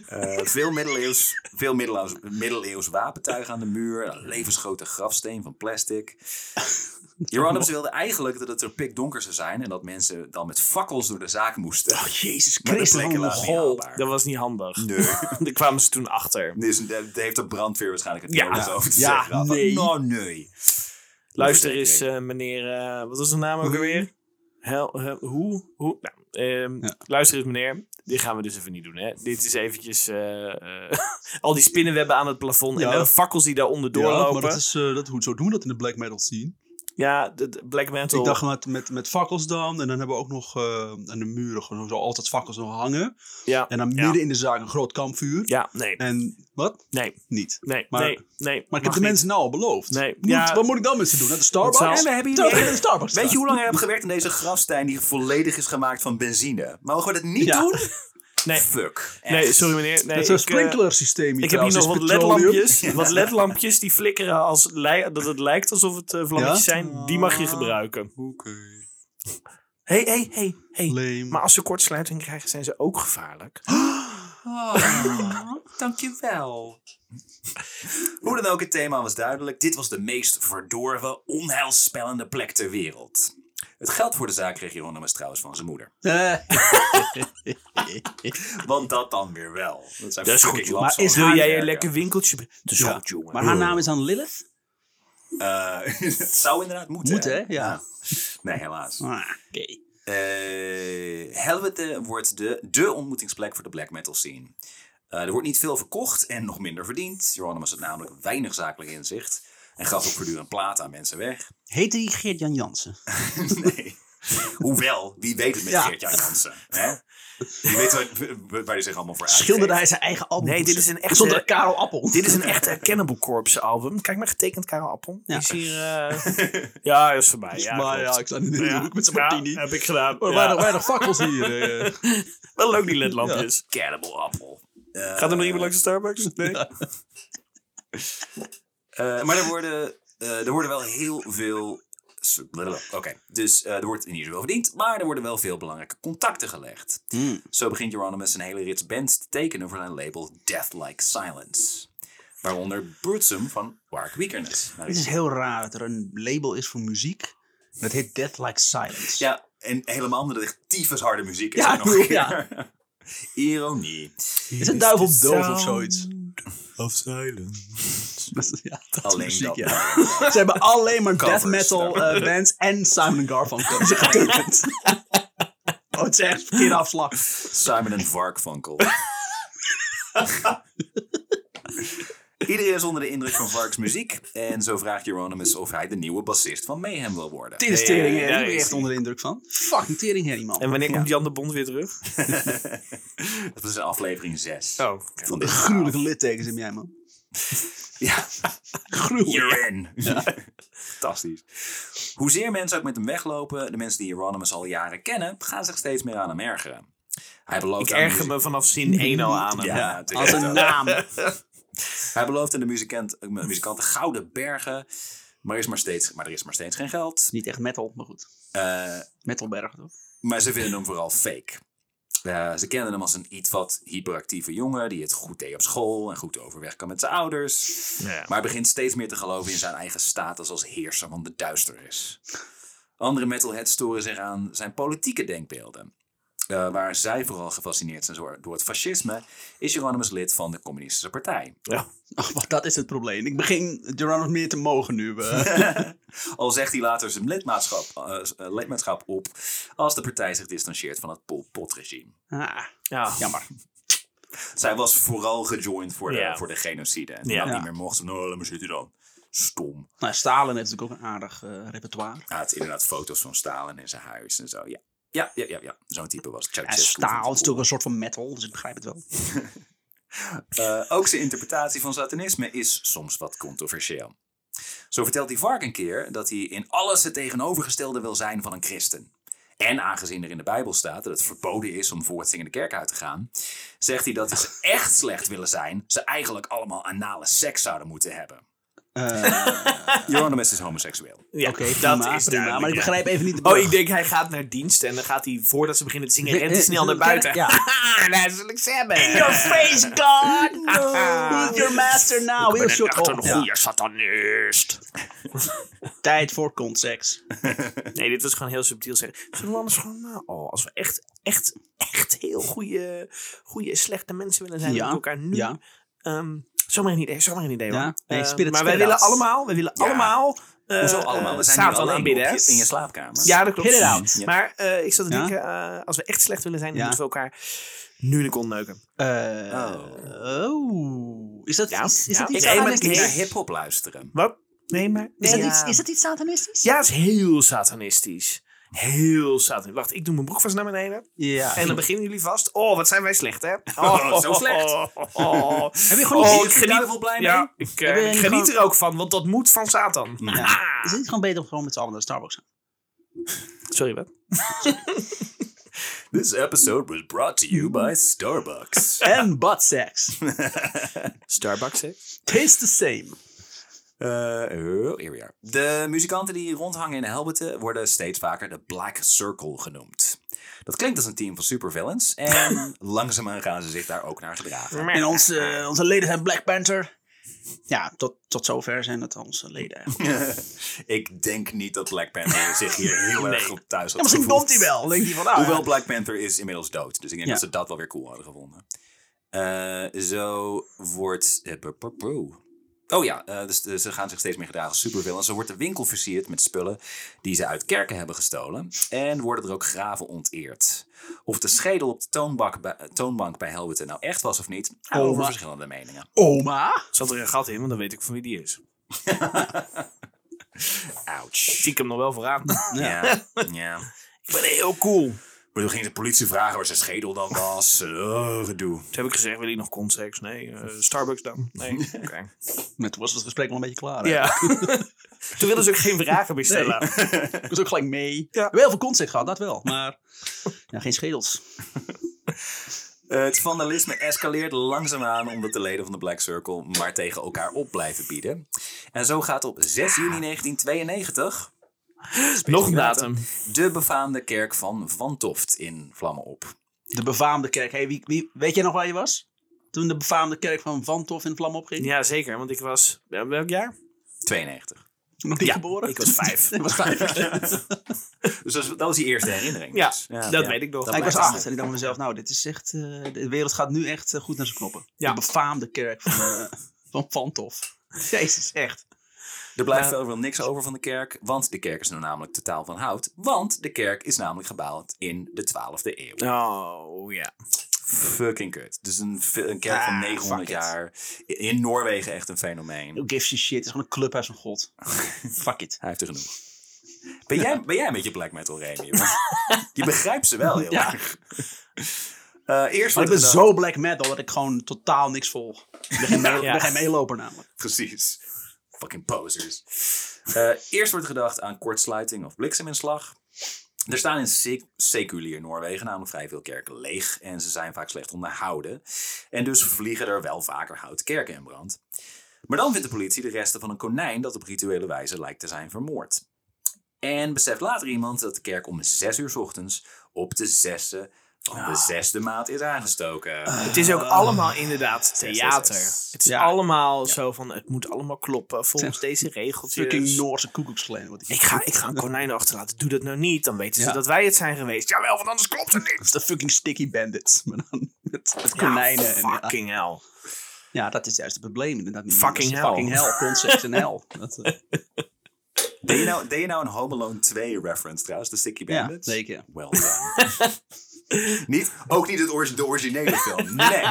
[SPEAKER 3] Eh, veel middeleeuws, veel middeleeuws, middeleeuws wapentuig aan de muur. Een levensgrote grafsteen van plastic. Hieronymus wilde eigenlijk dat het er pikdonker zou zijn. En dat mensen dan met fakkels door de zaak moesten. Oh,
[SPEAKER 1] Jezus
[SPEAKER 3] maar de
[SPEAKER 1] Christus, oh,
[SPEAKER 3] plekken
[SPEAKER 1] wat een
[SPEAKER 3] waren niet
[SPEAKER 1] mogol.
[SPEAKER 3] haalbaar.
[SPEAKER 2] Dat was niet handig.
[SPEAKER 3] Nee.
[SPEAKER 1] Nou.
[SPEAKER 2] Daar kwamen ze toen achter.
[SPEAKER 3] Dus daar heeft de brandweer waarschijnlijk het
[SPEAKER 2] Ja.
[SPEAKER 3] nodig over te
[SPEAKER 1] Ja,
[SPEAKER 3] zeggen. gehad.
[SPEAKER 1] nee.
[SPEAKER 3] Nou, nee.
[SPEAKER 2] Luister eens, eh, meneer. eh, wat was zijn naam ook alweer? Hel, hel- hoe? hoe? Nou, ehm,
[SPEAKER 1] Ja.
[SPEAKER 2] Luister eens, meneer. Dit gaan we dus even niet doen. Hè? Dit is eventjes eh, eh, al die spinnenwebben aan het plafond
[SPEAKER 1] Ja.
[SPEAKER 2] en de fakkels die daaronder
[SPEAKER 1] Ja,
[SPEAKER 2] doorlopen.
[SPEAKER 1] maar dat is eh, dat hoe zo doen we dat in de black metal scene.
[SPEAKER 2] Ja, de, de black metal.
[SPEAKER 1] Ik dacht met, met, met fakkels dan. En dan hebben we ook nog eh, aan de muren gewoon zo altijd fakkels nog hangen.
[SPEAKER 2] ja,
[SPEAKER 1] En dan
[SPEAKER 2] Ja.
[SPEAKER 1] midden in de zaak een groot kampvuur.
[SPEAKER 2] ja, nee,
[SPEAKER 1] En wat?
[SPEAKER 2] nee,
[SPEAKER 1] Niet.
[SPEAKER 2] nee,
[SPEAKER 1] Maar-
[SPEAKER 2] nee,
[SPEAKER 1] Maar
[SPEAKER 2] nee.
[SPEAKER 1] ik
[SPEAKER 2] mag
[SPEAKER 1] heb de
[SPEAKER 2] niet.
[SPEAKER 1] mensen nou al beloofd.
[SPEAKER 2] Nee,
[SPEAKER 1] Moet-
[SPEAKER 2] ja.
[SPEAKER 1] Wat moet ik dan met ze doen? Naar de Starbucks?
[SPEAKER 2] Want zelfs-
[SPEAKER 3] En we hebben hier
[SPEAKER 1] Terwijl
[SPEAKER 3] nog-
[SPEAKER 1] ik in de Starbucks
[SPEAKER 3] Weet
[SPEAKER 1] sta.
[SPEAKER 3] je hoe lang we hebben gewerkt aan deze grafsteen die volledig is gemaakt van benzine? Mogen we dat niet
[SPEAKER 1] Ja.
[SPEAKER 3] doen?
[SPEAKER 2] Nee.
[SPEAKER 3] Fuck.
[SPEAKER 2] Nee, sorry meneer. Nee,
[SPEAKER 1] Dat is een
[SPEAKER 2] ik, eh,
[SPEAKER 1] sprinklersysteem hier
[SPEAKER 2] ik heb hier nog
[SPEAKER 1] trouwens,
[SPEAKER 2] wat
[SPEAKER 1] is petroleum.
[SPEAKER 2] ledlampjes. Wat ledlampjes die flikkeren als lij- dat het lijkt alsof het eh, vlammetjes
[SPEAKER 1] Ja? Ah.
[SPEAKER 2] zijn. Die mag je gebruiken.
[SPEAKER 1] Oké.
[SPEAKER 2] Hé, hé, hé, hé.
[SPEAKER 1] Lame.
[SPEAKER 2] Maar als ze kortsluiting krijgen, zijn ze ook gevaarlijk.
[SPEAKER 3] Oh, dankjewel. Hoe dan ook, het thema was duidelijk. Dit was de meest verdorven, onheilspellende plek ter wereld. Het geld voor de zaak kreeg Hieronymus trouwens van zijn moeder.
[SPEAKER 1] eh,
[SPEAKER 3] Want dat dan weer wel. Dat, zijn
[SPEAKER 2] Dat is
[SPEAKER 3] fucking
[SPEAKER 2] goed, joh.
[SPEAKER 3] lapsels.
[SPEAKER 1] Maar is-
[SPEAKER 2] Wil
[SPEAKER 1] Haar
[SPEAKER 2] jij een
[SPEAKER 3] werken.
[SPEAKER 2] lekker winkeltje? be- Dat is
[SPEAKER 1] Ja.
[SPEAKER 2] goed, jongen.
[SPEAKER 1] Maar haar naam is dan Lilith?
[SPEAKER 3] Eh, het zou inderdaad moeten.
[SPEAKER 1] Moet, hè? Ja.
[SPEAKER 3] Nee, helaas.
[SPEAKER 1] Ah, Oké.
[SPEAKER 3] Eh, Helwete wordt de, de ontmoetingsplek voor de black metal scene. Eh, er wordt niet veel verkocht en nog minder verdiend. Hieronymus had namelijk weinig zakelijk inzicht. En gaf ook voortdurend plaat aan mensen weg.
[SPEAKER 1] Heette die Geert-Jan Jansen?
[SPEAKER 3] Nee. Hoewel, wie weet het met
[SPEAKER 1] Ja.
[SPEAKER 3] Geert-Jan Jansen. Hè? Wie weet waar, waar hij zich allemaal voor uitgeeft.
[SPEAKER 1] Schilderde hij zijn eigen album?
[SPEAKER 2] Nee, dit is een echte-
[SPEAKER 1] Zonder Karel Appel.
[SPEAKER 2] Dit is een echte Cannibal Corpse album. Kijk maar, getekend Karel Appel.
[SPEAKER 1] Ja.
[SPEAKER 2] Is hier, eh, ja, is voorbij. Ja,
[SPEAKER 1] maar
[SPEAKER 2] klopt.
[SPEAKER 1] ja, ik sta nu in de hoek met zijn
[SPEAKER 2] Ja,
[SPEAKER 1] martini. Oh,
[SPEAKER 2] heb ik gedaan.
[SPEAKER 1] Maar
[SPEAKER 2] Ja.
[SPEAKER 1] weinig, weinig fakkels hier. eh.
[SPEAKER 2] Wel leuk die ledlampjes.
[SPEAKER 3] Cannibal Appel. Eh,
[SPEAKER 2] Gaat er nog iemand langs de Starbucks? Nee.
[SPEAKER 3] eh, maar er worden, eh, er worden wel heel veel s- blablabla. Oké, dus eh, er wordt in ieder geval verdiend, maar er worden wel veel belangrijke contacten gelegd.
[SPEAKER 1] Hmm.
[SPEAKER 3] Zo begint Euronymous een hele rits bands te tekenen voor zijn label Death Like Silence. Waaronder Broodsum van Warwick Weakerness. Nou,
[SPEAKER 1] Het is heel raar dat er een label is voor muziek. Dat heet Death Like Silence.
[SPEAKER 3] Ja, en helemaal omdat het echt tyfus harde muziek is.
[SPEAKER 1] Ja,
[SPEAKER 3] ook nog een
[SPEAKER 1] ja.
[SPEAKER 3] keer. Ironie.
[SPEAKER 1] Is het duivel doof of zoiets?
[SPEAKER 2] Of silence.
[SPEAKER 1] Ja, dat is
[SPEAKER 3] Alleen
[SPEAKER 1] muziek,
[SPEAKER 3] dat.
[SPEAKER 1] ja. Ze hebben alleen maar
[SPEAKER 3] Covers,
[SPEAKER 1] death metal
[SPEAKER 3] ja.
[SPEAKER 1] eh, bands en Simon Garfunkel hebben ze getekend. Oh, het is echt verkeerde afslag.
[SPEAKER 3] Simon en Varkvankel. Iedereen is onder de indruk van Vark's muziek. En zo vraagt Euronymous of hij de nieuwe bassist van Mayhem wil worden.
[SPEAKER 1] Dit is
[SPEAKER 2] Ja,
[SPEAKER 1] teringherrie.
[SPEAKER 2] ja, ja,
[SPEAKER 1] ik ben
[SPEAKER 2] ja,
[SPEAKER 1] je echt
[SPEAKER 2] zie.
[SPEAKER 1] onder de indruk van. Fucking teringherrie, man.
[SPEAKER 2] En wanneer komt Jan de Bond weer terug?
[SPEAKER 3] Dat is in aflevering 6.
[SPEAKER 2] Oh,
[SPEAKER 3] Van dit
[SPEAKER 1] Gruwelijke littekens heb jij, man.
[SPEAKER 3] Ja,
[SPEAKER 1] Gruwelijk.
[SPEAKER 3] you're in. Fantastisch. Hoezeer mensen ook met hem weglopen, de mensen die Euronymous al jaren kennen, gaan zich steeds meer aan hem ergeren. Hij belooft
[SPEAKER 2] ik
[SPEAKER 3] aan de
[SPEAKER 2] erger me vanaf zin 1 al aan hem.
[SPEAKER 3] Ja,
[SPEAKER 2] Ja.
[SPEAKER 1] Als
[SPEAKER 3] natuurlijk.
[SPEAKER 1] een naam.
[SPEAKER 3] Hij belooft aan de muzikant, muzikanten gouden bergen. Maar, is maar, steeds, maar er is maar steeds geen geld.
[SPEAKER 1] Niet echt metal, maar goed.
[SPEAKER 3] Eh,
[SPEAKER 1] Metalberg, toch?
[SPEAKER 3] maar ze vinden hem vooral fake. Eh, ze kennen hem als een iets wat hyperactieve jongen die het goed deed op school en goed overweg kan met zijn ouders.
[SPEAKER 2] Ja.
[SPEAKER 3] Maar hij begint steeds meer te geloven in zijn eigen status als heerser van de duisternis. Andere metalheads storen zich aan zijn politieke denkbeelden. Eh, waar zij vooral gefascineerd zijn door- door het fascisme, is Hieronymus lid van de Communistische Partij.
[SPEAKER 1] Ach, wat, dat is het probleem. Ik begin Geronimo meer te mogen nu. eh.
[SPEAKER 3] Al zegt hij later zijn lidmaatschap, eh, s- eh, lidmaatschap op als de partij zich distancieert van het Pol Pot-regime.
[SPEAKER 1] Ah,
[SPEAKER 2] Ja.
[SPEAKER 1] jammer.
[SPEAKER 3] Zij was vooral gejoind voor de,
[SPEAKER 2] Ja.
[SPEAKER 3] voor de genocide. En
[SPEAKER 2] Ja.
[SPEAKER 3] dat niet
[SPEAKER 1] Ja.
[SPEAKER 3] meer mocht. Nou, laat maar zitten dan. Stom.
[SPEAKER 1] Nou, Stalin heeft natuurlijk ook een aardig eh, repertoire.
[SPEAKER 3] Hij had inderdaad foto's van Stalin in zijn huis en zo. Ja, ja, ja, ja. ja. Zo'n type was
[SPEAKER 1] Ja,
[SPEAKER 3] Ceausescu.
[SPEAKER 1] staal is
[SPEAKER 3] van
[SPEAKER 1] natuurlijk een soort van metal, dus ik begrijp het wel.
[SPEAKER 3] Eh, ook zijn interpretatie van satanisme is soms wat controversieel. Zo vertelt hij Vark een keer dat hij in alles het tegenovergestelde wil zijn van een christen. En aangezien er in de Bijbel staat dat het verboden is om voor het zingen de kerk uit te gaan, zegt hij dat als ze echt slecht willen zijn, ze eigenlijk allemaal anale seks zouden moeten hebben.
[SPEAKER 1] Eh,
[SPEAKER 3] Euronymous is homoseksueel.
[SPEAKER 2] Ja,
[SPEAKER 1] Oké,
[SPEAKER 2] dat
[SPEAKER 1] prima,
[SPEAKER 2] is
[SPEAKER 1] prima,
[SPEAKER 2] duidelijk,
[SPEAKER 1] Maar ik
[SPEAKER 2] ja.
[SPEAKER 1] begrijp even niet de
[SPEAKER 2] Oh,
[SPEAKER 1] brug.
[SPEAKER 2] ik denk hij gaat naar dienst en dan gaat hij voordat ze beginnen te zingen,
[SPEAKER 1] Eh,
[SPEAKER 2] rent hij
[SPEAKER 1] eh,
[SPEAKER 2] snel naar
[SPEAKER 1] eh,
[SPEAKER 2] buiten.
[SPEAKER 1] ja.
[SPEAKER 2] Haha, daar zal ik ze hebben.
[SPEAKER 1] In your face, God! Who's your Oh, master now? We'll
[SPEAKER 2] ben
[SPEAKER 1] shut
[SPEAKER 2] echt
[SPEAKER 1] up.
[SPEAKER 2] een goede satanist.
[SPEAKER 1] Tijd voor conseks.
[SPEAKER 2] Nee, dit was gewoon heel subtiel zeggen. Zullen we anders gewoon, nou, oh, als we echt, echt, echt heel goede, goede slechte mensen willen zijn
[SPEAKER 1] Ja,
[SPEAKER 2] met elkaar nu.
[SPEAKER 1] ja.
[SPEAKER 2] ehm, zomaar een idee, zomaar een idee hoor.
[SPEAKER 1] Ja, nee,
[SPEAKER 2] Eh,
[SPEAKER 1] spirit
[SPEAKER 2] maar wij
[SPEAKER 1] spread
[SPEAKER 2] willen
[SPEAKER 1] out.
[SPEAKER 2] allemaal, wij willen
[SPEAKER 3] Ja.
[SPEAKER 2] allemaal. eh,
[SPEAKER 3] Hoezo allemaal? We zijn
[SPEAKER 2] Satan
[SPEAKER 3] hier alleen
[SPEAKER 2] aanbidden,
[SPEAKER 3] op
[SPEAKER 2] hè?
[SPEAKER 3] je- in je slaapkamer.
[SPEAKER 2] Ja, dat klopt.
[SPEAKER 1] Hit it out.
[SPEAKER 3] Ja.
[SPEAKER 2] Maar eh, ik zat te
[SPEAKER 1] Ja?
[SPEAKER 2] denken, eh, als we echt slecht willen zijn, dan
[SPEAKER 1] Ja.
[SPEAKER 2] moeten we elkaar nu de kont neuken.
[SPEAKER 1] Eh,
[SPEAKER 3] Oh.
[SPEAKER 1] oh. Is dat
[SPEAKER 2] Ja,
[SPEAKER 1] iets, is
[SPEAKER 2] ja.
[SPEAKER 1] dat iets
[SPEAKER 2] Ik neem het
[SPEAKER 3] Moet
[SPEAKER 1] satanistisch?
[SPEAKER 3] naar
[SPEAKER 2] niet.
[SPEAKER 3] hip-hop luisteren.
[SPEAKER 2] Wat? Nee, maar...
[SPEAKER 1] Is
[SPEAKER 2] nee,
[SPEAKER 1] dat iets,
[SPEAKER 2] ja.
[SPEAKER 1] is dat iets satanistisch?
[SPEAKER 2] Ja, het is heel satanistisch. Heel satanistisch. Wacht, ik doe mijn broek vast naar beneden.
[SPEAKER 1] Ja.
[SPEAKER 2] En dan beginnen jullie vast. Oh, wat zijn wij slecht, hè?
[SPEAKER 3] Oh, zo slecht.
[SPEAKER 2] Oh, oh.
[SPEAKER 1] Heb je gewoon
[SPEAKER 2] Oh,
[SPEAKER 1] niet-
[SPEAKER 2] ik
[SPEAKER 3] de duivel
[SPEAKER 2] geniet,
[SPEAKER 3] blij mee?
[SPEAKER 2] ja, ik, eh,
[SPEAKER 1] Heb je
[SPEAKER 2] ik
[SPEAKER 1] niet
[SPEAKER 2] geniet
[SPEAKER 1] gewoon-
[SPEAKER 2] er ook van, want dat moet van Satan.
[SPEAKER 1] Ja. Is het niet gewoon beter om gewoon met z'n allen naar Starbucks te gaan?
[SPEAKER 2] Sorry, wat?
[SPEAKER 3] This episode was brought to you by Starbucks.
[SPEAKER 2] Eh.
[SPEAKER 1] En butt sex.
[SPEAKER 2] Starbucks, hè?
[SPEAKER 1] Tastes the same.
[SPEAKER 3] Eh, oh, here we are. De muzikanten die rondhangen in de helmeten worden steeds vaker de Black Circle genoemd. Dat klinkt als een team van supervillains en langzaamaan gaan ze zich daar ook naar gedragen.
[SPEAKER 1] En onze, eh, onze leden zijn Black Panther. Ja, tot, tot zover zijn het onze leden eigenlijk.
[SPEAKER 3] Ik denk niet dat Black Panther zich hier heel erg op thuis had
[SPEAKER 1] Ja, misschien
[SPEAKER 3] gevoeld.
[SPEAKER 1] komt hij wel. Dan denkt hij van, nou,
[SPEAKER 3] Hoewel
[SPEAKER 1] ja.
[SPEAKER 3] Black Panther is inmiddels dood, dus ik denk
[SPEAKER 1] Ja.
[SPEAKER 3] dat ze dat wel weer cool hadden gevonden. Eh, zo wordt... eh, bu- bu- bu- Oh ja, eh, dus eh, ze gaan zich steeds meer gedragen als supervillains. Zo wordt de winkel versierd met spullen die ze uit kerken hebben gestolen. En worden er ook graven onteerd. Of de schedel op de toonbank bij, eh, toonbank bij Helweten nou echt was of niet,
[SPEAKER 1] Oh,
[SPEAKER 3] over
[SPEAKER 1] maar-
[SPEAKER 3] verschillende meningen.
[SPEAKER 1] Oma?
[SPEAKER 2] Zat er een gat in, want dan weet ik van wie die is.
[SPEAKER 3] Ouch.
[SPEAKER 2] Zie ik hem nog wel verraden.
[SPEAKER 3] Ja. ja.
[SPEAKER 2] ik ben heel cool.
[SPEAKER 3] Maar toen ging de politie vragen waar zijn schedel dan was. Eh, gedoe.
[SPEAKER 2] Toen heb ik gezegd, wil je nog context? Nee. eh, Starbucks dan? Nee. Oké.
[SPEAKER 1] Maar toen was het gesprek wel een beetje klaar. hè?
[SPEAKER 2] Oh, Ja. Toen wilden ze ook geen vragen meer stellen.
[SPEAKER 1] Ik was ook gelijk mee. We
[SPEAKER 2] Ja.
[SPEAKER 1] hebben heel veel contact gehad, dat wel. Maar ja, geen schedels.
[SPEAKER 3] Eh, Het vandalisme escaleert langzaamaan omdat de leden van de Black Circle maar tegen elkaar op blijven bieden. En zo gaat op 6 juni 1992
[SPEAKER 2] Nog een
[SPEAKER 3] datum.
[SPEAKER 2] datum.
[SPEAKER 3] De befaamde kerk van Van Toft in vlammen op.
[SPEAKER 1] De befaamde kerk. Hey, wie, wie, weet jij nog waar je was? Toen de befaamde kerk van Van Toff in vlam opging?
[SPEAKER 2] Ja, zeker. Want ik was... ja, Welk jaar?
[SPEAKER 3] 92.
[SPEAKER 1] Nog niet
[SPEAKER 2] Ja,
[SPEAKER 1] geboren?
[SPEAKER 2] ik was vijf.
[SPEAKER 1] Ik was vijf.
[SPEAKER 3] Dus dat was, dat was die eerste herinnering.
[SPEAKER 2] Ja,
[SPEAKER 3] dus.
[SPEAKER 2] dat weet ik nog.
[SPEAKER 3] Dat
[SPEAKER 1] ik was
[SPEAKER 3] blijft
[SPEAKER 1] acht
[SPEAKER 3] het.
[SPEAKER 1] en ik dacht mezelf, nou, dit is echt, eh, de wereld gaat nu echt eh, goed naar zijn knoppen.
[SPEAKER 2] Ja.
[SPEAKER 1] De befaamde kerk van, eh, van Van Toff. Jezus, echt.
[SPEAKER 3] Er blijft
[SPEAKER 2] Ja.
[SPEAKER 3] wel wel niks over van de kerk, want de kerk is nou namelijk totaal van hout. Want de kerk is namelijk gebouwd in de 12e eeuw.
[SPEAKER 2] Oh, ja.
[SPEAKER 3] Fucking kut. Dus een, v- een kerk van
[SPEAKER 1] Ah,
[SPEAKER 3] 900
[SPEAKER 1] fuck it.
[SPEAKER 3] jaar. In- In Noorwegen echt een fenomeen.
[SPEAKER 1] Who gives a shit? Het is gewoon een clubhuis van God. Fuck it.
[SPEAKER 3] Hij heeft er genoeg. Ben jij, ben jij een beetje black metal, Remy? Want je begrijpt ze wel heel
[SPEAKER 1] Ja.
[SPEAKER 3] erg. Eh, eerst
[SPEAKER 1] Maar
[SPEAKER 3] wordt
[SPEAKER 1] ik ben
[SPEAKER 3] er dan-
[SPEAKER 1] zo black metal dat ik gewoon totaal niks volg. Ik ben geen, mee-
[SPEAKER 2] Ja.
[SPEAKER 1] ik ben geen meeloper namelijk.
[SPEAKER 3] Precies. Fucking posers. Eh, eerst wordt gedacht aan kortsluiting of blikseminslag. Er staan in sec- seculier Noorwegen namelijk vrij veel kerken leeg en ze zijn vaak slecht onderhouden. En dus vliegen er wel vaker houten kerken in brand. Maar dan vindt de politie de resten van een konijn dat op rituele wijze lijkt te zijn vermoord. En beseft later iemand dat de kerk om 6 uur 's ochtends op de zesde van de zesde maand is aangestoken.
[SPEAKER 2] Het is ook allemaal inderdaad theater.
[SPEAKER 3] yes.
[SPEAKER 2] Het is
[SPEAKER 1] Ja.
[SPEAKER 2] allemaal zo van, het moet allemaal kloppen volgens deze regeltjes.
[SPEAKER 1] Fucking Noorse koekoeksclan. wat
[SPEAKER 2] ik ga, ik ga een konijn achterlaten. Doe dat nou niet. Dan weten ze
[SPEAKER 1] Ja.
[SPEAKER 2] dat wij het zijn geweest. Jawel, want anders klopt het niet.
[SPEAKER 1] Dat is de fucking sticky bandits. Maar dan met, met
[SPEAKER 2] Ja,
[SPEAKER 1] konijnen. en, ja.
[SPEAKER 2] fucking hell.
[SPEAKER 1] Ja, dat is juist het probleem. Inderdaad, niet
[SPEAKER 2] Fucking
[SPEAKER 1] anders.
[SPEAKER 2] hell.
[SPEAKER 1] Fucking hell, concept en hell. Dat, eh,
[SPEAKER 3] Deed je, nou, deed je nou een Home Alone 2 reference trouwens, de Sticky
[SPEAKER 1] Ja,
[SPEAKER 3] Bandits?
[SPEAKER 1] zeker.
[SPEAKER 3] Well done. niet, ook niet het origi- de originele film. Nee,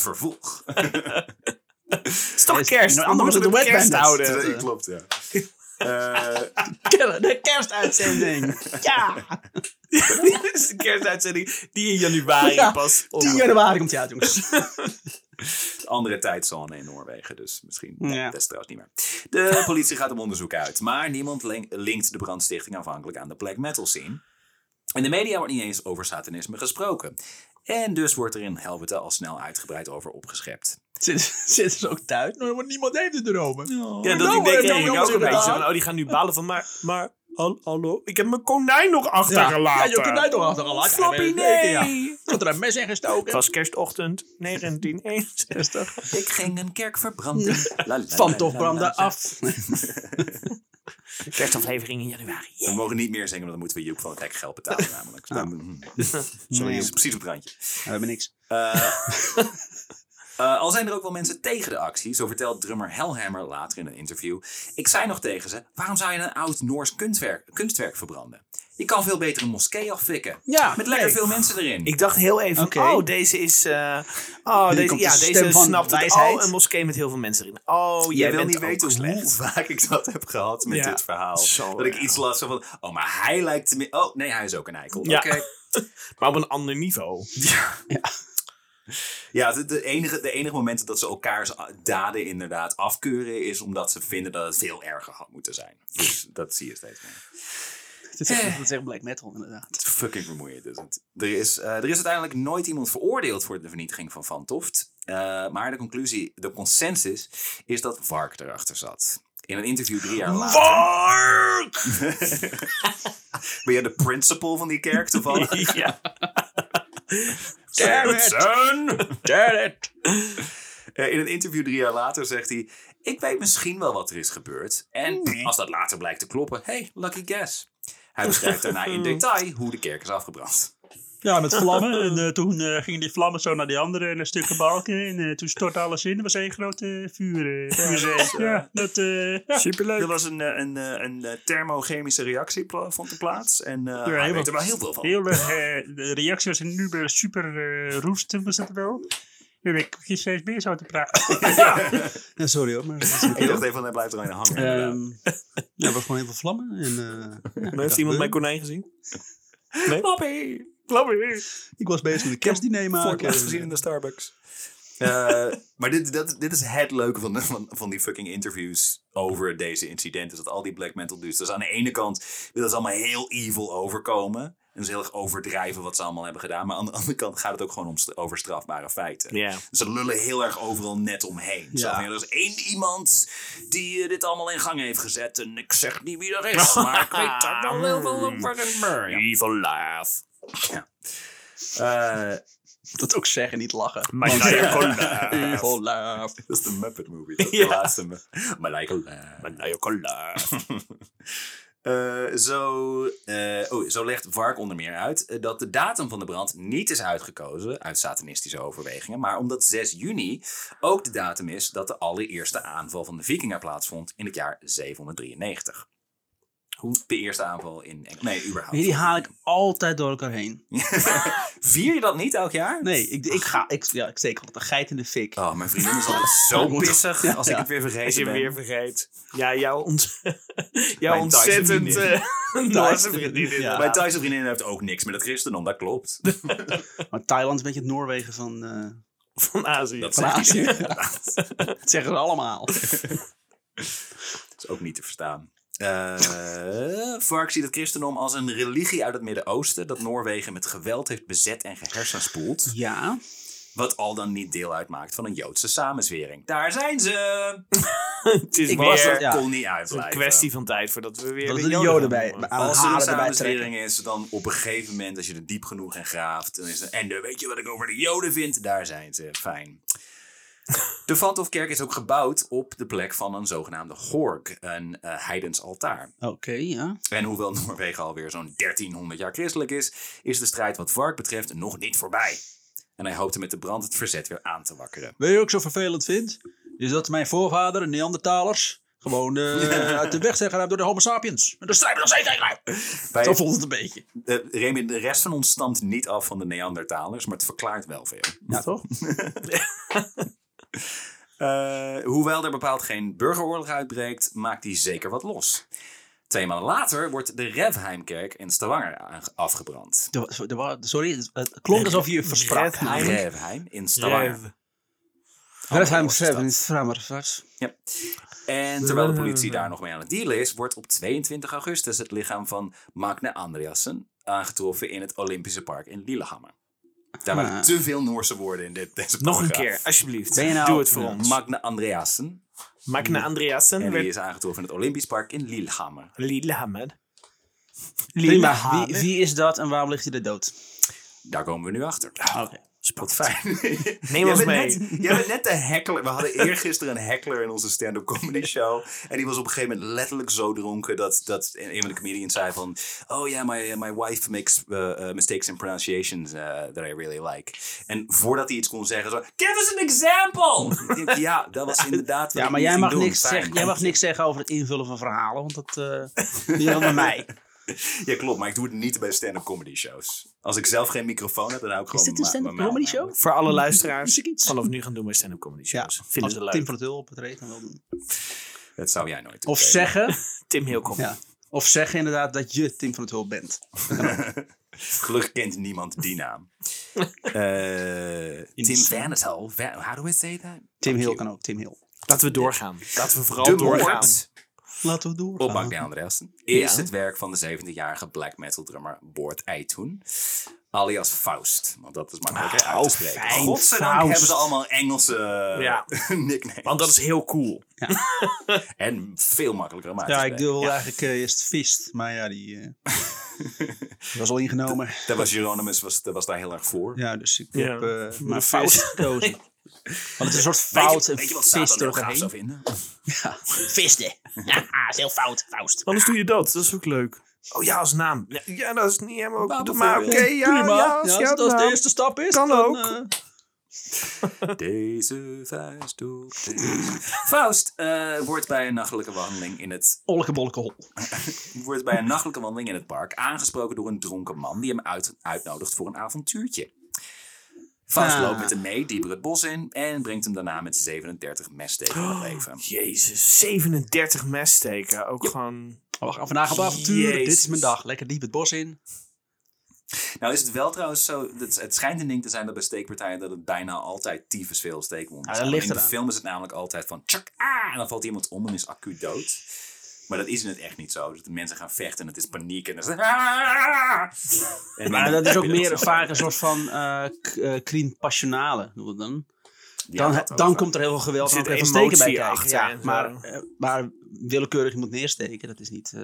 [SPEAKER 3] vervolg.
[SPEAKER 2] Het is toch
[SPEAKER 1] Is-
[SPEAKER 2] kerst.
[SPEAKER 1] nou,
[SPEAKER 2] We
[SPEAKER 1] anders
[SPEAKER 2] moeten
[SPEAKER 1] de Wet
[SPEAKER 2] het kerst
[SPEAKER 1] Bandits.
[SPEAKER 2] houden.
[SPEAKER 1] eh.
[SPEAKER 3] Dat klopt, ja. Eh,
[SPEAKER 1] de kerstuitzending. Ja!
[SPEAKER 2] Dit is de kerstuitzending die in januari
[SPEAKER 1] Ja,
[SPEAKER 2] pas...
[SPEAKER 4] Oh,
[SPEAKER 1] 10 januari komt hij uit, jongens.
[SPEAKER 3] andere tijdzone in Noorwegen, dus misschien. Nee,
[SPEAKER 1] Ja.
[SPEAKER 3] Dat is trouwens niet meer. De politie gaat om onderzoek uit, maar niemand len- linkt de brandstichting afhankelijk aan de black metal scene. In de media wordt niet eens over satanisme gesproken. En dus wordt er in Helvete al snel uitgebreid over opgeschept.
[SPEAKER 1] Zitten zitten ze ook thuis? Nou, want niemand heeft het erover.
[SPEAKER 2] Ja,
[SPEAKER 1] Nou,
[SPEAKER 2] dat ik denk
[SPEAKER 1] eh,
[SPEAKER 2] eigenlijk
[SPEAKER 1] nou,
[SPEAKER 2] ook een
[SPEAKER 1] jongens,
[SPEAKER 2] beetje.
[SPEAKER 1] inderdaad.
[SPEAKER 2] Van, oh, die gaan nu balen van, maar, maar hal- hallo, ik heb mijn konijn nog achtergelaten.
[SPEAKER 1] Ja, je kunt mij toch achter al laten.
[SPEAKER 2] Floppy, nee.
[SPEAKER 1] Tot er een mes in
[SPEAKER 2] Het
[SPEAKER 1] gestoken.
[SPEAKER 2] was kerstochtend 1961.
[SPEAKER 3] Ik ging een kerk verbranden. La, la, la,
[SPEAKER 1] Van toch
[SPEAKER 3] la,
[SPEAKER 1] branden
[SPEAKER 3] la.
[SPEAKER 1] af.
[SPEAKER 2] Kerstaflevering in januari.
[SPEAKER 3] We mogen niet meer zingen, want dan moeten we Joep van het Hek geld betalen namelijk. Dan- Sorry,
[SPEAKER 1] Nee.
[SPEAKER 3] is precies op het randje.
[SPEAKER 1] We hebben niks.
[SPEAKER 3] Eh, al zijn er ook wel mensen tegen de actie, zo vertelt drummer Hellhammer later in een interview. Ik zei nog tegen ze, waarom zou je een oud Noors kunstwerk, kunstwerk verbranden? Je kan veel beter een moskee afvikken.
[SPEAKER 1] Ja,
[SPEAKER 3] Met lekker
[SPEAKER 1] nee.
[SPEAKER 3] veel mensen erin.
[SPEAKER 2] Ik dacht heel even,
[SPEAKER 1] Oké.
[SPEAKER 2] oh, deze is... eh, oh,
[SPEAKER 1] Hier
[SPEAKER 2] deze,
[SPEAKER 1] komt
[SPEAKER 2] ja,
[SPEAKER 1] de stem
[SPEAKER 2] deze
[SPEAKER 1] van
[SPEAKER 2] snapt het.
[SPEAKER 1] wijsheid.
[SPEAKER 2] Oh, een moskee met heel veel mensen erin. Oh, jij
[SPEAKER 3] Jij wil
[SPEAKER 2] bent
[SPEAKER 3] niet
[SPEAKER 2] ook
[SPEAKER 3] weten
[SPEAKER 2] slecht.
[SPEAKER 3] hoe vaak ik dat heb gehad met
[SPEAKER 2] Ja.
[SPEAKER 3] dit verhaal.
[SPEAKER 2] Zo
[SPEAKER 3] dat ik
[SPEAKER 2] erg.
[SPEAKER 3] iets las van, oh, maar hij lijkt... te mi- Oh, nee, hij is ook een eikel.
[SPEAKER 2] Ja.
[SPEAKER 3] Oké.
[SPEAKER 2] Maar op een ander niveau.
[SPEAKER 3] Ja. Ja, de, de enige, de enige momenten dat ze elkaars a- daden inderdaad afkeuren is omdat ze vinden dat het veel erger had moeten zijn. Dus dat zie je steeds meer.
[SPEAKER 1] Het is echt, het is echt black metal, inderdaad.
[SPEAKER 3] Het is fucking vermoeiend is het. Er is, eh, er is uiteindelijk nooit iemand veroordeeld voor de vernietiging van Van Toft. Eh, maar de conclusie, de consensus, is dat Vark erachter zat. In een interview drie jaar later.
[SPEAKER 2] Vark!
[SPEAKER 3] Ben jij de principal van die kerk toevallig?
[SPEAKER 2] ja.
[SPEAKER 1] Damn it.
[SPEAKER 3] Samson!
[SPEAKER 1] Damn it!
[SPEAKER 3] Eh, In een interview drie jaar later zegt hij: Ik weet misschien wel wat er is gebeurd. En
[SPEAKER 4] Hmm.
[SPEAKER 3] als dat later blijkt te kloppen, hey, lucky guess. Hij beschrijft daarna in detail hoe de kerk is afgebrand.
[SPEAKER 4] Ja, met vlammen. En eh, toen eh, gingen die vlammen zo naar die andere en een stukken balken. En eh, toen stortte alles in. Er was één grote vuur. eh, vuurzee. ja, dat... eh ja.
[SPEAKER 3] Er was een, eh, een, eh, een, eh, thermochemische reactie pla- vond er plaats. En eh
[SPEAKER 1] Ah,
[SPEAKER 3] hij
[SPEAKER 4] heel
[SPEAKER 3] weet er
[SPEAKER 4] wat-
[SPEAKER 3] wel heel veel van.
[SPEAKER 4] Heel erg, eh, de reactie was nu weer super eh roestig, was dat wel. Nu ben ik hier steeds meer zo te praten.
[SPEAKER 1] Ja, sorry hoor, maar...
[SPEAKER 3] Ik dacht even, van, hij blijft er een hangen. inderdaad.
[SPEAKER 1] Ehm, ja, er was gewoon heel veel vlammen. En, eh, ja,
[SPEAKER 2] Heeft iemand mijn konijn gezien?
[SPEAKER 3] Flappy!
[SPEAKER 2] Klapper.
[SPEAKER 1] ik was bezig met een kerstdiner maken.
[SPEAKER 3] Voor het laatst gezien in de Starbucks. Ah, dus- Eh, maar dit, dat, dit is het leuke van, de- van, van die fucking interviews over deze incidenten. Dat al die black metal dudes. Dus aan de ene kant willen ze allemaal heel evil overkomen. En ze heel erg overdrijven wat ze allemaal hebben gedaan. Maar aan de andere kant gaat het ook gewoon om st- over strafbare feiten. Dus
[SPEAKER 2] Ja.
[SPEAKER 3] Ze lullen heel erg overal net omheen. Zo
[SPEAKER 1] Ja.
[SPEAKER 3] van, ja, er is één iemand die eh, dit allemaal in gang heeft gezet. En ik zeg niet wie dat is, maar ik weet daar wel heel veel over. Ja.
[SPEAKER 2] Evil laugh.
[SPEAKER 3] Eh,
[SPEAKER 1] Dat ook zeggen, niet lachen.
[SPEAKER 2] Maniacal
[SPEAKER 4] eh,
[SPEAKER 2] laugh.
[SPEAKER 1] Evil laugh.
[SPEAKER 3] dat is de Muppet Movie. Dat is
[SPEAKER 2] Ja.
[SPEAKER 3] de laatste. Mu- Malaika.
[SPEAKER 2] Maniacal laugh.
[SPEAKER 3] Eh, zo, eh, oh, zo legt Vark onder meer uit eh, dat de datum van de brand niet is uitgekozen uit satanistische overwegingen, maar omdat 6 juni ook de datum is dat de allereerste aanval van de Vikingen plaatsvond in het jaar 793. Hoe de eerste aanval in Engeland? Nee, überhaupt.
[SPEAKER 1] Die haal ik altijd door elkaar heen.
[SPEAKER 3] Vier je dat niet elk jaar?
[SPEAKER 1] Nee, ik, ik ga... Ik, ja, ik steek altijd een geit in de fik.
[SPEAKER 3] Oh, mijn vriendin is altijd zo pissig als ik het weer
[SPEAKER 2] Als
[SPEAKER 3] vergeten
[SPEAKER 2] je
[SPEAKER 3] ben.
[SPEAKER 2] weer vergeet. Ja, jouw, ont jouw
[SPEAKER 3] Mijn
[SPEAKER 2] ontzettend
[SPEAKER 3] Thaise
[SPEAKER 2] eh, Noorse
[SPEAKER 1] vriendin.
[SPEAKER 2] vriendin.
[SPEAKER 1] Ja.
[SPEAKER 3] Mijn Thaise vriendin heeft ook niks met het christendom, dat klopt.
[SPEAKER 1] Maar Thailand is een beetje het Noorwegen van, eh
[SPEAKER 2] Van Azië.
[SPEAKER 3] Dat
[SPEAKER 1] van
[SPEAKER 3] zegt
[SPEAKER 1] Azië. dat zeggen ze allemaal.
[SPEAKER 3] is ook niet te verstaan. Eh Vark ziet het christendom als een religie uit het Midden-Oosten dat Noorwegen met geweld heeft bezet en gehersenspoeld.
[SPEAKER 1] Ja.
[SPEAKER 3] Wat al dan niet deel uitmaakt van een Joodse samenzwering. Daar zijn ze!
[SPEAKER 2] Het is
[SPEAKER 3] Ik
[SPEAKER 2] weer
[SPEAKER 3] was er,
[SPEAKER 1] ja.
[SPEAKER 3] kon niet
[SPEAKER 2] een
[SPEAKER 3] uitblijven.
[SPEAKER 2] kwestie van tijd voordat we weer
[SPEAKER 1] Dat
[SPEAKER 2] de
[SPEAKER 1] we de
[SPEAKER 2] Joden Ah,
[SPEAKER 1] Joden
[SPEAKER 2] gaan
[SPEAKER 1] bij-
[SPEAKER 2] noemen.
[SPEAKER 1] bij-
[SPEAKER 3] Als er een
[SPEAKER 1] haren erbij
[SPEAKER 3] samenzwering is, dan op een gegeven moment, als je er diep genoeg in graaft, dan is er, en de, weet je wat ik over de Joden vind? Daar zijn ze, fijn. De Vathofkerk is ook gebouwd op de plek van een zogenaamde Gork, een eh, heidens altaar.
[SPEAKER 1] Oké, ja.
[SPEAKER 3] En hoewel Noorwegen alweer zo'n 1300 jaar christelijk is, is de strijd wat Vark betreft nog niet voorbij. En hij hoopte met de brand het verzet weer aan te wakkeren.
[SPEAKER 1] Weet je wat ik zo vervelend vind? Is dat mijn voorvader, Neandertalers, gewoon eh, uit de weg zijn geraakt door de homo sapiens. En daar strijden we nog steeds tegen uit.
[SPEAKER 3] Bij,
[SPEAKER 1] Zo voelt het een beetje.
[SPEAKER 3] eh, Remy, de rest van ons stamt niet af van de Neandertalers, maar het verklaart wel veel.
[SPEAKER 1] Ja, toch?
[SPEAKER 3] Eh, hoewel er bepaald geen burgeroorlog uitbreekt, maakt hij zeker wat los. Twee maanden later wordt de Revheimkerk in Stavanger aange- afgebrand.
[SPEAKER 1] Er- er wa- Sorry, het- het klonk alsof je je versprak.
[SPEAKER 2] Redheim.
[SPEAKER 1] namelijk.
[SPEAKER 3] Revheim in Stavanger.
[SPEAKER 1] Redheim
[SPEAKER 3] Stad.
[SPEAKER 1] Seven is Framersvars.
[SPEAKER 3] En terwijl de politie daar nog mee aan het dealen is, wordt op 22 augustus het lichaam van Magne Andreassen aangetroffen in het Olympische Park in Lillehammer. Daar waren
[SPEAKER 1] Ah.
[SPEAKER 3] te veel Noorse woorden in dit, deze
[SPEAKER 2] Nog een
[SPEAKER 3] paragraaf.
[SPEAKER 2] keer, alsjeblieft.
[SPEAKER 1] Ben je nou-
[SPEAKER 2] Doe het voor
[SPEAKER 1] Ja.
[SPEAKER 2] ons.
[SPEAKER 3] Magne Andreassen.
[SPEAKER 2] Magne Andreassen
[SPEAKER 3] En die
[SPEAKER 2] werd
[SPEAKER 3] is aangetroffen in het Olympisch Park in Lillehammer.
[SPEAKER 2] Lillehammer.
[SPEAKER 1] Prima.
[SPEAKER 2] Lillehammer.
[SPEAKER 1] Wie, wie is dat en waarom ligt hij er dood?
[SPEAKER 3] Daar komen we nu achter.
[SPEAKER 1] Oké.
[SPEAKER 3] Wat fijn.
[SPEAKER 2] Neem ons mee.
[SPEAKER 3] Net, jij bent net de heckler. We hadden eergisteren een heckler in onze stand-up comedy show. En die was op een gegeven moment letterlijk zo dronken dat, dat een van de comedians zei van... Oh ja, my, my wife makes uh, uh, mistakes in pronunciations eh, that I really like. En voordat hij iets kon zeggen, zo... Give us an example! Ik denk, ja, dat was inderdaad wat
[SPEAKER 1] Ja,
[SPEAKER 3] ik
[SPEAKER 1] maar
[SPEAKER 3] niet
[SPEAKER 1] jij
[SPEAKER 3] ging
[SPEAKER 1] mag,
[SPEAKER 3] doen.
[SPEAKER 1] niks
[SPEAKER 3] Fijn,
[SPEAKER 1] zeggen, jij mag
[SPEAKER 3] dank
[SPEAKER 1] niks zeggen over het invullen van verhalen, want dat eh doe je dan bij mij.
[SPEAKER 3] je. Ja, klopt. Maar ik doe het niet bij stand-up comedy shows. Als ik zelf geen microfoon heb, dan hou ik
[SPEAKER 1] Is
[SPEAKER 3] gewoon...
[SPEAKER 1] dit een
[SPEAKER 3] ma-
[SPEAKER 1] stand-up
[SPEAKER 3] mijn
[SPEAKER 1] comedy
[SPEAKER 3] mouw
[SPEAKER 1] show?
[SPEAKER 2] Voor alle luisteraars,
[SPEAKER 1] Muziek iets.
[SPEAKER 2] vanaf nu gaan doen bij stand-up comedy shows. Vinden
[SPEAKER 1] Als
[SPEAKER 2] ze leuk.
[SPEAKER 1] Tim
[SPEAKER 2] Tim,
[SPEAKER 1] van het Hul op het reet, dan wel doen.
[SPEAKER 3] aan. Dat zou jij nooit doen.
[SPEAKER 1] Of
[SPEAKER 3] Kevin.
[SPEAKER 1] zeggen,
[SPEAKER 2] Hilkom.
[SPEAKER 1] ja. Of zeggen inderdaad dat je Tim van het Hul bent.
[SPEAKER 3] Gelukkig kent niemand die naam. Eh, Tim Vanessel. Va- How do I say that?
[SPEAKER 1] Tim Hill
[SPEAKER 3] you.
[SPEAKER 1] kan ook, Tim Hill.
[SPEAKER 2] Laten we doorgaan. Laten we vooral
[SPEAKER 3] De
[SPEAKER 2] doorgaan.
[SPEAKER 3] moord
[SPEAKER 1] Laten we door.
[SPEAKER 3] op Magne Andreasen is
[SPEAKER 1] Ja.
[SPEAKER 3] het werk van de 17-jarige black metal drummer Boort Eitoen. Alias Faust. Want dat is makkelijker
[SPEAKER 2] Ah,
[SPEAKER 3] uit te
[SPEAKER 2] oh,
[SPEAKER 3] spreken.
[SPEAKER 2] fijn,
[SPEAKER 3] Godzijdank
[SPEAKER 2] Faust.
[SPEAKER 3] hebben ze allemaal Engelse eh,
[SPEAKER 2] Ja.
[SPEAKER 3] nicknames.
[SPEAKER 2] Want dat is heel cool.
[SPEAKER 3] En veel makkelijker om uit te
[SPEAKER 1] Ja, ik
[SPEAKER 3] spreken.
[SPEAKER 1] wil eigenlijk eh, eerst vist, maar ja, die eh, was al ingenomen.
[SPEAKER 3] Daar was Jeronimus was, was daar heel erg voor.
[SPEAKER 1] Ja, dus ik
[SPEAKER 2] Ja.
[SPEAKER 1] heb eh
[SPEAKER 2] Maar
[SPEAKER 1] maar fout
[SPEAKER 2] vis.
[SPEAKER 1] gekozen. Want het is een soort
[SPEAKER 3] Weet je-
[SPEAKER 1] fout en
[SPEAKER 3] weet je wat
[SPEAKER 1] vis
[SPEAKER 3] Satan heel gaaf zou
[SPEAKER 1] doorheen.
[SPEAKER 3] vinden?
[SPEAKER 1] Visten. Ja, is heel fout, Faust.
[SPEAKER 2] Anders doe je dat. Dat is ook leuk. Oh ja, als naam. Ja, Ja, dat is niet helemaal...
[SPEAKER 3] Maar
[SPEAKER 2] Maar, maar oké,
[SPEAKER 3] bijvoorbeeld.
[SPEAKER 2] ja, ja, als je
[SPEAKER 1] dat de
[SPEAKER 2] naam-
[SPEAKER 1] eerste stap is,
[SPEAKER 2] Kan
[SPEAKER 1] dan,
[SPEAKER 2] ook.
[SPEAKER 1] eh,
[SPEAKER 3] Deze vuist op deze- Faust eh, wordt bij een nachtelijke wandeling in het
[SPEAKER 1] Olkebolleke hol.
[SPEAKER 3] wordt bij een nachtelijke wandeling in het park aangesproken door een dronken man die hem uit, uitnodigt voor een avontuurtje. Faust
[SPEAKER 1] Ah.
[SPEAKER 3] loopt met hem mee dieper het bos in en brengt hem daarna met 37 messteken om het leven.
[SPEAKER 2] Oh, Jezus, 37 messteken. Ook gewoon...
[SPEAKER 1] We gaan vandaag op avontuur. Dit
[SPEAKER 2] Jezus.
[SPEAKER 1] is mijn dag. Lekker diep het bos in.
[SPEAKER 3] Nou is het wel trouwens zo, het, het schijnt een ding te zijn dat bij steekpartijen dat het bijna altijd tyfus veel steekwonden
[SPEAKER 1] Ja, dat
[SPEAKER 3] zijn.
[SPEAKER 1] ligt
[SPEAKER 3] in de
[SPEAKER 1] eraan.
[SPEAKER 3] film is het namelijk altijd van tjak, ah, en dan valt iemand om en is acuut dood. Maar dat is in het echt niet zo. Dus de mensen gaan vechten en het is paniek en dan is En
[SPEAKER 1] Maar
[SPEAKER 3] dan
[SPEAKER 1] dat is ook
[SPEAKER 3] heb je
[SPEAKER 1] meer
[SPEAKER 3] dat
[SPEAKER 1] vaak een soort van eh k- eh, crime passionale, noemen we het dan.
[SPEAKER 3] Ja,
[SPEAKER 1] Dan,
[SPEAKER 3] dat ook
[SPEAKER 1] dan
[SPEAKER 3] wel.
[SPEAKER 1] komt er heel veel geweld
[SPEAKER 2] Er
[SPEAKER 1] en
[SPEAKER 2] zit
[SPEAKER 1] ook heel veel
[SPEAKER 2] emotie
[SPEAKER 1] steken bij kijken.
[SPEAKER 2] achter
[SPEAKER 1] Ja,
[SPEAKER 2] en zo.
[SPEAKER 1] maar, eh, maar willekeurig iemand neersteken, dat is niet... eh,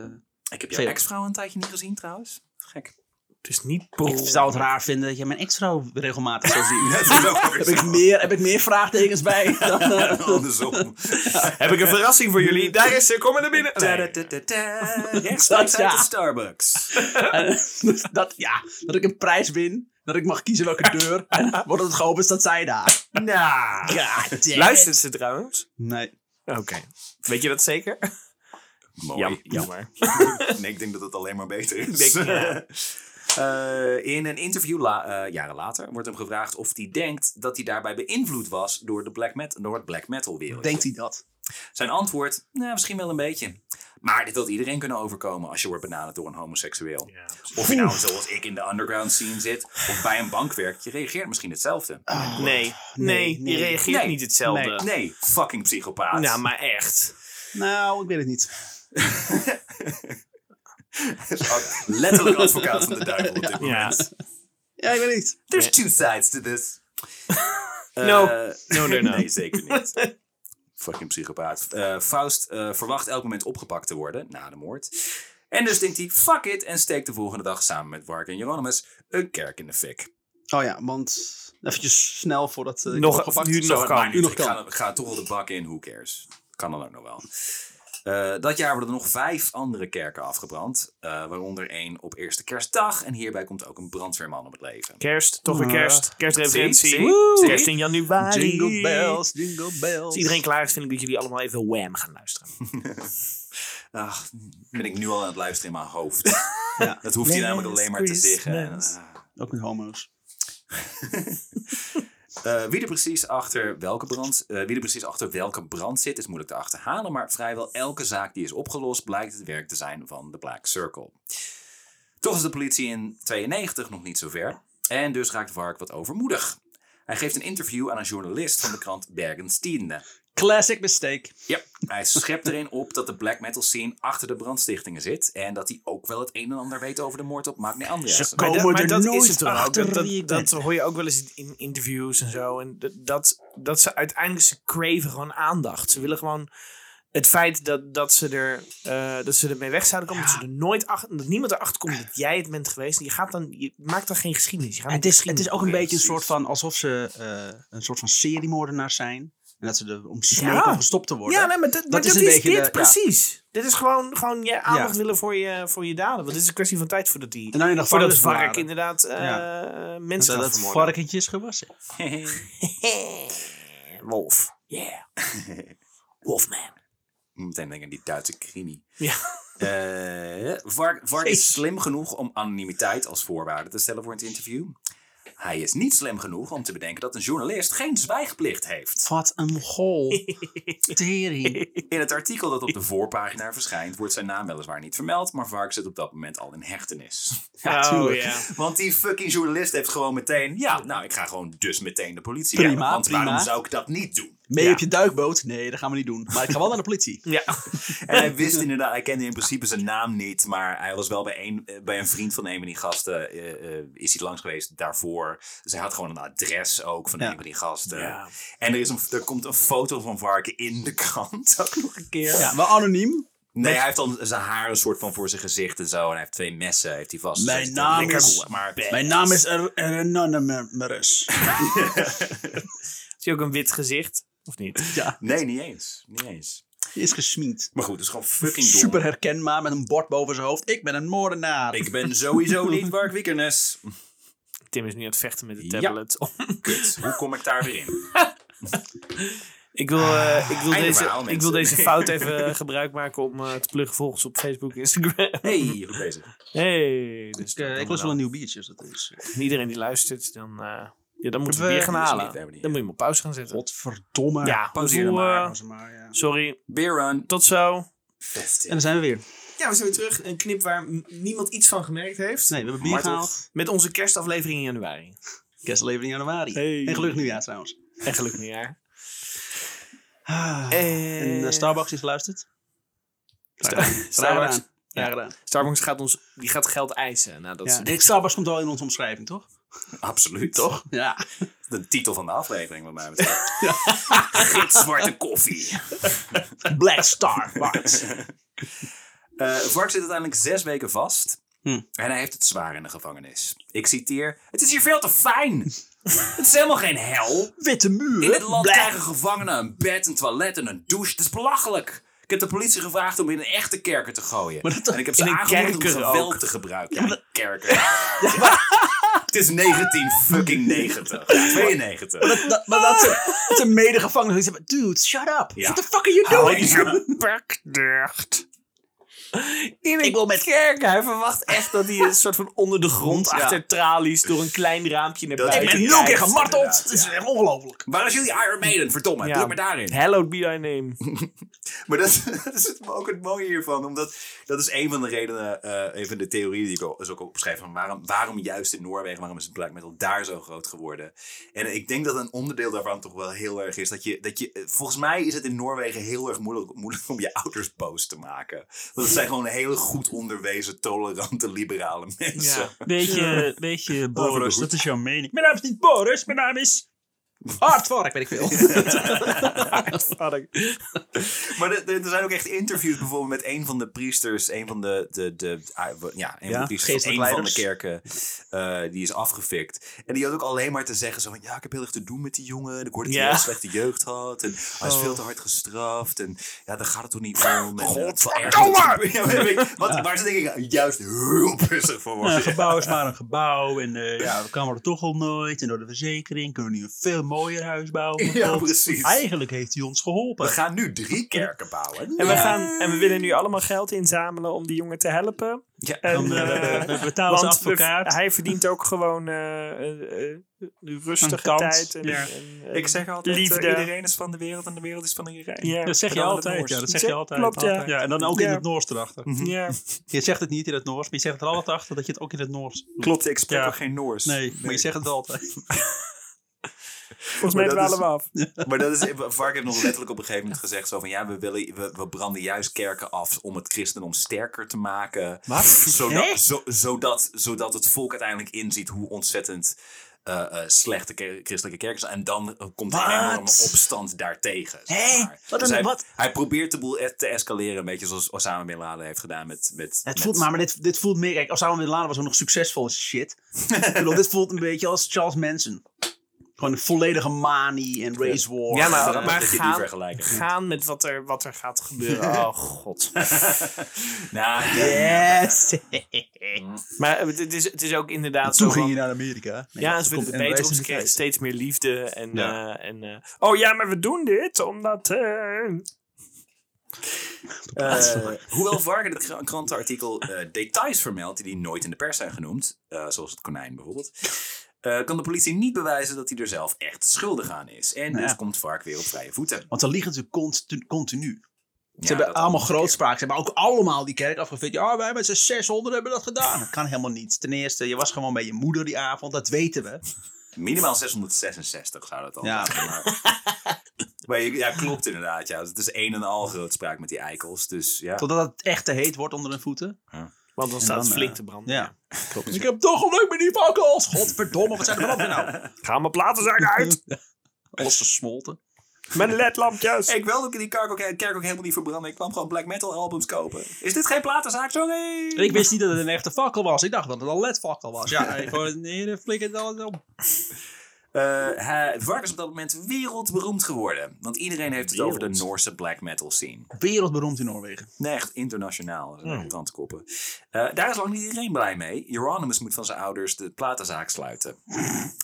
[SPEAKER 3] Ik heb
[SPEAKER 1] Veel.
[SPEAKER 3] jouw ex-vrouw een tijdje niet gezien trouwens. Gek.
[SPEAKER 2] Het is niet
[SPEAKER 1] Ik zou het raar vinden dat je mijn ex-vrouw regelmatig zou zien.
[SPEAKER 3] Dat is ook weer
[SPEAKER 1] heb, ik
[SPEAKER 3] zo.
[SPEAKER 1] meer, heb ik meer vraagtekens bij dan... eh,
[SPEAKER 3] Andersom.
[SPEAKER 2] Heb ik een verrassing voor jullie? Daar is ze, kom maar naar binnen.
[SPEAKER 3] Rechtstreeks
[SPEAKER 1] Ja.
[SPEAKER 3] uit de Starbucks.
[SPEAKER 1] En, dus dat, ja, dat ik een prijs win. Dat ik mag kiezen welke deur. En wordt het geopend, staat zij daar.
[SPEAKER 2] Nou.
[SPEAKER 1] God damn.
[SPEAKER 2] Luistert ze trouwens?
[SPEAKER 1] Nee.
[SPEAKER 2] Oké. Weet je dat zeker?
[SPEAKER 3] Mooi.
[SPEAKER 2] Jam, jammer.
[SPEAKER 3] nee, ik denk dat het alleen maar beter
[SPEAKER 2] Ik
[SPEAKER 3] is.
[SPEAKER 2] denk, ja.
[SPEAKER 3] Eh, in een interview la- eh, jaren later wordt hem gevraagd of hij denkt dat hij daarbij beïnvloed was door, de black met- door het black metal wereld.
[SPEAKER 1] Denkt hij dat?
[SPEAKER 3] Zijn antwoord, nou, misschien wel een beetje. Maar dit wil iedereen kunnen overkomen als je wordt benaderd door een homoseksueel. Of je nou zoals ik in de underground scene zit, of bij een bank werkt, je reageert misschien hetzelfde.
[SPEAKER 2] Nee, nee,
[SPEAKER 1] Ah, nee.
[SPEAKER 2] je reageert
[SPEAKER 3] Nee.
[SPEAKER 2] niet hetzelfde.
[SPEAKER 3] Nee, nee, fucking psychopaat.
[SPEAKER 2] Eh. Nou, maar echt.
[SPEAKER 1] Nou, ik weet het niet.
[SPEAKER 3] Letterlijk advocaat van de duivel op dit moment.
[SPEAKER 2] Ja.
[SPEAKER 1] Ja, ik weet het niet.
[SPEAKER 3] There's
[SPEAKER 2] Eh.
[SPEAKER 3] two sides to this.
[SPEAKER 2] No.
[SPEAKER 3] Eh,
[SPEAKER 2] No, they're not.
[SPEAKER 3] nee, zeker niet. Fucking psychopaat. Eh, Faust eh, verwacht elk moment opgepakt te worden na de moord. En dus denkt hij, fuck it, en steekt de volgende dag samen met Wark en Jeronimus een kerk in de fik.
[SPEAKER 1] Oh ja, want eventjes snel voordat... eh, ik
[SPEAKER 2] Nog-
[SPEAKER 1] word gepakt.
[SPEAKER 2] nu
[SPEAKER 3] Zo,
[SPEAKER 2] nog
[SPEAKER 3] het
[SPEAKER 2] kan.
[SPEAKER 3] maakt niet
[SPEAKER 1] Nu
[SPEAKER 3] uit.
[SPEAKER 1] nog
[SPEAKER 3] Ik ga, ik ga toch wel de bak in, who cares. Kan dan ook nog wel. Eh, dat jaar worden er nog vijf andere kerken afgebrand. eh, waaronder één op eerste kerstdag. En hierbij komt ook een brandweerman om het leven.
[SPEAKER 2] Kerst, toch weer kerst.
[SPEAKER 3] Zie,
[SPEAKER 2] Kerstreferentie.
[SPEAKER 3] zie, zie.
[SPEAKER 2] Kerst in januari.
[SPEAKER 1] Jingle bells, jingle bells.
[SPEAKER 2] Als iedereen klaar is, vind ik dat jullie allemaal even Wham gaan luisteren.
[SPEAKER 3] Ach, ben ik nu al aan het luisteren in mijn hoofd. Dat hoeft hij namelijk alleen maar te
[SPEAKER 2] Christmas.
[SPEAKER 3] zeggen. En, ah.
[SPEAKER 1] Ook met homo's.
[SPEAKER 3] Eh, wie, er precies achter welke brand, eh, wie er precies achter welke brand zit, is moeilijk te achterhalen. Maar vrijwel elke zaak die is opgelost, blijkt het werk te zijn van de Black Circle. Toch is de politie in 92 nog niet zo ver. En dus raakt Vark wat overmoedig. Hij geeft een interview aan een journalist van de krant Bergens Tiende.
[SPEAKER 1] Classic mistake.
[SPEAKER 3] Ja, hij schept erin op dat de black metal scene achter de brandstichtingen zit. En dat hij ook wel het een en ander weet over de moord op Magne Andreassen.
[SPEAKER 1] komen
[SPEAKER 2] dat-
[SPEAKER 1] er
[SPEAKER 2] dat
[SPEAKER 1] nooit
[SPEAKER 2] is het toch ook.
[SPEAKER 1] achter
[SPEAKER 2] Dat,
[SPEAKER 1] wie
[SPEAKER 2] dat,
[SPEAKER 1] ik
[SPEAKER 2] dat hoor je ook wel eens in interviews en zo. En dat- dat, dat ze uiteindelijk, ze craven gewoon aandacht. Ze willen gewoon het feit dat, dat, ze, er, eh, dat ze ermee weg zouden komen. Dat, ze er nooit achter, dat niemand erachter komt dat jij het bent geweest. Je, gaat dan, je maakt dan geen geschiedenis. Je gaat
[SPEAKER 1] Het
[SPEAKER 2] niet
[SPEAKER 1] is, het
[SPEAKER 2] geschiedenis
[SPEAKER 1] is ook een
[SPEAKER 2] maken.
[SPEAKER 1] beetje een soort van alsof ze eh, een soort van seriemoordenaar zijn. En dat ze er om smeek
[SPEAKER 2] Ja.
[SPEAKER 1] om gestopt te worden.
[SPEAKER 2] Ja, nee, maar dat, maar
[SPEAKER 1] is
[SPEAKER 2] dat
[SPEAKER 1] een
[SPEAKER 2] is,
[SPEAKER 1] beetje
[SPEAKER 2] dit
[SPEAKER 1] de- ja.
[SPEAKER 2] precies. Dit is gewoon, gewoon je aandacht
[SPEAKER 1] Ja.
[SPEAKER 2] willen voor je, voor je daden. Want het is een kwestie van tijd voordat die...
[SPEAKER 1] En dan in de
[SPEAKER 2] Voordat
[SPEAKER 1] gevangenis
[SPEAKER 2] vark
[SPEAKER 1] bewaren.
[SPEAKER 2] inderdaad eh,
[SPEAKER 1] Zodat
[SPEAKER 2] mensen gaat
[SPEAKER 1] het
[SPEAKER 2] vermoorden.
[SPEAKER 1] varkentje is gewassen.
[SPEAKER 2] Wolf. Yeah. Wolfman.
[SPEAKER 3] Meteen denk ik aan die Duitse crimi.
[SPEAKER 2] Ja.
[SPEAKER 3] Eh, Vark, Vark is
[SPEAKER 1] Jezus.
[SPEAKER 3] slim genoeg om anonimiteit als voorwaarde te stellen voor het interview. Hij is niet slim genoeg om te bedenken dat een journalist geen zwijgplicht heeft.
[SPEAKER 1] Wat een mogol. Tering.
[SPEAKER 3] In het artikel dat op de voorpagina verschijnt, wordt zijn naam weliswaar niet vermeld, maar Vark zit op dat moment al in hechtenis.
[SPEAKER 1] Oh, Ja, tuurlijk.
[SPEAKER 3] Want die fucking journalist heeft gewoon meteen. Ja, nou, ik ga gewoon dus meteen de politie
[SPEAKER 1] Prima,
[SPEAKER 3] bellen, Want waarom
[SPEAKER 1] prima.
[SPEAKER 3] zou ik dat niet doen?
[SPEAKER 1] Mee
[SPEAKER 2] Ja.
[SPEAKER 1] op je duikboot? Nee, dat gaan we niet doen. Maar ik ga wel naar de politie.
[SPEAKER 2] Ja.
[SPEAKER 3] En hij wist inderdaad, hij kende in principe zijn naam niet, maar hij was wel bij een, eh, bij een vriend van een van die gasten, eh, eh, is hij langs geweest daarvoor. Dus hij had gewoon een adres ook van
[SPEAKER 1] Ja.
[SPEAKER 3] een van die gasten.
[SPEAKER 2] Ja.
[SPEAKER 3] En er, is een, er komt een foto van Varken in de krant ook nog een keer.
[SPEAKER 1] Ja, wel anoniem.
[SPEAKER 3] Nee, hij heeft dan zijn haar een soort van voor zijn gezicht en zo. En hij heeft twee messen, heeft hij vast.
[SPEAKER 1] Mijn
[SPEAKER 3] Dus het is
[SPEAKER 1] naam
[SPEAKER 3] lekker
[SPEAKER 1] is-
[SPEAKER 3] cool, Maar
[SPEAKER 1] Mijn naam is Er- Anonymous.
[SPEAKER 2] Is hij ook een wit gezicht? Of niet?
[SPEAKER 1] Ja,
[SPEAKER 3] Nee, niet eens. Niet eens.
[SPEAKER 1] die is gesmied.
[SPEAKER 3] Maar goed, het is gewoon fucking dom.
[SPEAKER 1] Super herkenbaar met een bord boven zijn hoofd. Ik ben een moordenaar.
[SPEAKER 3] Ik ben sowieso niet Mark Wickernes.
[SPEAKER 2] Tim is nu aan het vechten met de
[SPEAKER 3] Ja.
[SPEAKER 2] tablet.
[SPEAKER 3] Kut, hoe kom ik daar weer in?
[SPEAKER 2] ik wil, eh, ik wil,
[SPEAKER 3] Einde
[SPEAKER 2] deze,
[SPEAKER 3] verhaal,
[SPEAKER 2] ik wil
[SPEAKER 3] mensen.
[SPEAKER 2] deze fout even gebruik maken om eh, te pluggen volgens op Facebook en Instagram.
[SPEAKER 3] Hey, goed bezig.
[SPEAKER 2] Hey. dus
[SPEAKER 1] Ik, eh, ik lust wel een nieuw biertje. als dat is.
[SPEAKER 2] Iedereen die luistert, dan, eh, ja, dan moeten we
[SPEAKER 1] We-
[SPEAKER 2] weer gaan
[SPEAKER 3] dat is
[SPEAKER 2] halen.
[SPEAKER 3] niet, we hebben die,
[SPEAKER 2] dan
[SPEAKER 3] ja.
[SPEAKER 2] moet je hem op pauze gaan zetten.
[SPEAKER 1] Godverdomme.
[SPEAKER 2] Ja,
[SPEAKER 3] pauzeer
[SPEAKER 2] hoeveel,
[SPEAKER 3] hem
[SPEAKER 2] eh,
[SPEAKER 3] maar.
[SPEAKER 1] Maar, ja.
[SPEAKER 2] sorry.
[SPEAKER 3] Beer run.
[SPEAKER 2] Tot zo.
[SPEAKER 1] En dan zijn we weer.
[SPEAKER 2] Ja, we zijn weer terug. Een knip waar m- niemand iets van gemerkt heeft.
[SPEAKER 1] Nee, we hebben bier
[SPEAKER 3] Maar toch.
[SPEAKER 1] gehaald.
[SPEAKER 2] Met onze kerstaflevering in januari.
[SPEAKER 1] Kerstlevering januari.
[SPEAKER 2] Hey.
[SPEAKER 1] En gelukkig nieuwjaar trouwens.
[SPEAKER 2] En gelukkig nieuwjaar.
[SPEAKER 1] Ah. En
[SPEAKER 2] En
[SPEAKER 1] eh, Starbucks is geluisterd. Graag gedaan.
[SPEAKER 2] Starbucks.
[SPEAKER 1] Graag gedaan. Graag gedaan.
[SPEAKER 2] Starbucks gaat ons die gaat geld eisen. Nou, dat
[SPEAKER 1] Ja.
[SPEAKER 2] is-
[SPEAKER 1] Ik denk, Starbucks komt wel in onze omschrijving, toch?
[SPEAKER 3] Absoluut. Toch?
[SPEAKER 1] Ja.
[SPEAKER 3] De titel van de aflevering, wat mij betreft. Gids zwarte koffie.
[SPEAKER 1] Black Starbucks.
[SPEAKER 3] Eh Vark zit uiteindelijk zes weken vast.
[SPEAKER 1] Hm.
[SPEAKER 3] En hij heeft het zwaar in de gevangenis. Ik citeer: Het is hier veel te fijn. het is helemaal geen hel.
[SPEAKER 1] Witte muur.
[SPEAKER 3] In het land
[SPEAKER 1] Black.
[SPEAKER 3] krijgen gevangenen een bed, een toilet en een douche. Het is belachelijk. Ik heb de politie gevraagd om in een echte kerker te gooien.
[SPEAKER 1] Maar dat-
[SPEAKER 3] en ik heb ze
[SPEAKER 2] in een
[SPEAKER 3] aangemoedigd om
[SPEAKER 2] kerker
[SPEAKER 3] geweld
[SPEAKER 2] ook.
[SPEAKER 3] te gebruiken. Ja, een kerker. Ja. Het is 19 fucking 90. 92.
[SPEAKER 1] Dat- maar dat ze- dat een medegevangene die zeggen, dude, shut up.
[SPEAKER 3] Ah. Ja. Oh,
[SPEAKER 1] What the fuck are you doing?
[SPEAKER 2] Pak dicht. In een kerk. Hij verwacht echt dat hij een soort van onder de grond
[SPEAKER 1] Ja.
[SPEAKER 2] achter tralies door een klein raampje naar
[SPEAKER 3] Dat
[SPEAKER 2] buiten
[SPEAKER 1] Ik ben
[SPEAKER 3] Inderdaad,
[SPEAKER 1] nul keer
[SPEAKER 3] inderdaad,
[SPEAKER 1] gemarteld. Het is
[SPEAKER 3] ja.
[SPEAKER 1] echt ongelooflijk.
[SPEAKER 3] Waar is jullie Iron Maiden? Verdomme,
[SPEAKER 2] Ja.
[SPEAKER 3] druk maar daarin.
[SPEAKER 2] Hello be thy name.
[SPEAKER 3] Maar dat, dat is het- ook het mooie hiervan. Omdat dat is een van de redenen, eh een van de theorieën die ik al, is ook al opschrijf. Van waarom, waarom juist in Noorwegen, waarom is het black metal daar zo groot geworden? En ik denk dat een onderdeel daarvan toch wel heel erg is. Dat je, dat je, eh, volgens mij is het in Noorwegen heel erg moeilijk, moeilijk om je ouders boos te maken. Want het zijn gewoon hele goed onderwezen, tolerante, liberale mensen.
[SPEAKER 4] Weet je, weet je
[SPEAKER 3] Over de
[SPEAKER 4] Boris,
[SPEAKER 3] hoed.
[SPEAKER 4] dat is jouw mening. Mijn naam is niet Boris, mijn naam is...
[SPEAKER 1] Hard work, weet ik veel.
[SPEAKER 3] Maar de- de- er zijn ook echt interviews bijvoorbeeld met een van de priesters, een van de, de, de, ah, we- ja, een
[SPEAKER 1] Ja,
[SPEAKER 3] van de priesters van
[SPEAKER 1] geestelijk
[SPEAKER 3] een van de
[SPEAKER 1] leiders.
[SPEAKER 3] kerken, eh, die is afgefikt. En die had ook alleen maar te zeggen zo van, ja, ik heb heel erg te doen met die jongen. En ik hoorde dat hij
[SPEAKER 2] Ja. Oh.
[SPEAKER 3] een slechte jeugd had. En hij is veel te hard gestraft. En ja, daar gaat het toch niet om. En, eh,
[SPEAKER 2] Godverdomme!
[SPEAKER 3] Ja, maar ik- Wat, Waar ze denk ik juist heel pissig voor
[SPEAKER 4] Nou, een
[SPEAKER 3] worden.
[SPEAKER 4] gebouw is maar een gebouw en eh, ja, we komen er toch al nooit. En door de verzekering kunnen we nu een veel mooier huis bouwen.
[SPEAKER 3] Ja, precies.
[SPEAKER 4] Eigenlijk heeft hij ons
[SPEAKER 3] We
[SPEAKER 4] geholpen.
[SPEAKER 3] gaan nu drie kerken bouwen.
[SPEAKER 2] En we, gaan, en we willen nu allemaal geld inzamelen om die jongen te helpen.
[SPEAKER 3] Ja,
[SPEAKER 2] En,
[SPEAKER 4] Dan
[SPEAKER 2] eh,
[SPEAKER 4] eh, we betalen ze
[SPEAKER 2] want we-
[SPEAKER 4] advocaat.
[SPEAKER 2] hij verdient ook gewoon eh, eh, eh, de
[SPEAKER 4] Een
[SPEAKER 2] rustige
[SPEAKER 4] kans,
[SPEAKER 2] tijd. En,
[SPEAKER 4] ja.
[SPEAKER 2] en, en-
[SPEAKER 3] ik zeg altijd, eh,
[SPEAKER 2] Liefde.
[SPEAKER 3] iedereen is van de wereld en de wereld is van iedereen.
[SPEAKER 2] ja.
[SPEAKER 4] Dat zeg
[SPEAKER 3] En
[SPEAKER 4] je
[SPEAKER 3] dan in het
[SPEAKER 4] altijd.
[SPEAKER 3] Noors.
[SPEAKER 4] Ja, dat zeg je
[SPEAKER 2] Zeg-
[SPEAKER 4] altijd.
[SPEAKER 2] klopt, ja.
[SPEAKER 4] Ja, en dan ook in
[SPEAKER 2] Ja. Mhm.
[SPEAKER 4] het Noors erachter.
[SPEAKER 2] Ja.
[SPEAKER 1] Je zegt het niet in het Noors, maar je zegt het er altijd achter dat je het ook in het Noors doet.
[SPEAKER 3] Klopt, ik spreek
[SPEAKER 4] Ja.
[SPEAKER 3] ook geen Noors.
[SPEAKER 1] Nee, maar je zegt het altijd.
[SPEAKER 2] Volgens
[SPEAKER 3] Maar
[SPEAKER 2] mij
[SPEAKER 3] dat
[SPEAKER 2] dwalen
[SPEAKER 3] is-
[SPEAKER 2] we af.
[SPEAKER 3] Maar dat is, Vark heeft nog letterlijk op een gegeven moment gezegd zo van ja, we, willen, we, we branden juist kerken af om het christendom sterker te maken.
[SPEAKER 1] Wat?
[SPEAKER 3] Zodat, zo, zodat, zodat het volk uiteindelijk inziet hoe ontzettend eh, eh, slecht de ke- christelijke kerk is. En dan eh, komt er een
[SPEAKER 1] Wat?
[SPEAKER 3] enorme opstand daartegen. zeg
[SPEAKER 1] Hé,
[SPEAKER 3] maar.
[SPEAKER 1] wat
[SPEAKER 3] Dus
[SPEAKER 1] een-
[SPEAKER 3] hij,
[SPEAKER 1] wat?
[SPEAKER 3] hij probeert de boel e- te escaleren, een beetje zoals Osama Bin Laden heeft gedaan met... met
[SPEAKER 1] Het
[SPEAKER 3] met-
[SPEAKER 1] voelt, maar maar dit, dit voelt meer... Kijk, Osama Bin Laden was ook nog succesvol als shit. Ik bedoel, dit voelt een beetje als Charles Manson. Gewoon een volledige manie en race war.
[SPEAKER 2] Ja, maar-
[SPEAKER 3] Dat-
[SPEAKER 1] Eh,
[SPEAKER 3] dat je het niet
[SPEAKER 2] gaan-
[SPEAKER 3] vergelijken.
[SPEAKER 2] Gaan met wat er, wat er gaat gebeuren. Oh god.
[SPEAKER 3] Nou,
[SPEAKER 1] Yes!
[SPEAKER 2] Maar eh, het is, het is ook inderdaad zo.
[SPEAKER 1] Toen ging
[SPEAKER 2] van-
[SPEAKER 1] je naar Amerika. Nee,
[SPEAKER 2] ja,
[SPEAKER 1] dat
[SPEAKER 2] ze
[SPEAKER 1] komt-
[SPEAKER 2] vinden het
[SPEAKER 1] en
[SPEAKER 2] beter
[SPEAKER 1] wij
[SPEAKER 2] om ze
[SPEAKER 1] zijn
[SPEAKER 2] kregen
[SPEAKER 1] het
[SPEAKER 2] steeds meer liefde. En,
[SPEAKER 1] Ja.
[SPEAKER 2] eh, en, eh, oh ja, maar we doen dit omdat... eh,
[SPEAKER 3] Eh, hoewel Vark in het kra- krantenartikel eh, details vermeldt die nooit in de pers zijn genoemd, eh, zoals het konijn bijvoorbeeld, eh, kan de politie niet bewijzen dat hij er zelf echt schuldig aan is. En
[SPEAKER 1] Nou
[SPEAKER 3] dus
[SPEAKER 1] ja.
[SPEAKER 3] komt Vark weer op vrije voeten.
[SPEAKER 1] Want dan liegen ze continu. continu.
[SPEAKER 3] Ja,
[SPEAKER 1] Ze hebben
[SPEAKER 3] dat
[SPEAKER 1] allemaal
[SPEAKER 3] allemaal
[SPEAKER 1] grootspraak. Ze hebben ook allemaal die kerk afgevinkt. Ja, wij met z'n 600 hebben dat gedaan. Dat kan helemaal niet. Ten eerste, je was gewoon bij je moeder die avond. Dat weten we.
[SPEAKER 3] Minimaal 666 zou dat al
[SPEAKER 1] Ja.
[SPEAKER 3] zijn. Maar, maar je- ja, klopt inderdaad. Ja. Het is een en al grootspraak met die eikels. Dus ja.
[SPEAKER 1] Totdat het echt te heet wordt onder hun voeten.
[SPEAKER 2] Want dan
[SPEAKER 1] En
[SPEAKER 2] staat
[SPEAKER 1] dan,
[SPEAKER 2] het flink
[SPEAKER 1] eh,
[SPEAKER 2] te branden.
[SPEAKER 1] Ja.
[SPEAKER 2] Dus
[SPEAKER 1] Klopt. Ik heb toch geluk met die fakkels. Godverdomme, wat zijn er vanaf nou?
[SPEAKER 2] Gaan mijn platenzaak uit?
[SPEAKER 1] Alles gesmolten.
[SPEAKER 2] Mijn ledlampjes.
[SPEAKER 3] Ik wilde ook die kerk ook, kerk ook helemaal niet verbranden. Ik kwam gewoon black metal albums kopen. Is dit geen platenzaak? Sorry!
[SPEAKER 1] Ik wist niet dat het een echte fakkel was. Ik dacht dat het een ledfakkel was. Ja, nee, gewoon, nee, flikker het alles op.
[SPEAKER 3] Eh, hij, Vark is op dat moment wereldberoemd geworden. Want iedereen heeft het over de Noorse black metal scene.
[SPEAKER 1] Wereldberoemd in Noorwegen.
[SPEAKER 3] Nee, echt internationaal.
[SPEAKER 1] Hmm.
[SPEAKER 3] Mm. Tandkoppen. Eh, daar is lang niet iedereen blij mee. Hieronymus moet van zijn ouders de platenzaak sluiten.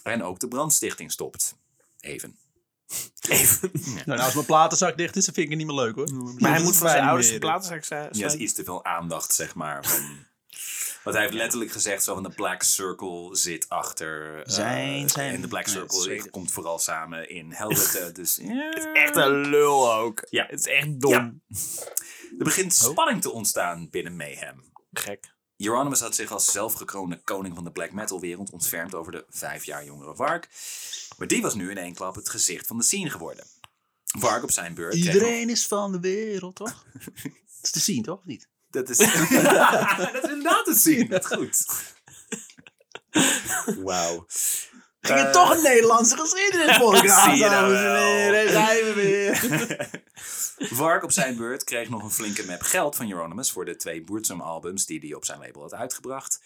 [SPEAKER 3] en ook de brandstichting stopt. Even. Even. Ja,
[SPEAKER 1] Nou, nou, als mijn platenzak dicht is, dan vind ik het niet meer leuk hoor.
[SPEAKER 2] Mm. Maar hij moet van zijn ouders de
[SPEAKER 1] meer.
[SPEAKER 2] platenzaak zijn.
[SPEAKER 3] Ja, het is iets te veel aandacht, zeg maar. van- Want hij heeft letterlijk gezegd, zo van de Black Circle zit achter. eh,
[SPEAKER 1] Zijn, zijn.
[SPEAKER 3] En de Black
[SPEAKER 1] Ja,
[SPEAKER 3] Circle
[SPEAKER 1] zeker.
[SPEAKER 3] komt vooral samen in Helvete. Dus,
[SPEAKER 2] Echt een lul ook.
[SPEAKER 3] Ja.
[SPEAKER 2] Het is echt dom.
[SPEAKER 3] Ja. Er begint
[SPEAKER 1] Oh.
[SPEAKER 3] spanning te ontstaan binnen Mayhem.
[SPEAKER 2] Gek.
[SPEAKER 3] Euronymous had zich als zelfgekroonde koning van de black metal wereld ontfermd over de vijf jaar jongere Vark. Maar die was nu in één klap het gezicht van de scene geworden. Vark op zijn beurt. kreeg-
[SPEAKER 1] Iedereen is van de wereld, toch? Dat is te zien, toch? Of niet?
[SPEAKER 3] Dat is, dat is inderdaad het zien. Dat is goed. Wauw. Eh,
[SPEAKER 1] Ging het toch een Nederlandse geschiedenis
[SPEAKER 3] Zie
[SPEAKER 1] podcast,
[SPEAKER 3] je nou
[SPEAKER 1] dames en
[SPEAKER 3] wel.
[SPEAKER 1] heren? Daar zijn we weer.
[SPEAKER 3] Vark op zijn beurt kreeg nog een flinke map geld van Euronymous voor de twee Boertsum albums die hij op zijn label had uitgebracht.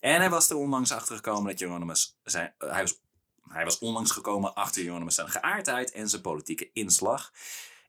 [SPEAKER 3] En hij was er onlangs achter gekomen dat Euronymous zijn. eh, hij, was, hij was onlangs gekomen achter Euronymous zijn geaardheid en zijn politieke inslag.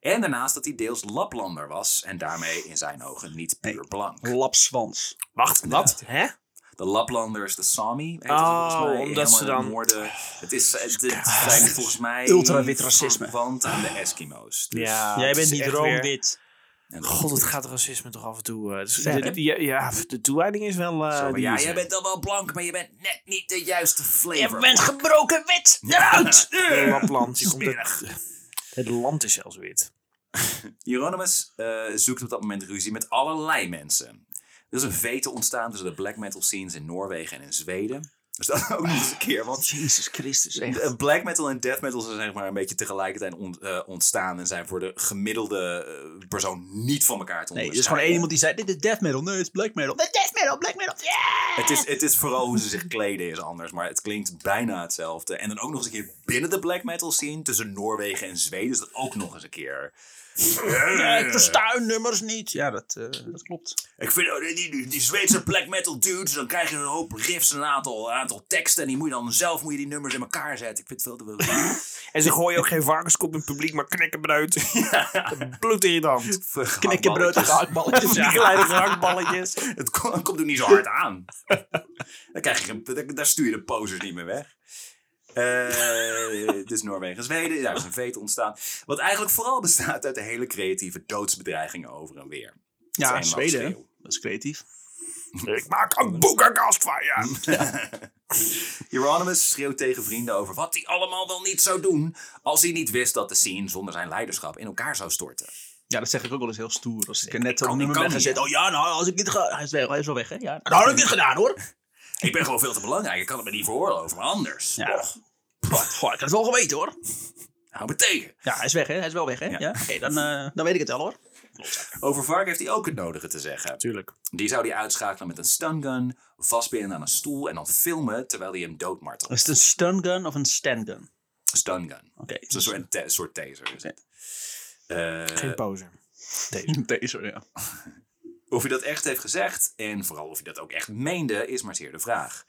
[SPEAKER 3] En daarnaast dat hij deels Laplander was en daarmee in zijn ogen niet puur blank.
[SPEAKER 1] Lapswans.
[SPEAKER 2] Wacht, wat? Hè?
[SPEAKER 3] De Laplanders, de Sami. heet het
[SPEAKER 2] Oh,
[SPEAKER 3] volgens mij,
[SPEAKER 2] omdat ze
[SPEAKER 3] helemaal in
[SPEAKER 2] dan-
[SPEAKER 3] het noorden. Het, is, het, het zijn volgens mij.
[SPEAKER 1] Ultrawit racisme.
[SPEAKER 3] Want aan de Eskimo's. Dus-
[SPEAKER 2] Ja,
[SPEAKER 4] Jij
[SPEAKER 2] het
[SPEAKER 4] bent
[SPEAKER 2] is
[SPEAKER 4] niet
[SPEAKER 2] echt weer-
[SPEAKER 4] rood-wit.
[SPEAKER 3] en-
[SPEAKER 2] God, het gaat racisme toch af en toe. eh, dus
[SPEAKER 1] Ver,
[SPEAKER 2] de, ja, ja, de toewijding is wel. eh,
[SPEAKER 3] Zo,
[SPEAKER 2] die
[SPEAKER 3] ja,
[SPEAKER 2] is
[SPEAKER 3] jij
[SPEAKER 2] er.
[SPEAKER 3] bent dan wel blank, maar je bent net niet de juiste flavor.
[SPEAKER 1] gebroken wit. Eruit!
[SPEAKER 2] Nee, Lapland. Je komt uit- het land is zelfs wit.
[SPEAKER 3] Hieronymus eh, zoekt op dat moment ruzie met allerlei mensen. Er is een vete ontstaan tussen de black metal scenes in Noorwegen en in Zweden. Dus dat ook nog eens een keer, want
[SPEAKER 1] Jezus Christus, echt.
[SPEAKER 3] Eh, Black metal en death metal zijn zeg maar een beetje tegelijkertijd ont- eh, ontstaan en zijn voor de gemiddelde eh, persoon niet van elkaar te onderscheiden.
[SPEAKER 1] Nee, er is gewoon één iemand die zei, dit is death metal. Nee, het is black metal. Nee, death metal, black metal. Yeah!
[SPEAKER 3] Het is, het is vooral hoe ze zich kleden is anders, maar het klinkt bijna hetzelfde. En dan ook nog eens een keer binnen de black metal scene, tussen Noorwegen en Zweden, is dat ook nog eens een keer.
[SPEAKER 1] Ja, ik versta hun nummers niet. Ja, dat, eh, dat klopt.
[SPEAKER 3] Ik vind oh, die, die, die Zweedse black metal dudes, dan krijg je een hoop riffs en een aantal, een aantal teksten en die moet je dan zelf moet je die nummers in elkaar zetten. Ik vind het veel te veel.
[SPEAKER 2] En ze gooien ook geen varkenskop in het publiek, maar knikken bruid. Bloedirritant.
[SPEAKER 1] Knikkenbrood en gehaktballetjes.
[SPEAKER 2] Die kleine gehaktballetjes.
[SPEAKER 3] Het ko- komt ook niet zo hard aan. daar, krijg je, geen- daar- daar stuur je de posers niet meer weg. Eh, dus Noorwegen, Zweden, daar is een veet ontstaan. Wat eigenlijk vooral bestaat uit de hele creatieve doodsbedreigingen over en weer.
[SPEAKER 1] Ja,
[SPEAKER 3] Zijn
[SPEAKER 1] Zweden. hè?
[SPEAKER 3] schreeuw.
[SPEAKER 1] Dat is creatief.
[SPEAKER 2] Ik maak een boekenkast van je.
[SPEAKER 3] Hieronymus schreeuwt tegen vrienden over wat hij allemaal wel niet zou doen. als hij niet wist dat de scene zonder zijn leiderschap in elkaar zou storten.
[SPEAKER 1] Ja, dat zeg ik ook wel eens heel stoer. Als ik er net
[SPEAKER 3] kan-
[SPEAKER 1] zo'n
[SPEAKER 3] ik
[SPEAKER 1] nummer
[SPEAKER 3] kan
[SPEAKER 1] weg
[SPEAKER 3] niet,
[SPEAKER 1] gezet.
[SPEAKER 3] ja.
[SPEAKER 1] Oh ja, nou, als ik niet ga... Hij is weg, hij is wel weg, hè? Ja, nou, had ik dit gedaan, hoor.
[SPEAKER 3] Ik ben gewoon veel te belangrijk, ik kan het me niet veroorloven, maar anders.
[SPEAKER 1] Ja.
[SPEAKER 3] Och,
[SPEAKER 1] Goh, ik had het wel geweten, hoor.
[SPEAKER 3] hou me tegen.
[SPEAKER 1] Ja, hij is weg, hè? Hij is wel weg, hè?
[SPEAKER 3] Ja.
[SPEAKER 1] Ja. Oké, dan, eh, dan weet ik het wel, hoor.
[SPEAKER 3] Over Vark heeft hij ook het nodige te zeggen.
[SPEAKER 2] Tuurlijk.
[SPEAKER 3] Die zou hij uitschakelen met een stungun, vastbinden aan een stoel en dan filmen terwijl hij hem doodmartelt.
[SPEAKER 1] Is het een stun gun of een stand gun?
[SPEAKER 3] Stungun.
[SPEAKER 1] Oké.
[SPEAKER 3] Dat is een soort, ta- soort taser. Is het. Eh,
[SPEAKER 2] Geen poser.
[SPEAKER 1] Deze, ja.
[SPEAKER 3] of hij dat echt heeft gezegd en vooral of hij dat ook echt meende, is maar zeer de vraag.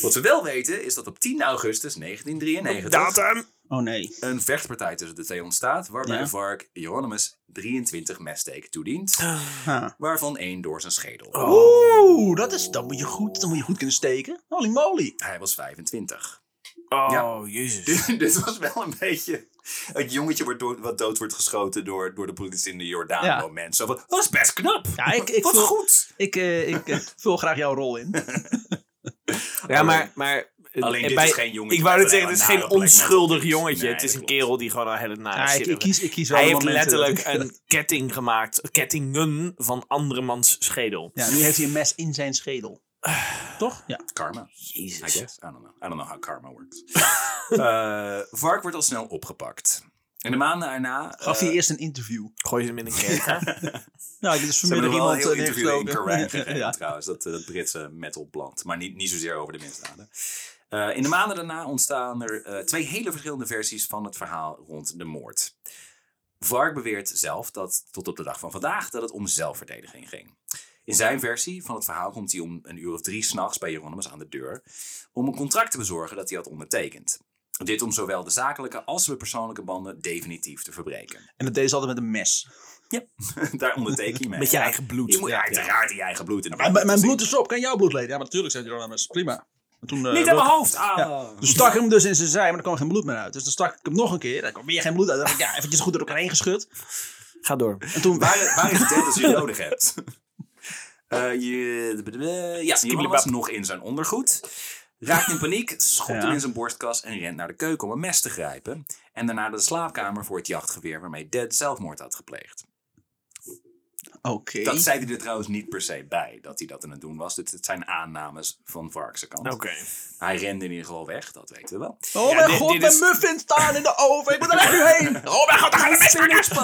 [SPEAKER 3] Wat we wel weten is dat op 10 augustus 1993
[SPEAKER 2] Datum.
[SPEAKER 1] Oh, nee.
[SPEAKER 3] een vechtpartij tussen de twee ontstaat, waarbij
[SPEAKER 1] Ja.
[SPEAKER 3] Vark Hieronymus 23 messteken toedient,
[SPEAKER 1] Ah. Huh.
[SPEAKER 3] waarvan één door zijn schedel.
[SPEAKER 1] Oh. Oeh, dat is... Dan moet je goed, dan moet je goed kunnen steken. Holy moly.
[SPEAKER 3] Hij was 25.
[SPEAKER 2] Oh,
[SPEAKER 3] Ja.
[SPEAKER 2] jezus.
[SPEAKER 3] Dit, dit was wel een beetje het jongetje wat dood, wat dood wordt geschoten door, door de politie in de Jordaan
[SPEAKER 1] Ja.
[SPEAKER 3] moment. Zo van, dat is best knap.
[SPEAKER 1] Ja, ik, ik,
[SPEAKER 3] Wat
[SPEAKER 1] vul,
[SPEAKER 3] goed.
[SPEAKER 1] ik, eh, ik eh, vul graag jouw rol in.
[SPEAKER 2] Ja, maar... maar
[SPEAKER 3] Alleen
[SPEAKER 2] eh,
[SPEAKER 3] dit
[SPEAKER 2] bij-
[SPEAKER 3] is geen jongetje.
[SPEAKER 2] Ik wou net
[SPEAKER 3] met
[SPEAKER 2] zeggen,
[SPEAKER 3] alleen
[SPEAKER 2] dit is
[SPEAKER 3] maar
[SPEAKER 2] geen
[SPEAKER 3] nare black metal
[SPEAKER 2] onschuldig
[SPEAKER 3] dudes.
[SPEAKER 2] jongetje.
[SPEAKER 3] Nee,
[SPEAKER 2] het is
[SPEAKER 3] dat
[SPEAKER 2] een
[SPEAKER 3] klopt.
[SPEAKER 2] kerel die gewoon al hele nare
[SPEAKER 1] Ja, ik,
[SPEAKER 2] shit
[SPEAKER 1] ik kies, ik kies wel
[SPEAKER 2] Hij
[SPEAKER 1] de
[SPEAKER 2] heeft
[SPEAKER 1] momenten dat
[SPEAKER 2] letterlijk
[SPEAKER 1] ik-
[SPEAKER 2] een ketting gemaakt. Kettingen van andermans schedel.
[SPEAKER 1] Ja, nu heeft hij een mes in zijn schedel. Toch? Ja.
[SPEAKER 3] Karma, I
[SPEAKER 2] Jezus.
[SPEAKER 3] guess. I don't know. I don't know how karma works. Eh, Vark wordt al snel opgepakt. En de maanden daarna...
[SPEAKER 1] Gaf
[SPEAKER 3] eh,
[SPEAKER 1] hij eerst een interview?
[SPEAKER 2] Gooi ze hem in een kerker.
[SPEAKER 1] Nou, dit is
[SPEAKER 3] Ze
[SPEAKER 1] vanmiddag
[SPEAKER 3] hebben er wel een
[SPEAKER 1] iemand
[SPEAKER 3] heel
[SPEAKER 1] eh,
[SPEAKER 3] interview in
[SPEAKER 1] neergestoken.
[SPEAKER 3] Kerrang gegeven,
[SPEAKER 1] Ja.
[SPEAKER 3] trouwens. Dat, eh, dat Britse metalblad. Maar niet, niet zozeer over de misdaden. Eh, in de maanden daarna ontstaan er eh, twee hele verschillende versies van het verhaal rond de moord. Vark beweert zelf dat, tot op de dag van vandaag, dat het om zelfverdediging ging. In zijn versie van het verhaal komt hij om een uur of drie s'nachts bij Hieronymus aan de deur om een contract te bezorgen dat hij had ondertekend. Dit om zowel de zakelijke als de persoonlijke banden definitief te verbreken.
[SPEAKER 1] En dat deed ze altijd met een mes.
[SPEAKER 3] Daar onderteken je mee.
[SPEAKER 2] Met je eigen bloed.
[SPEAKER 3] Je moet
[SPEAKER 2] Ja,
[SPEAKER 3] uiteraard je eigen bloed in de
[SPEAKER 1] Mijn,
[SPEAKER 3] band
[SPEAKER 1] mijn
[SPEAKER 3] zien.
[SPEAKER 1] bloed is op, kan jouw bloed leden? Ja, maar natuurlijk, zei Jeronimus. Prima. En Toen, eh,
[SPEAKER 3] Niet aan mijn hoofd! Ah.
[SPEAKER 1] toen stak ik hem dus in zijn zij, maar er kwam geen bloed meer uit. Dus dan stak ik hem nog een keer. Er kwam weer geen bloed uit. Dan dacht ik, ja, eventjes goed door elkaar heen geschud.
[SPEAKER 2] Ga door.
[SPEAKER 1] En toen...
[SPEAKER 3] Waar, waar is het deel dat je nodig hebt? Eh, je, ja, je was nog in zijn ondergoed. Raakt in paniek, schopt hem
[SPEAKER 1] Ja.
[SPEAKER 3] in zijn borstkas en rent naar de keuken om een mes te grijpen. En daarna naar de slaapkamer voor het jachtgeweer waarmee Dead zelfmoord had gepleegd.
[SPEAKER 1] Oké.
[SPEAKER 3] Dat zei hij er trouwens niet per se bij, dat hij dat aan het doen was. Dit, het zijn aannames van Varkse kant.
[SPEAKER 2] Oké.
[SPEAKER 3] Hij rende in ieder geval weg, dat weten we wel.
[SPEAKER 1] Oh
[SPEAKER 2] Ja,
[SPEAKER 1] mijn
[SPEAKER 2] dit-
[SPEAKER 1] god,
[SPEAKER 2] dit
[SPEAKER 1] mijn
[SPEAKER 2] is-
[SPEAKER 1] muffins staan in de oven. Ik moet er echt nu heen. Oh mijn god, daar gaan de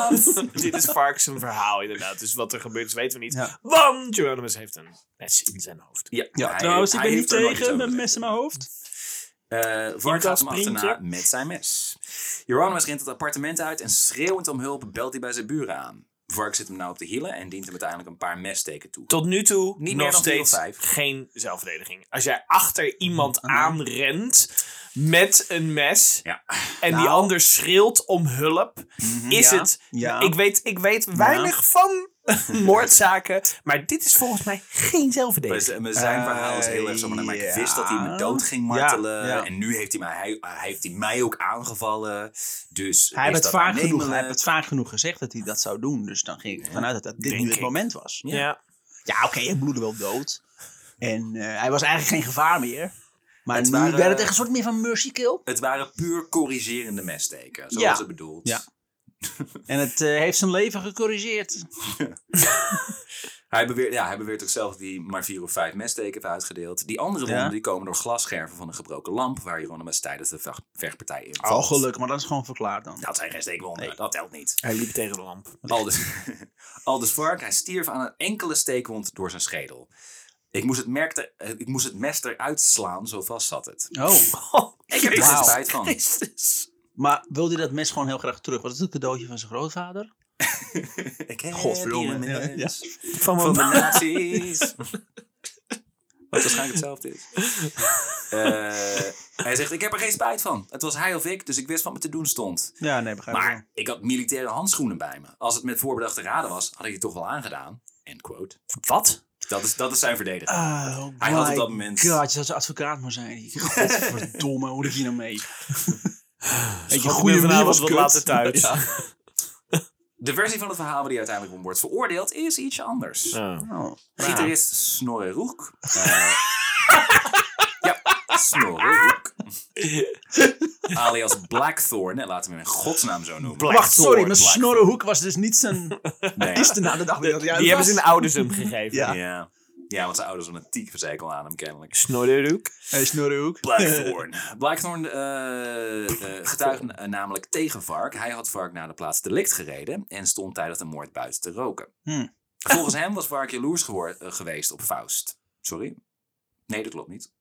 [SPEAKER 1] mensen in.
[SPEAKER 2] Dit is Vark's een verhaal inderdaad. Dus wat er gebeurt, is weten we niet.
[SPEAKER 1] Ja.
[SPEAKER 2] Want Geronimus heeft een mes in zijn hoofd.
[SPEAKER 3] Ja, hij-
[SPEAKER 4] Trouwens, ik
[SPEAKER 3] hij
[SPEAKER 4] ben niet
[SPEAKER 3] heeft er nooit iets
[SPEAKER 4] tegen
[SPEAKER 3] over
[SPEAKER 4] met mes in mijn hoofd.
[SPEAKER 3] Eh Vark gaat hem
[SPEAKER 2] Vriendje.
[SPEAKER 3] achterna met zijn mes. Hieronymus rent het appartement uit en schreeuwend om hulp belt hij bij zijn buren aan. Vark zit hem nou op de hielen en dient hem uiteindelijk een paar messteken toe.
[SPEAKER 2] Tot nu toe
[SPEAKER 3] Niet
[SPEAKER 2] nog
[SPEAKER 3] meer dan vier of
[SPEAKER 2] steeds
[SPEAKER 3] vijf.
[SPEAKER 2] geen zelfverdediging. Als jij achter iemand aanrent met een mes
[SPEAKER 3] Ja.
[SPEAKER 2] en die
[SPEAKER 1] Nou.
[SPEAKER 2] ander schreeuwt om hulp, is
[SPEAKER 1] Ja.
[SPEAKER 2] het...
[SPEAKER 1] Ja.
[SPEAKER 2] Ik weet, ik weet weinig van moordzaken, maar dit is volgens mij geen
[SPEAKER 3] Maar
[SPEAKER 2] zelfverdediging.
[SPEAKER 3] z- maar zijn
[SPEAKER 1] Eh,
[SPEAKER 3] verhaal is heel erg zo. Maar ik
[SPEAKER 1] ja.
[SPEAKER 3] wist dat hij me dood ging
[SPEAKER 1] Ja,
[SPEAKER 3] martelen.
[SPEAKER 1] ja.
[SPEAKER 3] En nu heeft hij, mij, hij, hij heeft hij mij ook aangevallen. Dus
[SPEAKER 1] Hij heeft,
[SPEAKER 3] is
[SPEAKER 1] het vaak
[SPEAKER 3] dat
[SPEAKER 1] genoeg, hij
[SPEAKER 3] aannemelijk?
[SPEAKER 1] heeft het vaak genoeg gezegd dat hij dat zou doen. Dus dan ging ik ervan uit dat, dat dit
[SPEAKER 2] Denk
[SPEAKER 1] nu het
[SPEAKER 2] ik.
[SPEAKER 1] moment was.
[SPEAKER 3] Ja.
[SPEAKER 2] Ja.
[SPEAKER 1] Ja, oké, hij bloedde wel dood. En eh, hij was eigenlijk geen gevaar meer. Maar
[SPEAKER 3] Het
[SPEAKER 1] nu
[SPEAKER 3] waren-
[SPEAKER 1] werd het echt een soort meer van mercy kill.
[SPEAKER 3] Het waren puur corrigerende messteken. Zoals
[SPEAKER 1] Ja.
[SPEAKER 3] het bedoeld.
[SPEAKER 1] Ja. En het eh, heeft zijn leven gecorrigeerd.
[SPEAKER 3] Hij, beweert, ja, hij beweert ook zelf dat hij maar vier of vijf messteken heeft uitgedeeld. Die andere wonden
[SPEAKER 1] Ja.
[SPEAKER 3] die komen door glasscherven van een gebroken lamp. Waar Hieronymus tijdens de vech- vechtpartij in
[SPEAKER 1] Oh, gelukkig, maar dat is gewoon verklaard dan.
[SPEAKER 3] Dat zijn geen steekwonden.
[SPEAKER 1] Nee.
[SPEAKER 3] Dat telt niet.
[SPEAKER 2] Hij liep tegen de lamp.
[SPEAKER 3] Aldus, Aldus Vark, hij stierf aan een enkele steekwond door zijn schedel. Ik moest het, merkte, eh, ik moest het mes eruit slaan, zo vast zat het.
[SPEAKER 1] Oh,
[SPEAKER 3] Ik heb er
[SPEAKER 1] Jezus
[SPEAKER 3] geen spijt van.
[SPEAKER 1] maar wilde hij dat mes gewoon heel graag terug? Was het een cadeautje van zijn grootvader?
[SPEAKER 3] Ik heb
[SPEAKER 1] Godverdomme.
[SPEAKER 3] hier een
[SPEAKER 1] Ja, Oh, nou.
[SPEAKER 3] mes
[SPEAKER 2] Van
[SPEAKER 3] Van
[SPEAKER 2] mijn
[SPEAKER 3] de nazi's. Wat waarschijnlijk hetzelfde is. Eh, hij zegt, ik heb er geen spijt van. Het was hij of ik, dus ik wist wat me te doen stond.
[SPEAKER 1] Ja, nee, begrijp ik wel.
[SPEAKER 3] Maar ik had militaire handschoenen bij me. Als het met voorbedachte raden was, had ik die toch wel aangedaan. End quote.
[SPEAKER 2] Wat?
[SPEAKER 3] Dat is, dat is zijn verdediger.
[SPEAKER 1] Oh,
[SPEAKER 3] Hij had
[SPEAKER 1] my
[SPEAKER 3] op dat moment-
[SPEAKER 1] God, je zou zijn advocaat maar zijn. Godverdomme, hoe ik hier nou mee? Weet je,
[SPEAKER 2] Schat, ik
[SPEAKER 1] goede
[SPEAKER 2] ben
[SPEAKER 1] manier was
[SPEAKER 2] vanavond wat
[SPEAKER 1] kut.
[SPEAKER 2] later thuis.
[SPEAKER 3] De versie van het verhaal waar die uiteindelijk om wordt veroordeeld is ietsje anders.
[SPEAKER 2] Oh.
[SPEAKER 1] Oh,
[SPEAKER 3] Gitarist Snorre Roek. eh, ja, Snorre Roek. Alias Blackthorn. En laten we hem in godsnaam zo noemen.
[SPEAKER 2] Black-
[SPEAKER 1] Wacht, sorry, maar
[SPEAKER 3] Blackthorn.
[SPEAKER 1] Snorrehoek was dus niet zijn
[SPEAKER 3] Nee.
[SPEAKER 1] is de na de dag weer dat hij uit
[SPEAKER 2] Die hebben
[SPEAKER 1] was.
[SPEAKER 2] zijn ouders hem gegeven.
[SPEAKER 1] Ja.
[SPEAKER 3] Ja. ja, want zijn ouders hadden een tiekverzekel aan hem kennelijk.
[SPEAKER 2] Snorderhoek.
[SPEAKER 1] Hey, Snorrehoek.
[SPEAKER 3] Blackthorn. Blackthorn eh, eh, getuigde eh, namelijk tegen Vark. Hij had Vark naar de plaats delict gereden en stond tijdens de moord buiten te roken.
[SPEAKER 1] Hmm.
[SPEAKER 3] Volgens hem was Vark jaloers gehoor- eh, geweest op Faust. Sorry? Nee, dat klopt niet.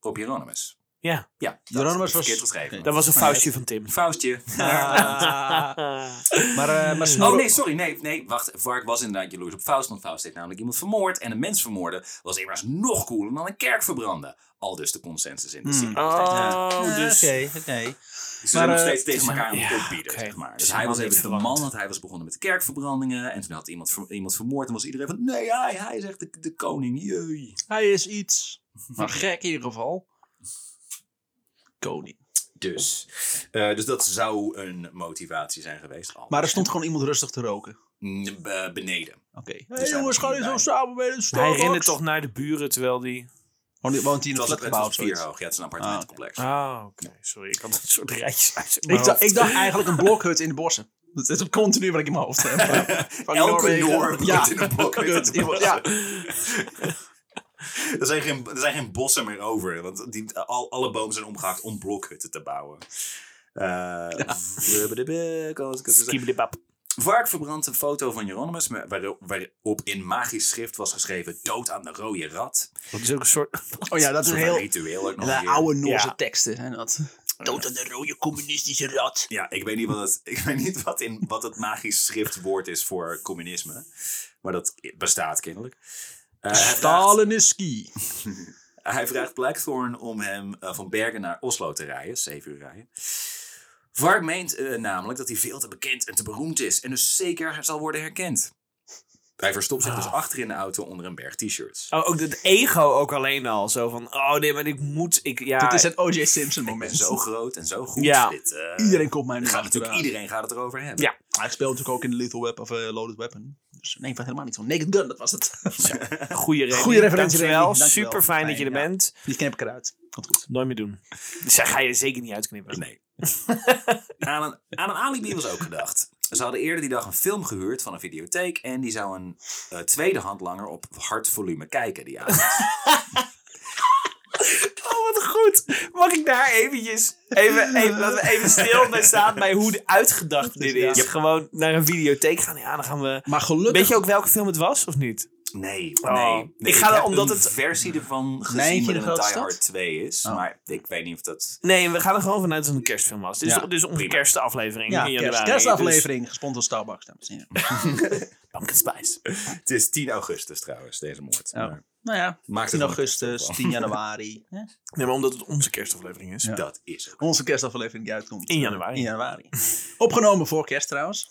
[SPEAKER 3] Op Hieronymus.
[SPEAKER 2] Ja.
[SPEAKER 3] Ja, dat
[SPEAKER 1] Hieronymus
[SPEAKER 3] is verkeerd
[SPEAKER 1] was-
[SPEAKER 3] geschreven.
[SPEAKER 2] Dat was een foutje van Tim.
[SPEAKER 3] Faustje.
[SPEAKER 1] Ah. maar eh maar
[SPEAKER 3] Oh
[SPEAKER 1] Snorre...
[SPEAKER 3] nee, sorry, nee, nee, wacht. Vark was inderdaad jaloers op Faust, want Faust heeft namelijk iemand vermoord. En een mens vermoorden was immers nog cooler dan een kerk verbranden. Al dus de consensus in de
[SPEAKER 1] Hmm.
[SPEAKER 3] scene.
[SPEAKER 2] Oh,
[SPEAKER 1] Ah,
[SPEAKER 2] dus...
[SPEAKER 1] Oké, oké.
[SPEAKER 3] Ze zijn nog
[SPEAKER 1] eh,
[SPEAKER 3] steeds tegen elkaar aan
[SPEAKER 2] ja,
[SPEAKER 3] het opbieden,
[SPEAKER 2] oké.
[SPEAKER 3] zeg maar.
[SPEAKER 2] Het
[SPEAKER 3] Dus
[SPEAKER 2] is
[SPEAKER 3] hij was
[SPEAKER 2] helemaal
[SPEAKER 3] even de
[SPEAKER 2] niet
[SPEAKER 3] man,
[SPEAKER 2] verwarrend.
[SPEAKER 3] want hij was begonnen met de kerkverbrandingen. En toen had iemand, ver- iemand vermoord en was iedereen van... Nee, hij, hij is echt de, de koning, jee.
[SPEAKER 1] Hij is iets. Maar gek in ieder geval. Koning.
[SPEAKER 3] Dus, eh, dus dat zou een motivatie zijn geweest. al.
[SPEAKER 1] Maar er stond gewoon iemand rustig te roken.
[SPEAKER 3] Mm, be- beneden.
[SPEAKER 1] Oké. Hé
[SPEAKER 3] Dus hij was niet bij.
[SPEAKER 1] samen bij de
[SPEAKER 2] Hij rende toch naar de buren terwijl die...
[SPEAKER 1] Woont, woont hij in
[SPEAKER 3] Het
[SPEAKER 1] een
[SPEAKER 3] was, het
[SPEAKER 1] flatgebouw of
[SPEAKER 3] was vier
[SPEAKER 1] zoiets?
[SPEAKER 3] hoog. Ja, het is een appartementencomplex.
[SPEAKER 2] Ah, oké. Sorry, ik had een soort rijtjes uit mijn
[SPEAKER 1] Ik, dacht-
[SPEAKER 2] hoofd.
[SPEAKER 1] ik dacht eigenlijk een blokhut in de bossen. Dat is continu wat ik in mijn hoofd heb. Van
[SPEAKER 3] Elke
[SPEAKER 1] Noorwegen.
[SPEAKER 3] Noor
[SPEAKER 1] Ja.
[SPEAKER 3] woont in een blokhut.
[SPEAKER 1] Kut, Ja.
[SPEAKER 3] Er zijn, geen, er zijn geen bossen meer over. Want die, al, alle bomen zijn omgehaakt om blokhutten te bouwen. Eh ja.
[SPEAKER 2] Skibbelibab.
[SPEAKER 3] Vark verbrandt een foto van Hieronymus. maar waar- waarop in magisch schrift was geschreven: Dood aan de rode rat.
[SPEAKER 2] Dat is ook een soort...
[SPEAKER 1] Oh ja, dat is
[SPEAKER 3] Een
[SPEAKER 1] heel...
[SPEAKER 3] ritueel ook nog. een
[SPEAKER 1] De
[SPEAKER 3] keer.
[SPEAKER 1] oude Noorse
[SPEAKER 2] Ja.
[SPEAKER 1] teksten zijn dat. Dood aan de rode communistische rat.
[SPEAKER 3] Ja, ik weet niet wat het, ik weet niet wat in, wat het magisch schriftwoord is voor communisme. Maar dat bestaat kennelijk. Eh, hij vraagt-
[SPEAKER 1] is ski.
[SPEAKER 3] Hij vraagt Blackthorn om hem eh, van Bergen naar Oslo te rijden, 7 uur rijden. Vark meent eh, namelijk dat hij veel te bekend en te beroemd is en dus zeker zal worden herkend. Hij verstopt zich dus achter in de auto onder een berg t-shirts.
[SPEAKER 2] Ah. Oh, ook dat ego ook alleen al. Zo van, oh nee, maar ik moet... Ik, ja,
[SPEAKER 1] Dit is het O.J. Simpson
[SPEAKER 3] Ik ben
[SPEAKER 1] moment.
[SPEAKER 3] zo groot en zo goed.
[SPEAKER 2] Ja.
[SPEAKER 3] Dit, eh,
[SPEAKER 1] Iedereen komt mij nu
[SPEAKER 3] gaat natuurlijk,
[SPEAKER 1] achteraan.
[SPEAKER 3] iedereen gaat het erover hebben.
[SPEAKER 2] Ja.
[SPEAKER 1] Hij speelt natuurlijk ook in Lethal Web of eh, Loaded Weapon. Dus nee, ik was helemaal niet zo. Naked Gun, dat was het.
[SPEAKER 2] goede referentie.
[SPEAKER 1] Goeie referentie,
[SPEAKER 2] Dankjewel.
[SPEAKER 1] Remy. Dankjewel.
[SPEAKER 2] Super fijn dat je er
[SPEAKER 1] Fijn, ja.
[SPEAKER 2] bent.
[SPEAKER 1] Die knip ik eruit. Komt goed.
[SPEAKER 2] Nooit meer doen. Dus daar ga je zeker niet uitknippen.
[SPEAKER 3] Nee. aan, een, aan een alibi was ook gedacht. Ze hadden eerder die dag een film gehuurd van een videotheek. En die zou een eh, tweede handlanger op hard volume kijken die avond.
[SPEAKER 2] Oh, wat goed. Mag ik daar eventjes... Even, even, laten we even stil bij staan bij hoe de uitgedacht dit is.
[SPEAKER 3] Ja.
[SPEAKER 2] Gewoon naar een videotheek gaan. Ja, dan gaan we...
[SPEAKER 1] Maar gelukkig...
[SPEAKER 2] Weet je ook welke film het was, of niet?
[SPEAKER 3] Nee,
[SPEAKER 2] Oh.
[SPEAKER 3] nee.
[SPEAKER 2] Ik
[SPEAKER 3] Nee,
[SPEAKER 2] ga er-
[SPEAKER 3] heb
[SPEAKER 2] omdat
[SPEAKER 3] een
[SPEAKER 2] het-
[SPEAKER 3] versie ervan gezien
[SPEAKER 1] Nijntje
[SPEAKER 3] waarin
[SPEAKER 1] de
[SPEAKER 3] het
[SPEAKER 1] Grote
[SPEAKER 3] Die
[SPEAKER 1] Stad?
[SPEAKER 3] Hard 2 is. Maar ik weet niet of dat...
[SPEAKER 2] Nee, we gaan er gewoon vanuit dat het een kerstfilm was. Dus,
[SPEAKER 1] Ja.
[SPEAKER 2] dus onze
[SPEAKER 3] Prima.
[SPEAKER 2] kerstaflevering
[SPEAKER 1] Ja,
[SPEAKER 2] in
[SPEAKER 1] kerst-
[SPEAKER 2] januari.
[SPEAKER 1] kerstaflevering,
[SPEAKER 3] dus-
[SPEAKER 1] gesponsord door Starbucks. dames en heren.
[SPEAKER 2] Dus pumpkin spice.
[SPEAKER 3] Het is 10 augustus trouwens, deze moord.
[SPEAKER 1] Ja.
[SPEAKER 3] Maar
[SPEAKER 1] Nou ja,
[SPEAKER 3] Maakt het Oh,
[SPEAKER 1] 10
[SPEAKER 3] wel
[SPEAKER 1] augustus,
[SPEAKER 3] een
[SPEAKER 1] 10 januari. hè?
[SPEAKER 2] Dus- Nee, maar omdat het onze kerstaflevering is.
[SPEAKER 3] Dat is het.
[SPEAKER 1] Onze kerstaflevering die uitkomt.
[SPEAKER 2] In januari.
[SPEAKER 1] In januari. Opgenomen voor kerst trouwens.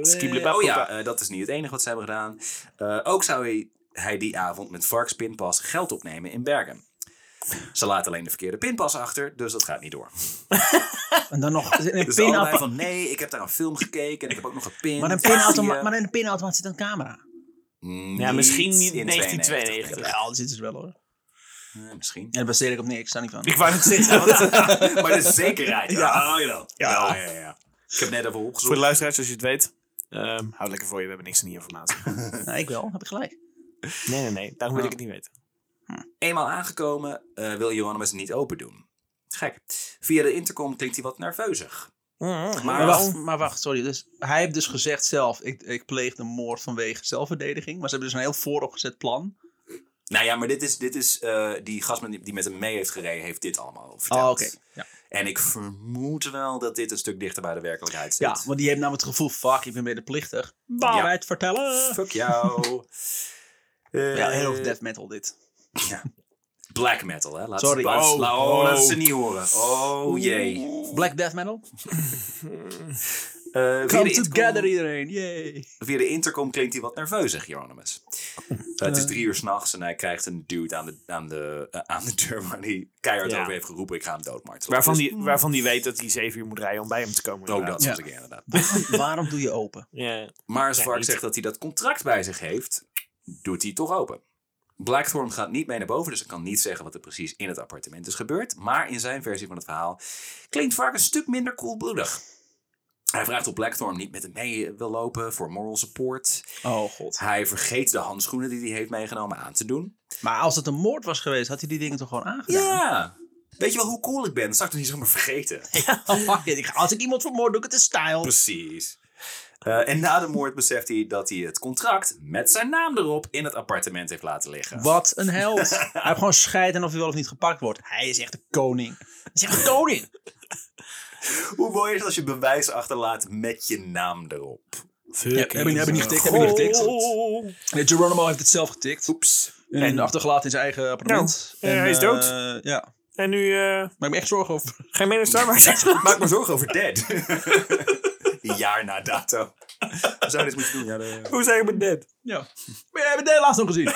[SPEAKER 2] Skiblebap.
[SPEAKER 3] Eh, oh ja, eh, dat is niet het enige wat ze hebben gedaan. Eh, ook zou hij, hij die avond met Varks pinpas geld opnemen in Bergen. Ze laat alleen de verkeerde pinpas achter, dus dat gaat niet door.
[SPEAKER 1] En dan nog een
[SPEAKER 3] Dus
[SPEAKER 1] pinauto-
[SPEAKER 3] allebei van nee, ik heb daar een film gekeken en ik heb ook nog gepint.
[SPEAKER 1] Maar, een
[SPEAKER 3] Zie
[SPEAKER 1] pinautoma-
[SPEAKER 3] je?
[SPEAKER 1] maar in een pinautomaat zit een camera.
[SPEAKER 3] Niet
[SPEAKER 2] Ja, misschien niet
[SPEAKER 3] in
[SPEAKER 2] 1992.
[SPEAKER 1] Ja, dat zit dus wel hoor.
[SPEAKER 3] Nee, Eh, misschien.
[SPEAKER 1] En dat baseer ik op niks, daar niet van.
[SPEAKER 2] Ik wou het zeggen. want-
[SPEAKER 3] maar de zekerheid. Ja, oh, jawel. ja. ja, ja, Ik heb net even
[SPEAKER 2] Dus Voor de
[SPEAKER 3] opgezocht.
[SPEAKER 2] luisteraars, als je het weet. ehm hou lekker voor je, we hebben niks aan die informatie.
[SPEAKER 1] Nou, ik wel, heb ik gelijk.
[SPEAKER 2] Nee, nee, nee. Daarom wil ik het niet weten.
[SPEAKER 3] Eenmaal aangekomen eh, wil Hieronymus het niet open doen. Gek. Via de intercom klinkt hij wat nerveuzig.
[SPEAKER 1] Maar
[SPEAKER 3] Maar
[SPEAKER 1] wacht, maar wacht, sorry. Dus hij heeft dus gezegd zelf, ik, ik pleegde moord vanwege zelfverdediging. Maar ze hebben dus een heel vooropgezet plan.
[SPEAKER 3] Nou ja, maar dit is, dit is eh, die gast met, die met hem mee heeft gereden, heeft dit allemaal verteld.
[SPEAKER 1] Oh, oké. Ja.
[SPEAKER 3] En ik vermoed wel dat dit een stuk dichter bij de werkelijkheid zit.
[SPEAKER 1] ja, want die heeft namelijk het gevoel, fuck, ik ben medeplichtig.
[SPEAKER 4] Waarheid vertellen.
[SPEAKER 3] Fuck jou. Eh,
[SPEAKER 1] Ja, heel erg death metal dit.
[SPEAKER 3] ja. Black metal, hè? Laat
[SPEAKER 1] Sorry.
[SPEAKER 3] Ze, laat, ze-
[SPEAKER 2] Oh.
[SPEAKER 3] la- oh, laat ze niet horen. Oh jee.
[SPEAKER 1] Black death metal?
[SPEAKER 3] Eh, via de
[SPEAKER 1] Come
[SPEAKER 3] intercom-
[SPEAKER 1] together iedereen, yay.
[SPEAKER 3] Via de intercom klinkt hij wat nerveuzig, Hieronymus. Eh, het is drie uur s'nachts en hij krijgt een dude aan de, aan de, eh, aan de deur waar hij keihard
[SPEAKER 2] Ja.
[SPEAKER 3] over heeft geroepen: Ik ga hem doodmartelen.
[SPEAKER 2] Waarvan die, waarvan die weet dat hij zeven uur moet rijden om bij hem te komen.
[SPEAKER 3] Dus- ook dat
[SPEAKER 2] inderdaad.
[SPEAKER 1] Ja.
[SPEAKER 3] was ik inderdaad.
[SPEAKER 1] Waarom doe je open?
[SPEAKER 2] Ja.
[SPEAKER 3] Maar als
[SPEAKER 2] Ja,
[SPEAKER 3] Vark
[SPEAKER 2] niet.
[SPEAKER 3] zegt dat hij dat contract bij zich heeft, doet hij het toch open. Blackthorn gaat niet mee naar boven, dus ik kan niet zeggen wat er precies in het appartement is gebeurd. Maar in zijn versie van het verhaal klinkt Vark een stuk minder koelbloedig. Hij vraagt of Blackthorn niet met hem mee wil lopen voor moral support.
[SPEAKER 1] Oh god.
[SPEAKER 3] Hij vergeet de handschoenen die hij heeft meegenomen aan te doen.
[SPEAKER 1] Maar als het een moord was geweest, had hij die dingen toch gewoon aangedaan?
[SPEAKER 3] Ja. Weet je wel hoe cool ik ben? Dat zou ik toch niet zomaar vergeten?
[SPEAKER 1] Oh, fuck it. Ik ga- Als ik iemand vermoord, doe ik het in style.
[SPEAKER 3] Precies. Eh, en na de moord beseft hij dat hij het contract met zijn naam erop in het appartement heeft laten liggen.
[SPEAKER 1] Wat een held. hij heeft gewoon scheid en of hij wel of niet gepakt wordt. Hij is echt de koning. Hij is echt de koning.
[SPEAKER 3] Hoe mooi is het als je bewijs achterlaat met je naam erop?
[SPEAKER 1] heb ik-
[SPEAKER 3] dus
[SPEAKER 1] heb ik niet getikt, heb ik niet getikt. Nee, Geronimo heeft het zelf getikt.
[SPEAKER 3] Oeps.
[SPEAKER 1] En, achtergelaten in zijn eigen appartement.
[SPEAKER 2] Nou,
[SPEAKER 1] En,
[SPEAKER 2] eh, hij is dood.
[SPEAKER 1] eh, ja.
[SPEAKER 2] En nu eh
[SPEAKER 1] Maak me echt zorgen over.
[SPEAKER 2] ga je mee naar Starbucks?
[SPEAKER 3] Maak me zorgen over Dead. een jaar na dato. We zouden dit moeten doen. Ja, de-
[SPEAKER 2] Hoe zijn we net?
[SPEAKER 1] Ja. Maar jij hebt het laatst nog gezien.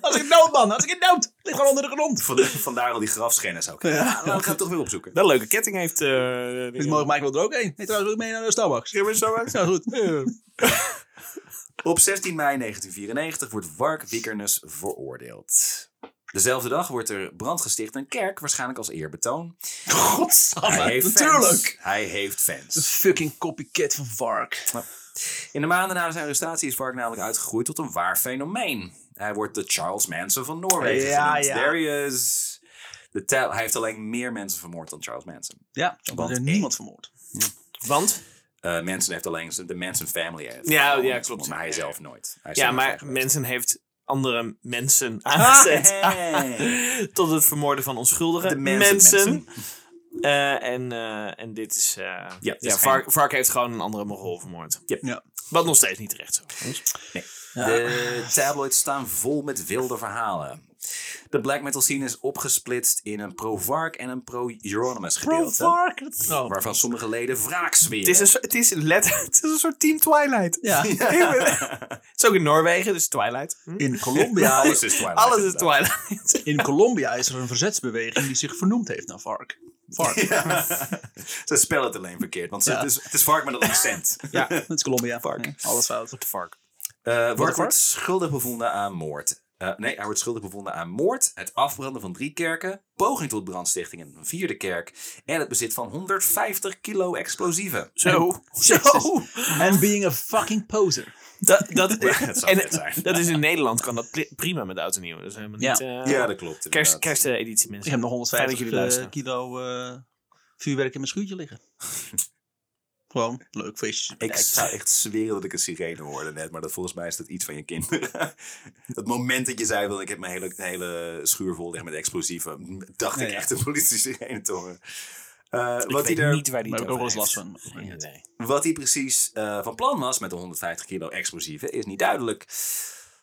[SPEAKER 1] als ik dood, man. Als ik dood. Ligt gewoon onder de grond.
[SPEAKER 3] Van- Vandaar al die grafschennis ook. Ja, nou, we gaan het toch weer opzoeken.
[SPEAKER 2] Dat leuke ketting heeft. eh
[SPEAKER 1] Dus
[SPEAKER 2] mooi.
[SPEAKER 1] morgen Michael wil er ook één. Hey, trouwens, wil ik mee naar de Starbucks?
[SPEAKER 2] Ga je mee naar Starbucks?
[SPEAKER 1] Ja, goed.
[SPEAKER 3] Op 16 mei 1994 wordt Wark Wickernus veroordeeld. Dezelfde dag wordt er brand gesticht in een kerk, waarschijnlijk als eerbetoon.
[SPEAKER 2] Oh,
[SPEAKER 3] Hij
[SPEAKER 1] Godsamme.
[SPEAKER 3] heeft
[SPEAKER 1] Natuurlijk.
[SPEAKER 3] fans. Hij heeft fans.
[SPEAKER 1] Fucking copycat van Vark.
[SPEAKER 3] In de maanden na zijn arrestatie is Vark namelijk uitgegroeid tot een waar fenomeen. Hij wordt de Charles Manson van Noorwegen
[SPEAKER 1] Ja,
[SPEAKER 3] genoemd.
[SPEAKER 1] ja.
[SPEAKER 3] There he is. De tel- hij heeft alleen meer mensen vermoord dan Charles Manson.
[SPEAKER 1] Ja, dan wordt er niemand vermoord.
[SPEAKER 2] Want?
[SPEAKER 3] Eh Manson heeft alleen de Manson family. Heeft
[SPEAKER 2] Ja,
[SPEAKER 3] vermoord,
[SPEAKER 2] ja, klopt.
[SPEAKER 3] Maar hij zelf nooit. Hij is
[SPEAKER 2] Ja,
[SPEAKER 3] zelf
[SPEAKER 2] maar
[SPEAKER 3] geweest.
[SPEAKER 2] mensen heeft andere mensen aangezet.
[SPEAKER 3] Ah, hey.
[SPEAKER 2] Tot het vermoorden van onschuldige
[SPEAKER 3] De
[SPEAKER 2] mensen.
[SPEAKER 3] Manson, Manson.
[SPEAKER 2] Eh, en, eh, en dit is. eh, ja,
[SPEAKER 3] het is
[SPEAKER 2] Vark, Vark heeft gewoon een andere Mogol vermoord.
[SPEAKER 1] Ja.
[SPEAKER 2] Wat nog steeds niet terecht is. Ah.
[SPEAKER 3] De tabloids staan vol met wilde verhalen. De black metal scene is opgesplitst in een pro-Vark en een pro-Euronymous gedeelte.
[SPEAKER 1] Oh.
[SPEAKER 3] Waarvan sommige leden wraak zweren.
[SPEAKER 2] Het is, een, soort- het, is letter, het is een soort Team Twilight.
[SPEAKER 1] Ja.
[SPEAKER 2] Ik ben- het is ook in Noorwegen, dus Twilight. Hm?
[SPEAKER 1] In
[SPEAKER 3] Ja,
[SPEAKER 1] Colombia,
[SPEAKER 3] alles is Twilight.
[SPEAKER 2] Alles is
[SPEAKER 3] inderdaad.
[SPEAKER 2] Twilight.
[SPEAKER 1] in Colombia is er een verzetsbeweging die zich vernoemd heeft naar Vark. Vark.
[SPEAKER 3] Ze spellen het alleen verkeerd, want ze-
[SPEAKER 1] Ja.
[SPEAKER 3] het, is, het is vark met een accent.
[SPEAKER 1] Ja, dat is Colombia. Vark. Alles fout.
[SPEAKER 2] Vark.
[SPEAKER 3] Eh, Wark
[SPEAKER 1] vark?
[SPEAKER 3] wordt schuldig bevonden aan moord. Eh, Eh, nee, hij wordt schuldig bevonden aan moord, het afbranden van drie kerken, poging tot brandstichting in een vierde kerk en het bezit van 150 kilo explosieven.
[SPEAKER 2] Zo. Zo.
[SPEAKER 1] En being a fucking poser.
[SPEAKER 2] Dat, dat,
[SPEAKER 3] dat zou
[SPEAKER 2] en-
[SPEAKER 3] vet zijn.
[SPEAKER 2] dat is in Nederland kan dat pri- prima met oud en nieuw. Dat is helemaal
[SPEAKER 1] Ja.
[SPEAKER 2] niet... eh,
[SPEAKER 3] Ja, dat klopt.
[SPEAKER 2] kerst,
[SPEAKER 3] inderdaad.
[SPEAKER 2] kersteditie mensen.
[SPEAKER 1] Ik heb nog
[SPEAKER 2] Fijn
[SPEAKER 1] 150
[SPEAKER 2] dat jullie
[SPEAKER 1] eh,
[SPEAKER 2] luisteren.
[SPEAKER 1] kilo eh, vuurwerk in mijn schuurtje liggen. Gewoon leuk feestje.
[SPEAKER 3] Ik zou echt zweren dat ik een sirene hoorde net, maar dat volgens mij is dat iets van je kinderen. het moment dat je zei, wil ik heb mijn hele, hele schuur vol liggen met explosieven, dacht
[SPEAKER 1] Ja,
[SPEAKER 3] ik
[SPEAKER 1] ja.
[SPEAKER 3] echt een politie sirene te horen. Eh,
[SPEAKER 2] Ik
[SPEAKER 3] wat,
[SPEAKER 2] weet
[SPEAKER 3] hij er,
[SPEAKER 2] niet waar die
[SPEAKER 1] Daar
[SPEAKER 2] het
[SPEAKER 1] heb ik ook wel eens
[SPEAKER 2] over
[SPEAKER 1] last
[SPEAKER 2] heeft.
[SPEAKER 1] van.
[SPEAKER 2] Nee, nee.
[SPEAKER 3] wat hij precies eh, van plan was met de 150 kilo explosieven is niet duidelijk.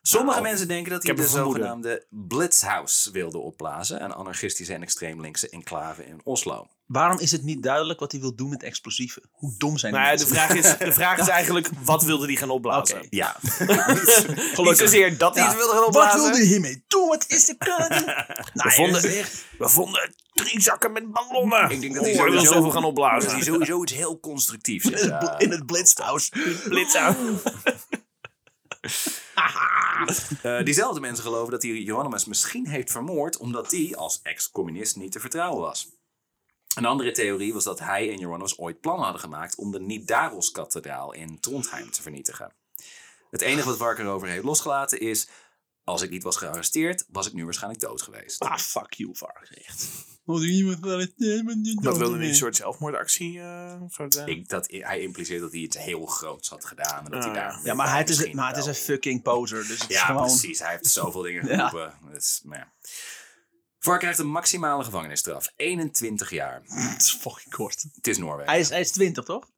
[SPEAKER 3] Sommige
[SPEAKER 2] Nou,
[SPEAKER 3] mensen denken dat
[SPEAKER 2] ik
[SPEAKER 3] hij
[SPEAKER 2] heb
[SPEAKER 3] de
[SPEAKER 2] een vermoeden.
[SPEAKER 3] zogenaamde Blitzhouse wilde opblazen, een anarchistische en extreem linkse enclave in Oslo.
[SPEAKER 1] Waarom is het niet duidelijk wat hij wil doen met explosieven? Hoe dom zijn die
[SPEAKER 2] Nou, ja, de
[SPEAKER 1] mensen?
[SPEAKER 2] vraag, is, de vraag is eigenlijk, wat wilde die gaan opblazen?
[SPEAKER 1] Oké.
[SPEAKER 3] Ja,
[SPEAKER 2] Niet zozeer dat hij
[SPEAKER 1] Ja.
[SPEAKER 2] het wilde gaan
[SPEAKER 1] Wat
[SPEAKER 2] opblazen.
[SPEAKER 1] wil hij hiermee doen? Wat is de Nou, kans?
[SPEAKER 2] We, vonden, we vonden drie zakken met ballonnen.
[SPEAKER 3] Ik denk dat hij
[SPEAKER 2] oh, hij wil
[SPEAKER 3] sowieso-
[SPEAKER 2] zoveel gaan
[SPEAKER 3] dat is
[SPEAKER 2] opblazen.
[SPEAKER 3] sowieso iets heel constructiefs. is,
[SPEAKER 1] In
[SPEAKER 3] eh.
[SPEAKER 1] het- in het blitzhouse.
[SPEAKER 2] Blitz aan.
[SPEAKER 3] Eh, diezelfde mensen geloven dat hij Johannes misschien heeft vermoord omdat hij als ex-communist niet te vertrouwen was. Een andere theorie was dat hij en Johannes ooit plannen hadden gemaakt om de Nidaros-kathedraal in Trondheim te vernietigen. Het enige wat Warker erover heeft losgelaten is: als ik niet was gearresteerd, was ik nu waarschijnlijk dood geweest.
[SPEAKER 1] Ah, fuck you, Vark. Echt. Want iemand wil het niet
[SPEAKER 2] Dat wilde hij een soort zelfmoordactie. eh, soort, eh,
[SPEAKER 3] Ik, dat, hij impliceert dat hij iets heel groots had gedaan en dat hij
[SPEAKER 2] Ah, ja.
[SPEAKER 3] daar.
[SPEAKER 1] Ja, maar het is,
[SPEAKER 3] misschien
[SPEAKER 1] maar het is
[SPEAKER 3] wel-
[SPEAKER 1] een fucking poser. Dus het is
[SPEAKER 3] Ja,
[SPEAKER 1] gewoon...
[SPEAKER 3] precies. Hij heeft zoveel dingen
[SPEAKER 1] Ja.
[SPEAKER 3] geroepen. Dus, nou ja. Vark krijgt een maximale gevangenisstraf. 21 jaar.
[SPEAKER 1] Het is fucking kort.
[SPEAKER 3] Het is Noorwegen.
[SPEAKER 1] Hij is, hij is 20, toch?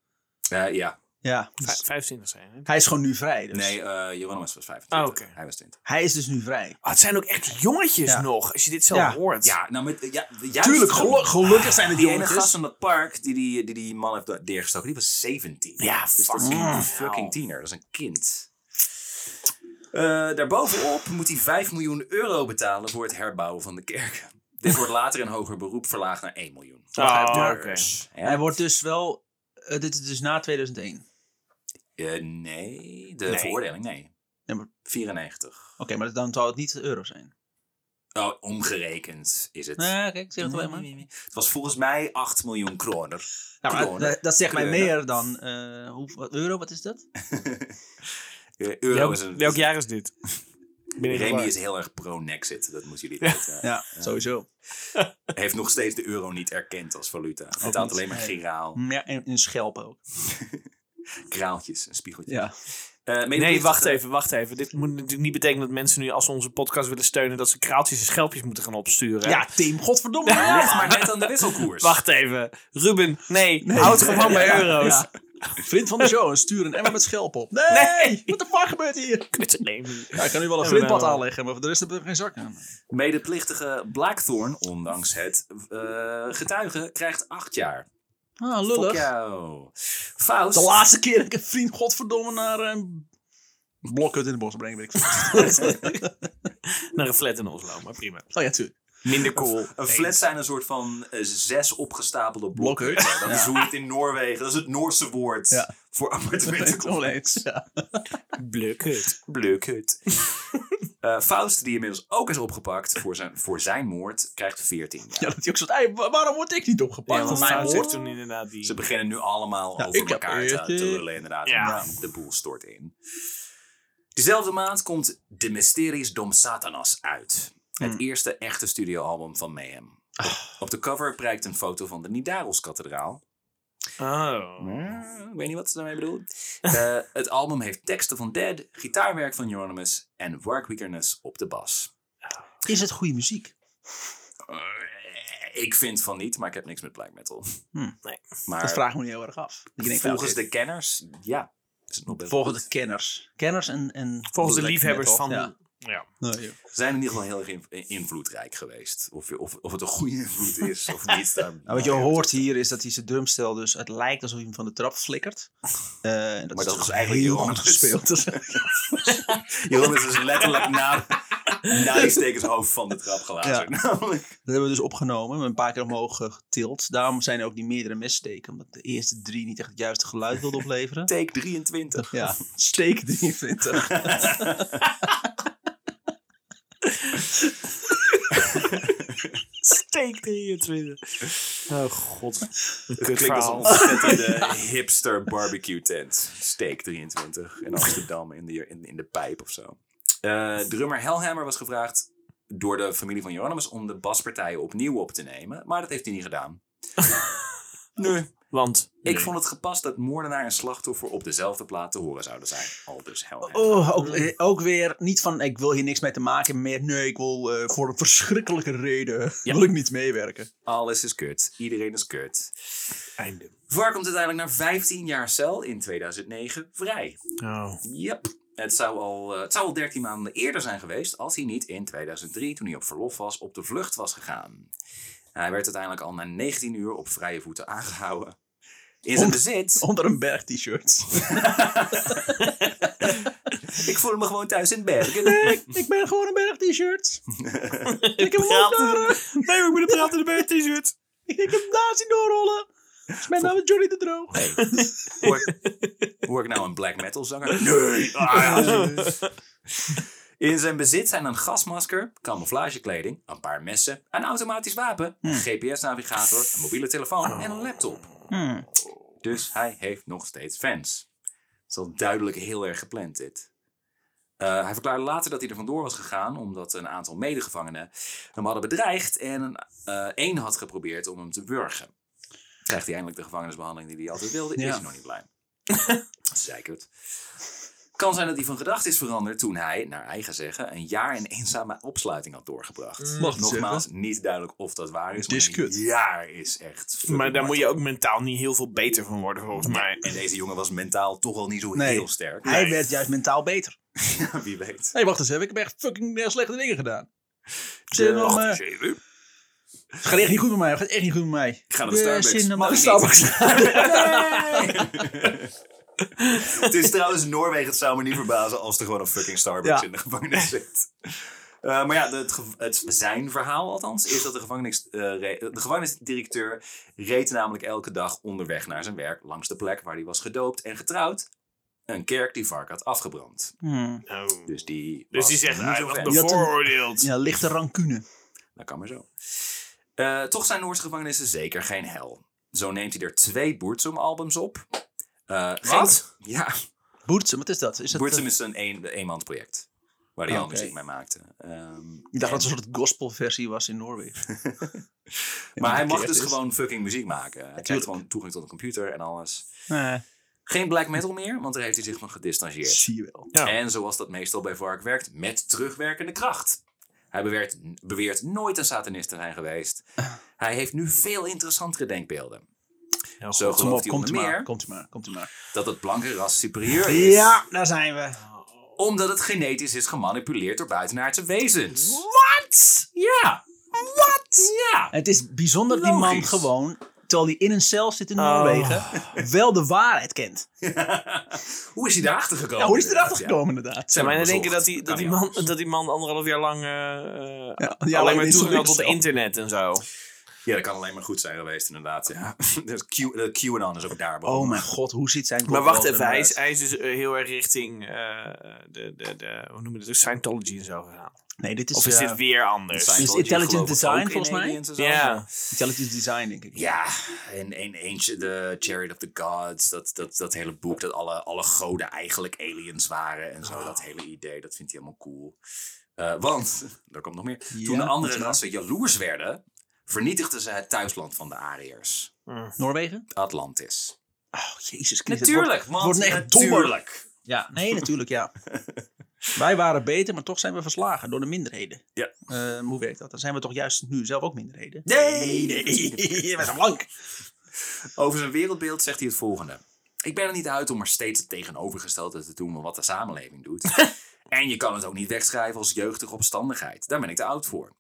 [SPEAKER 3] Eh, ja.
[SPEAKER 1] Ja.
[SPEAKER 2] vij- 25 zijn. hè?
[SPEAKER 1] Hij is gewoon nu vrij. Dus.
[SPEAKER 3] Nee, eh Johannes was 25.
[SPEAKER 2] Ah, oké.
[SPEAKER 3] Hij was 20.
[SPEAKER 1] Hij is dus nu vrij.
[SPEAKER 2] Ah, het zijn ook echt jongetjes
[SPEAKER 1] Ja.
[SPEAKER 2] nog, als je dit zo
[SPEAKER 1] Ja.
[SPEAKER 2] hoort. Ah,
[SPEAKER 3] Ja, nou, met, ja, juist-
[SPEAKER 1] Tuurlijk, gelu- gelukkig zijn het
[SPEAKER 3] Die ene
[SPEAKER 1] jongetjes.
[SPEAKER 3] gast in dat park die die, die die man heeft neergestoken, die was 17.
[SPEAKER 2] Ja,
[SPEAKER 3] Dus dat is
[SPEAKER 2] fucking
[SPEAKER 3] een
[SPEAKER 2] hell.
[SPEAKER 3] fucking tiener. Dat is een kind. Eh, daarbovenop moet hij 5 miljoen euro betalen voor het herbouwen van de kerken. Dit wordt later in hoger beroep verlaagd naar 1 miljoen.
[SPEAKER 2] Ah,
[SPEAKER 3] Begrijp je?
[SPEAKER 2] oké.
[SPEAKER 3] Dus, hè?
[SPEAKER 1] Oh, Hij wordt dus wel... eh, dit is dus na 2001.
[SPEAKER 3] Eh, nee, de
[SPEAKER 2] Nee.
[SPEAKER 3] veroordeling, nee.
[SPEAKER 1] Ja, maar-
[SPEAKER 3] 94.
[SPEAKER 1] Oké, maar dan zou het niet euro zijn.
[SPEAKER 3] Oh, omgerekend is het.
[SPEAKER 1] Nee, kijk, ik zeg het alleen maar.
[SPEAKER 3] Nee, nee,
[SPEAKER 2] Mm.
[SPEAKER 3] nee. Het was volgens mij 8 miljoen kroner.
[SPEAKER 1] Nou, maar
[SPEAKER 3] Gewoon, hè?
[SPEAKER 1] dat, dat zegt mij
[SPEAKER 3] Kleuren.
[SPEAKER 1] meer dan... eh, hoe, wat, euro, wat is dat?
[SPEAKER 3] Eh, Euro
[SPEAKER 2] Welk,
[SPEAKER 3] is een...
[SPEAKER 2] welk jaar is dit? Ik ben
[SPEAKER 3] Remy
[SPEAKER 2] helemaal-
[SPEAKER 3] is heel erg pro-Nexit, dat moeten jullie weten.
[SPEAKER 1] Ja, sowieso.
[SPEAKER 3] Hij heeft nog steeds de euro niet erkend als valuta. Hij betaalt alleen maar giraal,
[SPEAKER 2] Mm.
[SPEAKER 1] Ja, en in schelpen ook.
[SPEAKER 3] kraaltjes en spiegeltjes.
[SPEAKER 1] Ja.
[SPEAKER 3] Eh, mede-
[SPEAKER 2] Nee, wacht even, wacht even. Dit moet natuurlijk niet betekenen dat mensen nu, als ze onze podcast willen steunen, dat ze kraaltjes en schelpjes moeten gaan opsturen.
[SPEAKER 1] Ja, Tim, godverdomme.
[SPEAKER 3] Hij ligt maar net aan de wisselkoers.
[SPEAKER 2] Wacht even. Ruben, nee, houd gewoon bij euro's.
[SPEAKER 1] Ja. Vriend van de show, stuur een emmer met schelp op. Nee,
[SPEAKER 2] Nee.
[SPEAKER 1] wat de fuck gebeurt hier?
[SPEAKER 2] Kut, nee. man.
[SPEAKER 1] Ja, ik kan nu wel een
[SPEAKER 2] Ja,
[SPEAKER 1] grindpad
[SPEAKER 2] nou.
[SPEAKER 1] aanleggen, maar voor de rest heb ik er geen zak aan.
[SPEAKER 3] Medeplichtige Blackthorn, ondanks het eh, getuige, krijgt 8 jaar.
[SPEAKER 1] Ah,
[SPEAKER 3] Fuck
[SPEAKER 1] lullig.
[SPEAKER 3] jou. Faust.
[SPEAKER 1] De laatste keer dat ik een vriend godverdomme naar een blokhut in de bos breng, weet ik veel.
[SPEAKER 2] Naar een flat in Oslo, maar prima.
[SPEAKER 1] Oh ja, tuurlijk.
[SPEAKER 2] Minder cool.
[SPEAKER 3] Een flat zijn een soort van eh, zes opgestapelde blokken.
[SPEAKER 1] Blokhut.
[SPEAKER 3] Dat is hoe het in Noorwegen, dat is het Noorse woord
[SPEAKER 1] Ja.
[SPEAKER 3] voor appartementen.
[SPEAKER 1] Oneens. Ja.
[SPEAKER 2] Blukkut.
[SPEAKER 3] Blokhut. Eh, Faust, die inmiddels ook is opgepakt voor zijn, voor zijn moord, krijgt 14 jaar.
[SPEAKER 1] ja, dat hij ook zo'n ei, wa- waarom word ik niet opgepakt?
[SPEAKER 2] Ja, want
[SPEAKER 1] Voor
[SPEAKER 2] Faust heeft
[SPEAKER 1] moord?
[SPEAKER 2] toen inderdaad die...
[SPEAKER 3] Ze beginnen nu allemaal
[SPEAKER 1] Ja,
[SPEAKER 3] over
[SPEAKER 1] ik heb
[SPEAKER 3] elkaar te,
[SPEAKER 1] eertje.
[SPEAKER 3] te lullen, inderdaad.
[SPEAKER 2] Ja.
[SPEAKER 3] En De boel stort in. Diezelfde maand komt De Mysteries Dom Satanas uit. Het eerste echte studioalbum van Mayhem. Op, op de cover prijkt een foto van de Nidaros-kathedraal.
[SPEAKER 2] Oh.
[SPEAKER 3] Mm, Ik weet niet wat ze daarmee bedoelen. Eh, het album heeft teksten van Dead, gitaarwerk van Euronymous en Work Weakerness op de bas.
[SPEAKER 1] Is het goede muziek?
[SPEAKER 3] Eh, ik vind van niet, maar ik heb niks met black metal.
[SPEAKER 1] Hmm.
[SPEAKER 2] Nee.
[SPEAKER 1] Dat
[SPEAKER 3] Maar
[SPEAKER 1] vraag ik me niet heel erg af. Ik denk, nou,
[SPEAKER 3] volgens de kenners, ja. Is het nog best
[SPEAKER 1] volgens
[SPEAKER 3] goed.
[SPEAKER 1] de kenners. Kenners en... en
[SPEAKER 2] Volgens de
[SPEAKER 1] Black
[SPEAKER 2] liefhebbers
[SPEAKER 1] metal.
[SPEAKER 2] van...
[SPEAKER 1] Ja.
[SPEAKER 2] Ja.
[SPEAKER 1] Nee, joh.
[SPEAKER 3] zijn in ieder geval heel erg in- in- invloedrijk geweest. Of, je- of, of het een goede invloed is of niet. daar-
[SPEAKER 1] Nou, wat je hoort hier is dat hij zijn drumstel dus... Het lijkt alsof hij hem van de trap flikkert. Eh, en dat
[SPEAKER 3] Maar
[SPEAKER 1] is
[SPEAKER 3] dat
[SPEAKER 1] toch
[SPEAKER 3] is eigenlijk
[SPEAKER 1] heel
[SPEAKER 3] heel
[SPEAKER 1] goed
[SPEAKER 3] anders.
[SPEAKER 1] gespeeld.
[SPEAKER 3] Johannes is letterlijk na, na die stekershoofd van de trap gelaten. namelijk.
[SPEAKER 1] Dat hebben we dus opgenomen, een paar keer omhoog eh, getild. Daarom zijn er ook die meerdere messteken, omdat de eerste drie niet echt het juiste geluid wilden opleveren.
[SPEAKER 3] Take 23.
[SPEAKER 1] Ja, steek 23.
[SPEAKER 2] Steek 23. Oh god. Een kut
[SPEAKER 3] Het klinkt als een
[SPEAKER 2] verhaal.
[SPEAKER 3] ontzettende hipster barbecue tent. Steak 23 in Amsterdam in de, in, in de pijp of zo. Eh, drummer Hellhammer was gevraagd door de familie van Jeronimus om de baspartijen opnieuw op te nemen. Maar dat heeft hij niet gedaan. nee.
[SPEAKER 2] Want
[SPEAKER 3] Ik vond het gepast dat moordenaar en slachtoffer op dezelfde plaat te horen zouden zijn. Al dus Hellhammer.
[SPEAKER 1] Oh, ook, eh, ook weer niet van ik wil hier niks mee te maken meer. Nee, ik wil eh, voor een verschrikkelijke reden
[SPEAKER 3] Ja.
[SPEAKER 1] wil ik niet meewerken.
[SPEAKER 3] Alles is kut. Iedereen is kut.
[SPEAKER 2] einde.
[SPEAKER 3] Var komt uiteindelijk na 15 jaar cel in 2009 vrij.
[SPEAKER 2] Oh.
[SPEAKER 3] Yep. Het zou, al, eh, het zou al 13 maanden eerder zijn geweest als hij niet in 2003, toen hij op verlof was, op de vlucht was gegaan. Hij werd uiteindelijk al na 19 uur op vrije voeten aangehouden. In zijn
[SPEAKER 1] Om-
[SPEAKER 3] bezit.
[SPEAKER 1] Onder een berg t-shirt.
[SPEAKER 3] Ik voel me gewoon thuis in Bergen.
[SPEAKER 1] ik ben gewoon een berg t-shirt. ik heb hem
[SPEAKER 2] Praten.
[SPEAKER 1] opgedaan.
[SPEAKER 2] Nee, maar ik moet praten in mijn t-shirt.
[SPEAKER 1] Ik heb hem daar zien doorrollen. Dus mijn naam is Johnny de Droog.
[SPEAKER 3] Hoor, ik- hoor ik nou een black metal zanger? Nee. Ah, In zijn bezit zijn een gasmasker, camouflagekleding, een paar messen, een automatisch wapen, een GPS-navigator, een mobiele telefoon en een laptop.
[SPEAKER 1] Hmm.
[SPEAKER 3] Dus hij heeft nog steeds fans. Het is al duidelijk heel erg gepland dit. Eh, hij verklaarde later dat hij er vandoor was gegaan omdat een aantal medegevangenen hem hadden bedreigd en eh één had geprobeerd om hem te burgen. Krijgt hij eindelijk de gevangenisbehandeling die hij altijd wilde?
[SPEAKER 1] Ja.
[SPEAKER 3] Is hij nog niet blij? Zeikert. Kan zijn dat hij van gedachten is veranderd toen hij, naar eigen zeggen, een jaar in eenzame opsluiting had doorgebracht.
[SPEAKER 1] Mag het
[SPEAKER 3] Nogmaals, niet duidelijk of dat waar is. maar een
[SPEAKER 1] Discut.
[SPEAKER 3] jaar is echt.
[SPEAKER 2] Maar daar moet je ook mentaal niet heel veel beter van worden, volgens mij.
[SPEAKER 3] En deze jongen was mentaal toch al niet zo
[SPEAKER 1] Nee.
[SPEAKER 3] heel sterk.
[SPEAKER 1] Hij werd juist mentaal beter.
[SPEAKER 3] Wie weet.
[SPEAKER 1] Hé, wacht eens even. Ik heb echt fucking eh, slechte dingen gedaan. Zit er nog, eh,
[SPEAKER 3] Wacht eens even.
[SPEAKER 1] het gaat echt niet goed met mij. Het gaat echt niet goed met mij.
[SPEAKER 3] Ik ga naar de Starbucks. Mag ik Het is trouwens Noorwegen. Het zou me niet verbazen als er gewoon een fucking Starbucks
[SPEAKER 1] Ja.
[SPEAKER 3] in de gevangenis zit. Eh, maar ja, het, ge- het, zijn verhaal althans is dat de, gevangenis, eh, re- de gevangenisdirecteur reed namelijk elke dag onderweg naar zijn werk langs de plek waar hij was gedoopt en getrouwd. Een kerk die Vark had afgebrand.
[SPEAKER 1] Hmm.
[SPEAKER 3] Dus die.
[SPEAKER 2] Dus
[SPEAKER 3] was
[SPEAKER 2] die zegt,
[SPEAKER 3] niet
[SPEAKER 2] hij
[SPEAKER 3] zo
[SPEAKER 2] was
[SPEAKER 3] ver.
[SPEAKER 1] Je had een-
[SPEAKER 2] bevooroordeeld.
[SPEAKER 1] Ja, lichte rancune.
[SPEAKER 3] Dat kan maar zo. Eh, toch zijn Noorse gevangenissen zeker geen hel. Zo neemt hij er twee Boertsum-albums op. Eh, geen-
[SPEAKER 2] Wat?
[SPEAKER 3] Ja,
[SPEAKER 1] Boertsum, wat is dat? Is dat
[SPEAKER 3] Boertsum
[SPEAKER 1] eh,
[SPEAKER 3] is een een- eenmansproject. Waar hij al
[SPEAKER 1] Oké.
[SPEAKER 3] muziek mee maakte. Ehm,
[SPEAKER 1] ik dacht dat het een soort gospelversie was in Noorwegen.
[SPEAKER 3] maar hij mag
[SPEAKER 1] verkeerd
[SPEAKER 3] dus
[SPEAKER 1] is.
[SPEAKER 3] gewoon fucking muziek maken. Hij krijgt gewoon toegang tot een computer en alles.
[SPEAKER 1] Eh,
[SPEAKER 3] Geen black metal meer, want daar heeft hij zich van gedistanceerd.
[SPEAKER 1] zie je wel.
[SPEAKER 2] Ja.
[SPEAKER 3] En zoals dat meestal bij Vark werkt, met terugwerkende kracht. Hij beweert, beweert nooit een satanist te zijn geweest. Hij heeft nu veel interessantere denkbeelden. Zo
[SPEAKER 1] Kom op,
[SPEAKER 3] gelooft hij
[SPEAKER 1] komt
[SPEAKER 3] onder
[SPEAKER 1] u maar.
[SPEAKER 3] meer
[SPEAKER 1] Komt u maar, komt u maar.
[SPEAKER 3] dat het blanke ras superieur is.
[SPEAKER 1] Ja, daar zijn we.
[SPEAKER 3] Omdat het genetisch is gemanipuleerd door buitenaardse wezens. Wat? Ja. Wat? Ja.
[SPEAKER 1] Het is bijzonder dat die man
[SPEAKER 3] Logisch.
[SPEAKER 1] gewoon, terwijl hij in een cel zit in
[SPEAKER 2] Oh.
[SPEAKER 1] Noorwegen, wel de waarheid kent.
[SPEAKER 3] Hoe is hij erachter gekomen?
[SPEAKER 1] Ja, hoe is hij erachter
[SPEAKER 3] Oh, Ja.
[SPEAKER 1] gekomen inderdaad?
[SPEAKER 2] Zijn wij nou
[SPEAKER 3] Bezocht.
[SPEAKER 2] denken dat die,
[SPEAKER 3] Kan
[SPEAKER 2] dat, die
[SPEAKER 3] niet
[SPEAKER 2] man,
[SPEAKER 3] anders.
[SPEAKER 2] dat die man anderhalf jaar lang eh, eh,
[SPEAKER 1] ja,
[SPEAKER 2] alleen
[SPEAKER 1] alleen
[SPEAKER 2] maar
[SPEAKER 1] in
[SPEAKER 2] toegang had tot
[SPEAKER 1] Zoetermeer.
[SPEAKER 2] internet en zo?
[SPEAKER 3] Ja, dat kan alleen maar goed zijn geweest, inderdaad. Ja. Dus Q, de QAnon is ook daar
[SPEAKER 1] Oh
[SPEAKER 3] begonnen.
[SPEAKER 1] mijn god, hoe zit zijn
[SPEAKER 2] Maar wacht
[SPEAKER 1] koploper
[SPEAKER 2] even, hij is,
[SPEAKER 1] eruit?
[SPEAKER 2] hij is dus eh, heel erg richting eh, de, de, de, hoe noem je dat, Scientology en zo gegaan.
[SPEAKER 1] Nee, dit is,
[SPEAKER 2] Of is
[SPEAKER 1] eh,
[SPEAKER 2] dit weer anders?
[SPEAKER 1] Scientology. Dus intelligent design, volgens mij?
[SPEAKER 3] Ja.
[SPEAKER 2] Ja.
[SPEAKER 1] intelligent design, denk ik.
[SPEAKER 3] Ja, en, en eentje, de Chariot of the Gods, dat, dat, dat hele boek, dat alle, alle goden eigenlijk aliens waren en zo, dat
[SPEAKER 1] Ah.
[SPEAKER 3] hele idee, dat vindt hij helemaal cool. Eh, want, daar komt nog meer,
[SPEAKER 1] Ja,
[SPEAKER 3] toen de andere
[SPEAKER 1] moet je
[SPEAKER 3] rassen jaloers werden, vernietigden ze het thuisland van de Ariërs,
[SPEAKER 1] Noorwegen?
[SPEAKER 3] Atlantis.
[SPEAKER 1] Oh, jezus Christus.
[SPEAKER 3] Natuurlijk, man,
[SPEAKER 1] wordt echt dommer.
[SPEAKER 3] natuurlijk.
[SPEAKER 1] Ja, nee, natuurlijk, ja. Wij waren beter, maar toch zijn we verslagen door de minderheden.
[SPEAKER 3] Ja.
[SPEAKER 1] Eh, hoe werkt dat? Dan zijn we toch juist nu zelf ook minderheden?
[SPEAKER 3] Nee,
[SPEAKER 1] nee, we zijn blank.
[SPEAKER 3] Over zijn wereldbeeld zegt hij het volgende. Ik ben er niet uit om er steeds het tegenovergestelde te doen van wat de samenleving doet. en je kan het ook niet wegschrijven als jeugdige opstandigheid. Daar ben ik te oud voor.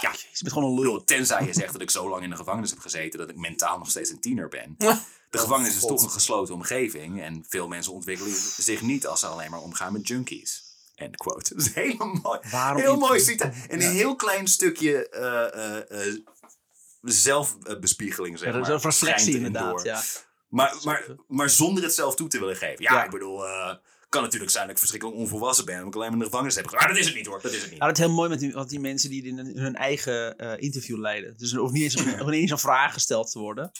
[SPEAKER 3] Ja,
[SPEAKER 1] Je bent gewoon een
[SPEAKER 3] Ik bedoel,
[SPEAKER 1] lul.
[SPEAKER 3] tenzij je zegt dat ik zo lang in de gevangenis heb gezeten dat ik mentaal nog steeds een tiener ben. De gevangenis is toch een gesloten omgeving en veel mensen ontwikkelen zich niet als ze alleen maar omgaan met junkies. End quote. Dat is helemaal mooi.
[SPEAKER 1] Waarom
[SPEAKER 3] heel
[SPEAKER 1] niet?
[SPEAKER 3] mooi cita- Een heel klein stukje eh, eh, eh, zelfbespiegeling, zeg
[SPEAKER 1] Ja,
[SPEAKER 3] maar.
[SPEAKER 1] dat is een
[SPEAKER 3] schijnt
[SPEAKER 1] reflectie
[SPEAKER 3] erin door.
[SPEAKER 1] inderdaad. Ja.
[SPEAKER 3] Maar, maar, maar zonder het zelf toe te willen geven. Ja,
[SPEAKER 1] Ja.
[SPEAKER 3] ik bedoel, eh, Kan natuurlijk zijn dat ik verschrikkelijk onvolwassen ben. En ik alleen maar in de gevangenis heb gezeten. Maar dat is het niet hoor. Dat is het niet.
[SPEAKER 1] Ja, dat is heel mooi met die, wat die mensen die in hun, hun eigen eh, interview leiden. Dus er hoeft niet eens, er hoeft niet eens een vraag gesteld te worden.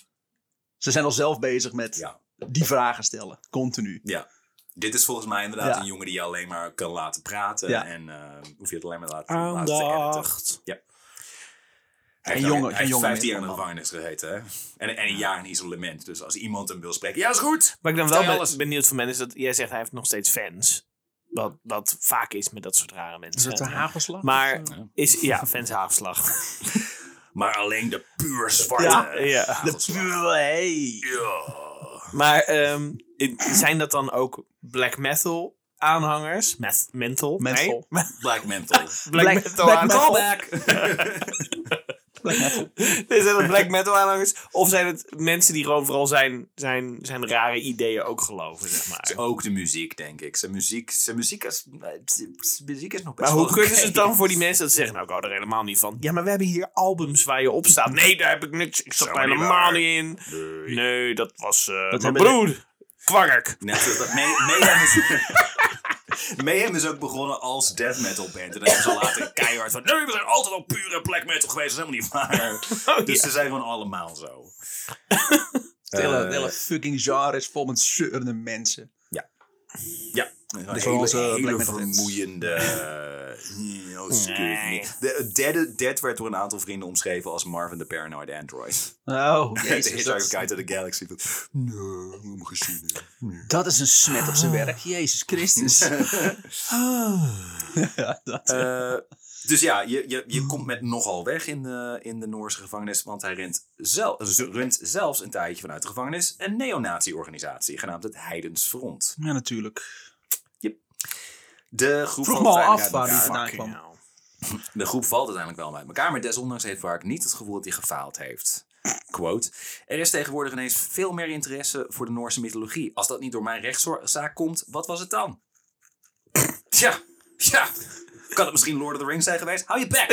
[SPEAKER 1] Ze zijn al zelf bezig met
[SPEAKER 3] Ja.
[SPEAKER 1] die vragen stellen, continu.
[SPEAKER 3] Ja. Dit is volgens mij inderdaad
[SPEAKER 1] Ja.
[SPEAKER 3] een jongen die je alleen maar kan laten praten.
[SPEAKER 1] Ja.
[SPEAKER 3] En eh, hoef je het alleen maar laten, laten te editen.
[SPEAKER 2] Aandacht.
[SPEAKER 3] Hij
[SPEAKER 1] Een
[SPEAKER 3] heeft-
[SPEAKER 1] jongen-
[SPEAKER 3] Hij
[SPEAKER 1] een
[SPEAKER 3] heeft
[SPEAKER 1] jongen
[SPEAKER 3] 15 jaar in de
[SPEAKER 1] met een
[SPEAKER 3] gevangenis gezeten. hè? En, en een jaar in isolement. Dus als iemand hem wil spreken. Ja, is goed.
[SPEAKER 2] Waar ik
[SPEAKER 3] Vertel
[SPEAKER 2] dan wel
[SPEAKER 3] je
[SPEAKER 2] ben-
[SPEAKER 3] alles.
[SPEAKER 2] benieuwd van ben, is dat jij zegt hij heeft nog steeds fans. Wat, wat vaak is met dat soort rare mensen.
[SPEAKER 1] hagelslag?
[SPEAKER 2] maar is, ja, fans haafslag.
[SPEAKER 3] Maar alleen de puur zwarte.
[SPEAKER 1] Ja,
[SPEAKER 2] ja.
[SPEAKER 1] De hey.
[SPEAKER 3] Ja.
[SPEAKER 2] Maar ehm, in- zijn dat dan ook black metal aanhangers? Meth, mental?
[SPEAKER 1] Mental.
[SPEAKER 2] Nee?
[SPEAKER 3] Black mental.
[SPEAKER 2] Black,
[SPEAKER 1] Black-
[SPEAKER 2] metal
[SPEAKER 1] black
[SPEAKER 2] aanhangers. Eh.
[SPEAKER 1] Black
[SPEAKER 2] Nee, zijn dat black metal aanhangers? Of zijn het mensen die gewoon vooral zijn, zijn, zijn rare ideeën ook geloven, zeg maar?
[SPEAKER 3] Ook de muziek, denk ik. Zijn muziek, zijn muziek, is, zijn muziek is nog best
[SPEAKER 2] Maar hoe
[SPEAKER 3] wel
[SPEAKER 2] kunnen
[SPEAKER 3] oké.
[SPEAKER 2] ze het dan voor die mensen dat ze zeggen? Nou, ik hou er helemaal niet van. Ja, maar we hebben hier albums waar je op staat. Nee, daar heb ik niks. Ik zat
[SPEAKER 3] Zo
[SPEAKER 2] er
[SPEAKER 3] niet
[SPEAKER 2] helemaal
[SPEAKER 3] waar.
[SPEAKER 2] niet in.
[SPEAKER 3] Nee.
[SPEAKER 2] Nee, dat was eh mijn
[SPEAKER 1] hebben
[SPEAKER 2] broer. Kwark.
[SPEAKER 3] Net zoals dat May- Mayhem is... Mayhem is ook begonnen als death metal band. En dan hebben ze later keihard van... Nee, we zijn altijd al pure black metal geweest. Dat is helemaal niet waar. dus ze zijn gewoon allemaal zo.
[SPEAKER 1] Het hele, het
[SPEAKER 3] Eh,
[SPEAKER 1] hele fucking genre is vol met zeurende mensen.
[SPEAKER 3] Ja. Een
[SPEAKER 1] voor onze
[SPEAKER 3] hele, hele
[SPEAKER 1] black metal fans.
[SPEAKER 3] vermoeiende... eh, oh, ze kunnen het niet. De, dead, dead werd door een aantal vrienden omschreven als Marvin the Paranoid Android.
[SPEAKER 1] Oh,
[SPEAKER 3] Jezus, de
[SPEAKER 1] jezus.
[SPEAKER 3] Hitchhiker's
[SPEAKER 1] Dat,
[SPEAKER 3] Guide to the Galaxy. Nee, helemaal gezien.
[SPEAKER 1] dat is een smet op zijn werk. Jezus Christus. ja, dat.
[SPEAKER 3] Eh, dus ja, je, je, je komt met nogal weg in de, in de Noorse gevangenis. Want hij rent, zel, z- runt zelfs een tijdje vanuit de gevangenis een neonazi-organisatie genaamd het Heidens Front.
[SPEAKER 1] ja, natuurlijk.
[SPEAKER 3] De groep,
[SPEAKER 1] Vroeg me
[SPEAKER 3] valt
[SPEAKER 1] al af
[SPEAKER 3] uiteindelijk
[SPEAKER 1] waar die
[SPEAKER 3] uit
[SPEAKER 1] vandaan
[SPEAKER 3] elkaar.
[SPEAKER 2] Fucking
[SPEAKER 1] kwam.
[SPEAKER 2] hell.
[SPEAKER 3] De groep valt uiteindelijk wel uit elkaar, maar desondanks heeft Vark niet het gevoel dat hij gefaald heeft. Quote. Er is tegenwoordig ineens veel meer interesse voor de Noorse mythologie. Als dat niet door mijn rechtszaak komt, wat was het dan? Tja, ja. Kan het misschien Lord of the Rings zijn geweest? Hou je bek!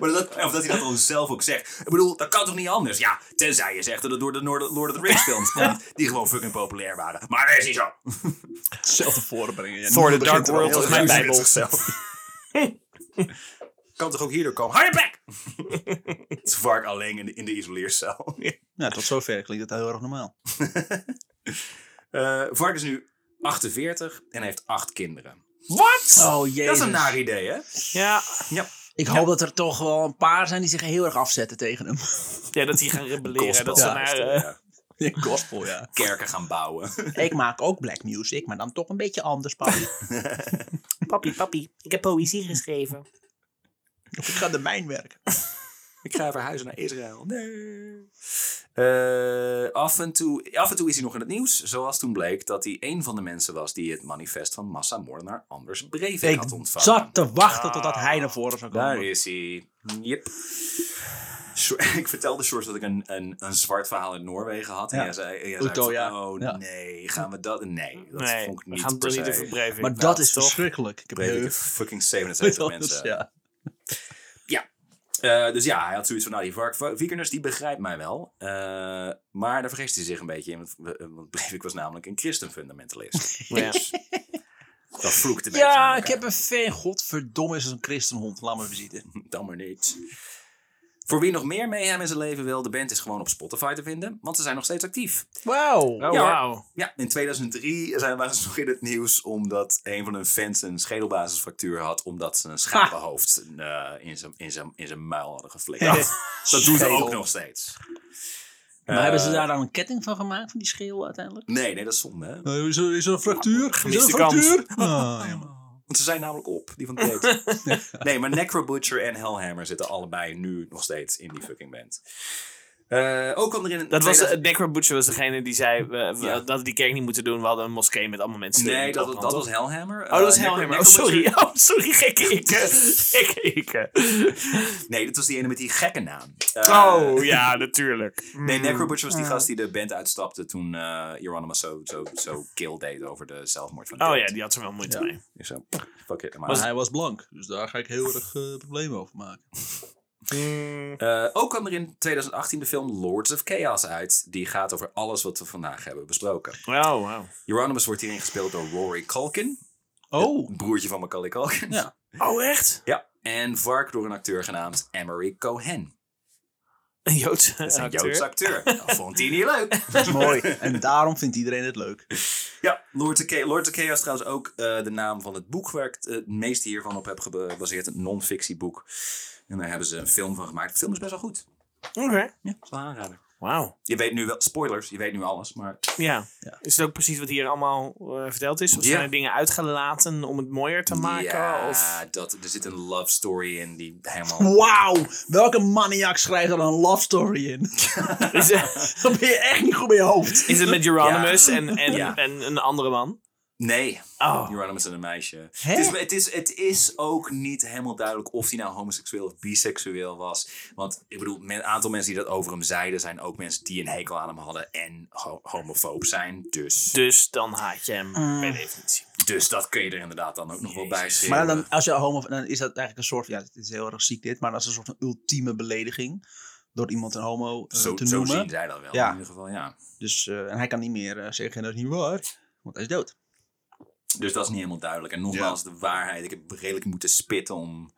[SPEAKER 3] maar dat, of dat hij dat gewoon zelf ook zegt. Ik bedoel, dat kan toch niet anders? Ja, tenzij je zegt dat het door de Noord- Lord of the Rings films komt. Die gewoon fucking populair waren. Maar dat is niet zo.
[SPEAKER 1] Hetzelfde voorbrengen. Ja,
[SPEAKER 2] Voor
[SPEAKER 1] nu
[SPEAKER 2] de
[SPEAKER 1] begint
[SPEAKER 2] Dark
[SPEAKER 1] er al
[SPEAKER 2] World
[SPEAKER 1] heel
[SPEAKER 2] is mijn
[SPEAKER 1] veel-
[SPEAKER 2] bijbel.
[SPEAKER 3] kan toch ook hierdoor komen? Hou je bek! Het is vark alleen in de, in de isoleercel.
[SPEAKER 1] Ja, Nou, tot zover klinkt dat heel erg normaal.
[SPEAKER 3] Eh, vark is nu 48 en heeft acht kinderen. Wat?
[SPEAKER 1] Oh,
[SPEAKER 3] Dat is
[SPEAKER 1] jezus.
[SPEAKER 3] een naar idee, hè?
[SPEAKER 2] Ja.
[SPEAKER 3] Ja.
[SPEAKER 1] Ik hoop dat er toch wel een paar zijn die zich heel erg afzetten tegen hem.
[SPEAKER 2] ja, dat die gaan rebelleren. Dat ze
[SPEAKER 3] Gospel.
[SPEAKER 2] naar, eh,
[SPEAKER 3] Ja.
[SPEAKER 1] Gospel, ja.
[SPEAKER 3] Kerken gaan bouwen.
[SPEAKER 1] Ik maak ook black music, maar dan toch een beetje anders, pap.
[SPEAKER 2] Papi, papi, ik heb poëzie geschreven.
[SPEAKER 1] ik ga de mijn werken.
[SPEAKER 3] Ik ga verhuizen naar Israël. Nee. Eh, af, en toe, af en toe is hij nog in het nieuws. Zoals toen bleek dat hij een van de mensen was die het manifest van massamoordenaar Anders Breivik
[SPEAKER 1] Ik
[SPEAKER 3] had ontvangen.
[SPEAKER 1] zat te wachten totdat hij naar voren zou
[SPEAKER 3] Daar
[SPEAKER 1] komen.
[SPEAKER 3] is hij. Yep. Sjo- Ik vertelde Shores dat ik een, een, een zwart verhaal in Noorwegen had. En
[SPEAKER 1] Ja.
[SPEAKER 3] jij zei, jij
[SPEAKER 1] Uto,
[SPEAKER 3] zei van,
[SPEAKER 1] ja.
[SPEAKER 3] oh
[SPEAKER 1] Ja.
[SPEAKER 3] nee, gaan we dat... Nee, dat
[SPEAKER 2] nee,
[SPEAKER 3] vond ik
[SPEAKER 2] we
[SPEAKER 3] niet
[SPEAKER 2] gaan het
[SPEAKER 3] per
[SPEAKER 2] toch
[SPEAKER 3] se.
[SPEAKER 2] niet over Breivik.
[SPEAKER 1] Maar dat
[SPEAKER 2] praten,
[SPEAKER 3] dus-
[SPEAKER 1] is
[SPEAKER 2] toch?
[SPEAKER 1] verschrikkelijk. Ik heb
[SPEAKER 3] Breivik
[SPEAKER 1] heel
[SPEAKER 3] heeft fucking
[SPEAKER 1] veel
[SPEAKER 3] 77
[SPEAKER 1] anders,
[SPEAKER 3] mensen.
[SPEAKER 1] ja.
[SPEAKER 3] Eh, dus ja, hij had zoiets van, nou die vark- Vikerners, die begrijpt mij wel. Eh, maar daar vergist hij zich een beetje in. Want, we- eh, want Breivik was namelijk een christenfundamentalist.
[SPEAKER 2] Ja.
[SPEAKER 3] Dat vloekt een beetje aan
[SPEAKER 1] Ja, ik
[SPEAKER 3] elkaar.
[SPEAKER 1] heb een fan. Godverdomme is het een christenhond. Laat me even zitten.
[SPEAKER 3] Dan maar niet. Voor wie nog meer mee hem in zijn leven wil, de band is gewoon op Spotify te vinden. Want ze zijn nog steeds actief.
[SPEAKER 1] Wauw.
[SPEAKER 2] Oh,
[SPEAKER 3] Ja.
[SPEAKER 2] wauw.
[SPEAKER 3] Ja, in 2003 zijn waren ze nog in het nieuws omdat een van hun fans een schedelbasisfractuur had. Omdat ze een schapenhoofd eh, in, zijn, in, zijn, in zijn muil hadden geflikt. Dat doen ze
[SPEAKER 1] Schedel.
[SPEAKER 3] ook nog steeds.
[SPEAKER 1] Maar
[SPEAKER 3] Eh,
[SPEAKER 1] hebben ze daar dan een ketting van gemaakt, van die schil uiteindelijk?
[SPEAKER 3] Nee, nee, dat is zonde. Hè?
[SPEAKER 1] Eh, Is er, een fractuur? Ah,
[SPEAKER 2] Gemiste Is er een kans. fractuur?
[SPEAKER 3] Want ze zijn namelijk op, die van Tate. nee, maar Necrobutcher en Hellhammer zitten allebei nu nog steeds in die fucking band. Eh, ook kwam er in...
[SPEAKER 2] Dat was,
[SPEAKER 3] 2000
[SPEAKER 2] eh, Necro Butcher was degene die zei we- we-
[SPEAKER 3] Ja.
[SPEAKER 2] dat we die kerk niet moeten doen. We hadden een moskee met allemaal mensen.
[SPEAKER 3] Nee,
[SPEAKER 2] die
[SPEAKER 3] dat,
[SPEAKER 2] opbranden,
[SPEAKER 3] dat
[SPEAKER 2] toch?
[SPEAKER 3] was Hellhammer.
[SPEAKER 2] Oh, dat is
[SPEAKER 3] Eh,
[SPEAKER 2] Hellhammer. Oh,
[SPEAKER 3] Necrobutcher-
[SPEAKER 2] sorry. Oh, sorry, gekke ik. eh, Ik, ik. eh.
[SPEAKER 3] Nee, dat was die ene met die gekke naam. Eh,
[SPEAKER 2] Oh, ja, natuurlijk. Mm.
[SPEAKER 3] Nee, Necrobutcher was die gast die de band uitstapte toen eh Hieronymus zo, zo, zo kill deed over de zelfmoord van
[SPEAKER 2] Oh
[SPEAKER 3] Tate.
[SPEAKER 2] ja, die had er wel moeite mee.
[SPEAKER 3] Dus Zo, fuck it. Maar
[SPEAKER 1] hij was blank, dus daar ga ik heel erg problemen over maken.
[SPEAKER 3] Eh, ook kwam er in 2018 de film Lords of Chaos uit. Die gaat over alles wat we vandaag hebben besproken.
[SPEAKER 2] Wow, wow.
[SPEAKER 3] Euronymous wordt hierin gespeeld door Rory Culkin.
[SPEAKER 1] Oh,
[SPEAKER 3] het Broertje van Macaulay Culkin. Ja.
[SPEAKER 2] Oh, echt?
[SPEAKER 3] En Vark door een acteur genaamd Emery Cohen.
[SPEAKER 2] Een Joodse
[SPEAKER 3] Dat is een
[SPEAKER 2] acteur.
[SPEAKER 3] Joodse acteur. Dat vond hij niet leuk.
[SPEAKER 1] dat is mooi. En daarom vindt iedereen het leuk.
[SPEAKER 3] Ja, Lord of, Cha- Lord of Chaos is trouwens ook eh, de naam van het boek waar ik het eh, het meeste hiervan op heb gebaseerd. Een non-fictieboek. En daar hebben ze een film van gemaakt. De film is best wel goed.
[SPEAKER 2] Oké.
[SPEAKER 3] Ja, is wel aanrader.
[SPEAKER 2] Wauw.
[SPEAKER 3] Je weet nu wel, spoilers, je weet nu alles, maar
[SPEAKER 2] Ja.
[SPEAKER 1] Ja.
[SPEAKER 2] Is het ook precies wat hier allemaal eh, verteld is? Of
[SPEAKER 3] Ja.
[SPEAKER 2] zijn er dingen uitgelaten om het mooier te maken?
[SPEAKER 3] Ja,
[SPEAKER 2] Of...
[SPEAKER 3] dat, er zit een love story in die helemaal...
[SPEAKER 1] Wauw, welke maniak schrijft er een love story in?
[SPEAKER 2] Is, het-
[SPEAKER 1] Dan ben je echt niet goed bij je hoofd.
[SPEAKER 2] is het met Geronimus
[SPEAKER 3] Ja.
[SPEAKER 2] en, en,
[SPEAKER 3] Ja.
[SPEAKER 2] en een andere man?
[SPEAKER 3] Nee,
[SPEAKER 2] Oh.
[SPEAKER 3] Euronymous en een meisje.
[SPEAKER 1] Hè?
[SPEAKER 3] Het is, het, is, het is ook niet helemaal duidelijk of hij nou homoseksueel of biseksueel was. Want ik bedoel, een aantal mensen die dat over hem zeiden... zijn ook mensen die een hekel aan hem hadden en ho- homofoob zijn. Dus,
[SPEAKER 2] Dus dan haat je hem per definitie.
[SPEAKER 3] dus dat kun je er inderdaad dan ook nog wel bij schrijven.
[SPEAKER 1] Maar dan, als je homo, dan is dat eigenlijk een soort, ja, het is heel erg ziek dit, maar dat is een soort van ultieme belediging door iemand een homo eh,
[SPEAKER 3] zo,
[SPEAKER 1] te
[SPEAKER 3] zo
[SPEAKER 1] noemen.
[SPEAKER 3] zien zij dat wel
[SPEAKER 1] Ja.
[SPEAKER 3] in ieder geval, ja.
[SPEAKER 1] Dus, eh, en hij kan niet meer eh, zeggen, dat is niet waar, want hij is dood.
[SPEAKER 3] Dus dat is niet helemaal duidelijk. En nogmaals, de waarheid. Ik heb redelijk moeten spitten om...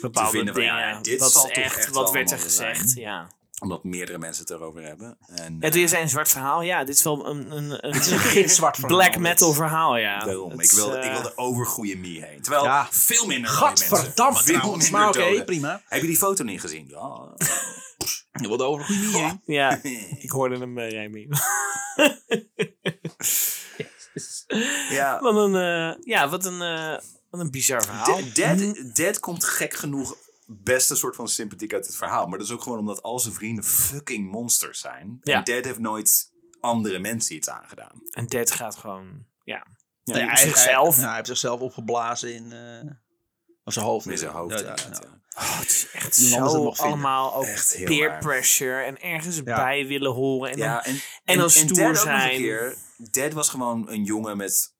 [SPEAKER 2] Bepaalde
[SPEAKER 3] vinden van,
[SPEAKER 2] dingen.
[SPEAKER 3] ja, dit
[SPEAKER 2] dat
[SPEAKER 3] zal
[SPEAKER 2] is
[SPEAKER 3] toch
[SPEAKER 2] echt,
[SPEAKER 3] echt
[SPEAKER 2] wat werd er
[SPEAKER 3] allemaal zijn.
[SPEAKER 2] gezegd. Ja.
[SPEAKER 3] Omdat meerdere mensen het erover hebben. En, eh,
[SPEAKER 2] ja, toen je zei een zwart verhaal. Ja, dit is wel een, een, een,
[SPEAKER 1] Het is een gitzwart verhaal.
[SPEAKER 2] black metal verhaal. Ja.
[SPEAKER 3] Daarom.
[SPEAKER 2] Het
[SPEAKER 3] ik,
[SPEAKER 2] is,
[SPEAKER 3] wilde,
[SPEAKER 2] eh,
[SPEAKER 3] ik wilde over goede Mie heen. Terwijl
[SPEAKER 1] Ja.
[SPEAKER 3] veel minder mooie mensen.
[SPEAKER 1] Gadverdamme
[SPEAKER 3] Veel
[SPEAKER 1] trouwens,
[SPEAKER 3] minder
[SPEAKER 1] maar oké,
[SPEAKER 3] doden.
[SPEAKER 1] prima.
[SPEAKER 3] Heb je die foto niet gezien? Ja.
[SPEAKER 1] Je wilde over goed niet heen.
[SPEAKER 2] Ja, ik hoorde hem, eh, Remy.
[SPEAKER 3] ja.
[SPEAKER 2] Wat een, eh, ja, wat een, eh, wat een bizar verhaal.
[SPEAKER 1] Nou.
[SPEAKER 3] De- Dead, Dead komt gek genoeg best een soort van sympathiek uit het verhaal. Maar dat is ook gewoon omdat al zijn vrienden fucking monsters zijn.
[SPEAKER 2] Ja.
[SPEAKER 3] En Dead heeft nooit andere mensen iets aangedaan.
[SPEAKER 2] En dit gaat gewoon, ja.
[SPEAKER 3] Ja,
[SPEAKER 2] Nee,
[SPEAKER 1] hij,
[SPEAKER 2] hij- zichzelf.
[SPEAKER 1] hij- nou, hij heeft zichzelf opgeblazen in eh, of zijn hoofd.
[SPEAKER 3] Met zijn hoofd.
[SPEAKER 1] Ja,
[SPEAKER 3] inderdaad,
[SPEAKER 1] ja.
[SPEAKER 3] ja.
[SPEAKER 2] het is echt
[SPEAKER 1] Iemand anders het
[SPEAKER 2] zo
[SPEAKER 1] nog vinden.
[SPEAKER 2] allemaal ook
[SPEAKER 3] Echt heel
[SPEAKER 2] peer
[SPEAKER 3] raar.
[SPEAKER 2] pressure en ergens
[SPEAKER 1] Ja.
[SPEAKER 2] bij willen horen. En dan-
[SPEAKER 3] Ja, en,
[SPEAKER 2] en dan stoer
[SPEAKER 3] Dead ook nog
[SPEAKER 2] zijn.
[SPEAKER 3] een keer. Dead was gewoon een jongen met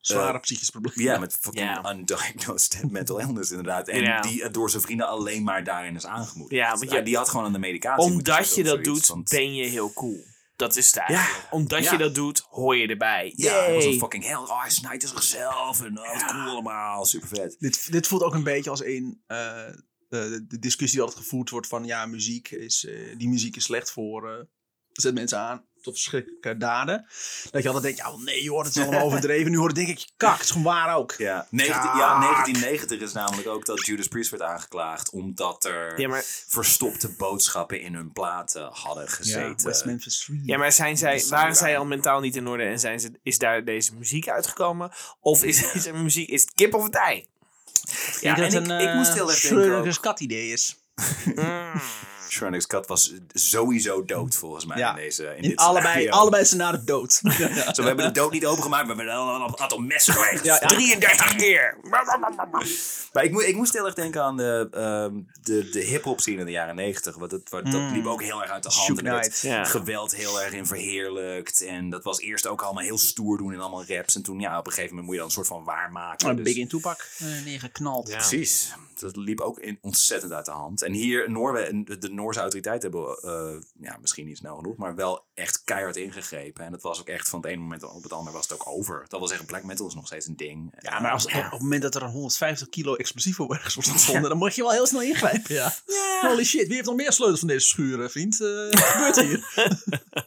[SPEAKER 1] Zware
[SPEAKER 3] Eh,
[SPEAKER 1] psychische problemen.
[SPEAKER 3] Ja, met fucking
[SPEAKER 2] Ja.
[SPEAKER 3] undiagnosed mental illness inderdaad. En
[SPEAKER 2] Ja.
[SPEAKER 3] die eh, door zijn vrienden alleen maar daarin is aangemoedigd.
[SPEAKER 2] Ja, want ja,
[SPEAKER 3] die had gewoon aan de medicatie moeten
[SPEAKER 2] omdat je
[SPEAKER 3] zitten
[SPEAKER 2] dat
[SPEAKER 3] of zoiets,
[SPEAKER 2] doet,
[SPEAKER 3] want-
[SPEAKER 2] ben je heel cool. Dat is daar.
[SPEAKER 3] Ja.
[SPEAKER 2] Omdat
[SPEAKER 3] Ja.
[SPEAKER 2] je dat doet, hoor je erbij.
[SPEAKER 3] Ja, dat was
[SPEAKER 2] Yay.
[SPEAKER 3] een fucking hell. Oh, hij snijdt in zichzelf en oh, wat cool allemaal. Super vet.
[SPEAKER 1] Dit, dit voelt ook een beetje als een. eh, eh, de, de discussie die altijd gevoerd wordt van ja, muziek is. eh, die muziek is slecht voor. eh, zet mensen aan tot verschrikkelijke daden. Dat je altijd denkt, ja, nee joh, dat is allemaal overdreven. Nu hoor ik denk ik, kak, het is gewoon waar ook.
[SPEAKER 3] Ja. 19, ja, 1990 is namelijk ook dat Judas Priest werd aangeklaagd omdat er
[SPEAKER 2] Ja, maar
[SPEAKER 3] verstopte boodschappen in hun platen hadden gezeten.
[SPEAKER 1] West Memphis 3.
[SPEAKER 2] Ja, maar zijn zij,
[SPEAKER 3] is
[SPEAKER 2] waren
[SPEAKER 3] raar.
[SPEAKER 2] zij al mentaal niet in orde en zijn ze, is daar deze muziek uitgekomen? Of is, is er muziek, is het kip of het ei?
[SPEAKER 3] ja, en ik, ik moest heel erg denken ook-
[SPEAKER 1] Schreurigers eh, kat idee is.
[SPEAKER 2] Mm.
[SPEAKER 3] Shronix Cat was sowieso dood volgens mij
[SPEAKER 1] Ja.
[SPEAKER 3] in deze in,
[SPEAKER 1] In
[SPEAKER 3] dit
[SPEAKER 1] allebei,
[SPEAKER 3] scenario.
[SPEAKER 1] allebei scenario's dood. ja.
[SPEAKER 3] Zo, we hebben de dood niet opengemaakt, maar we hebben wel een aantal messen geweest.
[SPEAKER 1] Ja, ja.
[SPEAKER 3] 33 keer! Maar ik, moe- ik moest heel erg denken aan de, ehm, de, de hip-hop scene in de jaren 90. Want dat, wat- dat liep ook heel erg uit de hand.
[SPEAKER 1] Mm. Shook
[SPEAKER 3] en er werd
[SPEAKER 1] Knight.
[SPEAKER 2] Ja.
[SPEAKER 3] Geweld heel erg in verheerlijkt. En dat was eerst ook allemaal heel stoer doen in allemaal raps. En toen, ja, op een gegeven moment moet je dan een soort van waarmaken.
[SPEAKER 1] Een
[SPEAKER 3] Dus-
[SPEAKER 1] Big in Toepak eh, neergeknald.
[SPEAKER 2] Ja.
[SPEAKER 3] Precies. Dat liep ook in, ontzettend uit de hand. En hier, Noorwe, en de- de Noorse autoriteiten hebben, eh, ja, misschien niet snel genoeg, maar wel echt keihard ingegrepen. En dat was ook echt van het ene moment op het andere was het ook over. Dat wil zeggen, black metal is nog steeds een ding. Eh,
[SPEAKER 1] Ja, maar als, op het moment dat er een 150 kilo explosief op ergens wordt ontstonden, dan moet je wel heel snel ingrijpen. Ja. Holy shit, wie heeft nog meer sleutels van deze schuren, vriend? Eh, wat gebeurt hier?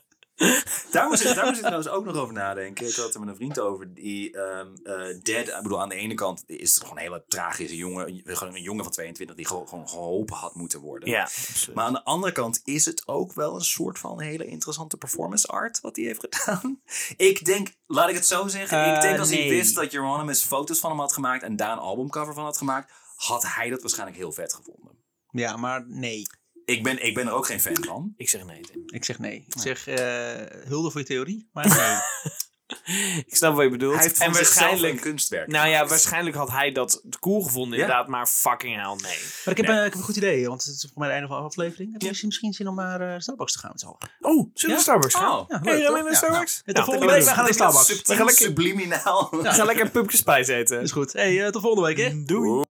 [SPEAKER 3] Daar moest, ik, daar moest ik trouwens ook nog over nadenken. Ik had er met een vriend over die ehm, eh, dead. Ik bedoel, aan de ene kant is het gewoon een hele tragische jongen. Gewoon een jongen van 22 die gewoon, gewoon geholpen had moeten worden.
[SPEAKER 2] Ja,
[SPEAKER 3] Maar aan de andere kant is het ook wel een soort van hele interessante performance art wat hij heeft gedaan. Ik denk, laat ik het zo zeggen. ik
[SPEAKER 1] Eh,
[SPEAKER 3] denk als hij
[SPEAKER 1] nee.
[SPEAKER 3] wist dat Euronymous foto's van hem had gemaakt en daar een albumcover van had gemaakt, had hij dat waarschijnlijk heel vet gevonden.
[SPEAKER 1] Ja, maar nee.
[SPEAKER 3] Ik ben, ik ben er ook geen fan van.
[SPEAKER 2] ik zeg nee. Tim.
[SPEAKER 1] Ik zeg nee. Ik zeg eh, hulde voor je theorie, maar nee.
[SPEAKER 2] Ik snap wat je bedoelt.
[SPEAKER 3] Hij heeft van
[SPEAKER 2] en
[SPEAKER 3] waarschijnlijk een
[SPEAKER 2] waarschijnlijk,
[SPEAKER 3] kunstwerk.
[SPEAKER 2] nou ja,
[SPEAKER 3] gemaakt.
[SPEAKER 2] waarschijnlijk had hij dat cool gevonden
[SPEAKER 3] Ja.
[SPEAKER 2] inderdaad, maar fucking hell nee.
[SPEAKER 1] Maar ik heb,
[SPEAKER 3] Nee.
[SPEAKER 1] eh, ik heb een goed idee, want het is volgens mij het einde van de aflevering. Heb je misschien- misschien zin om naar eh, Starbucks te gaan met z'n allen?
[SPEAKER 2] Oh, zullen we naar Starbucks
[SPEAKER 3] Oh,
[SPEAKER 2] gaan?
[SPEAKER 1] Ja,
[SPEAKER 2] Hey,
[SPEAKER 1] leuk,
[SPEAKER 2] gaan
[SPEAKER 1] toch?
[SPEAKER 2] we naar
[SPEAKER 1] Ja,
[SPEAKER 2] Starbucks?
[SPEAKER 1] nou,
[SPEAKER 2] Nou,
[SPEAKER 1] tot volgende
[SPEAKER 2] dat
[SPEAKER 1] week,
[SPEAKER 2] doen
[SPEAKER 1] we gaan naar Starbucks.
[SPEAKER 3] Subtiel, subliminaal.
[SPEAKER 2] Ik ga lekker pupjes bij zetten.
[SPEAKER 1] Is goed. Hey, eh, tot volgende week, hè?
[SPEAKER 2] Doei.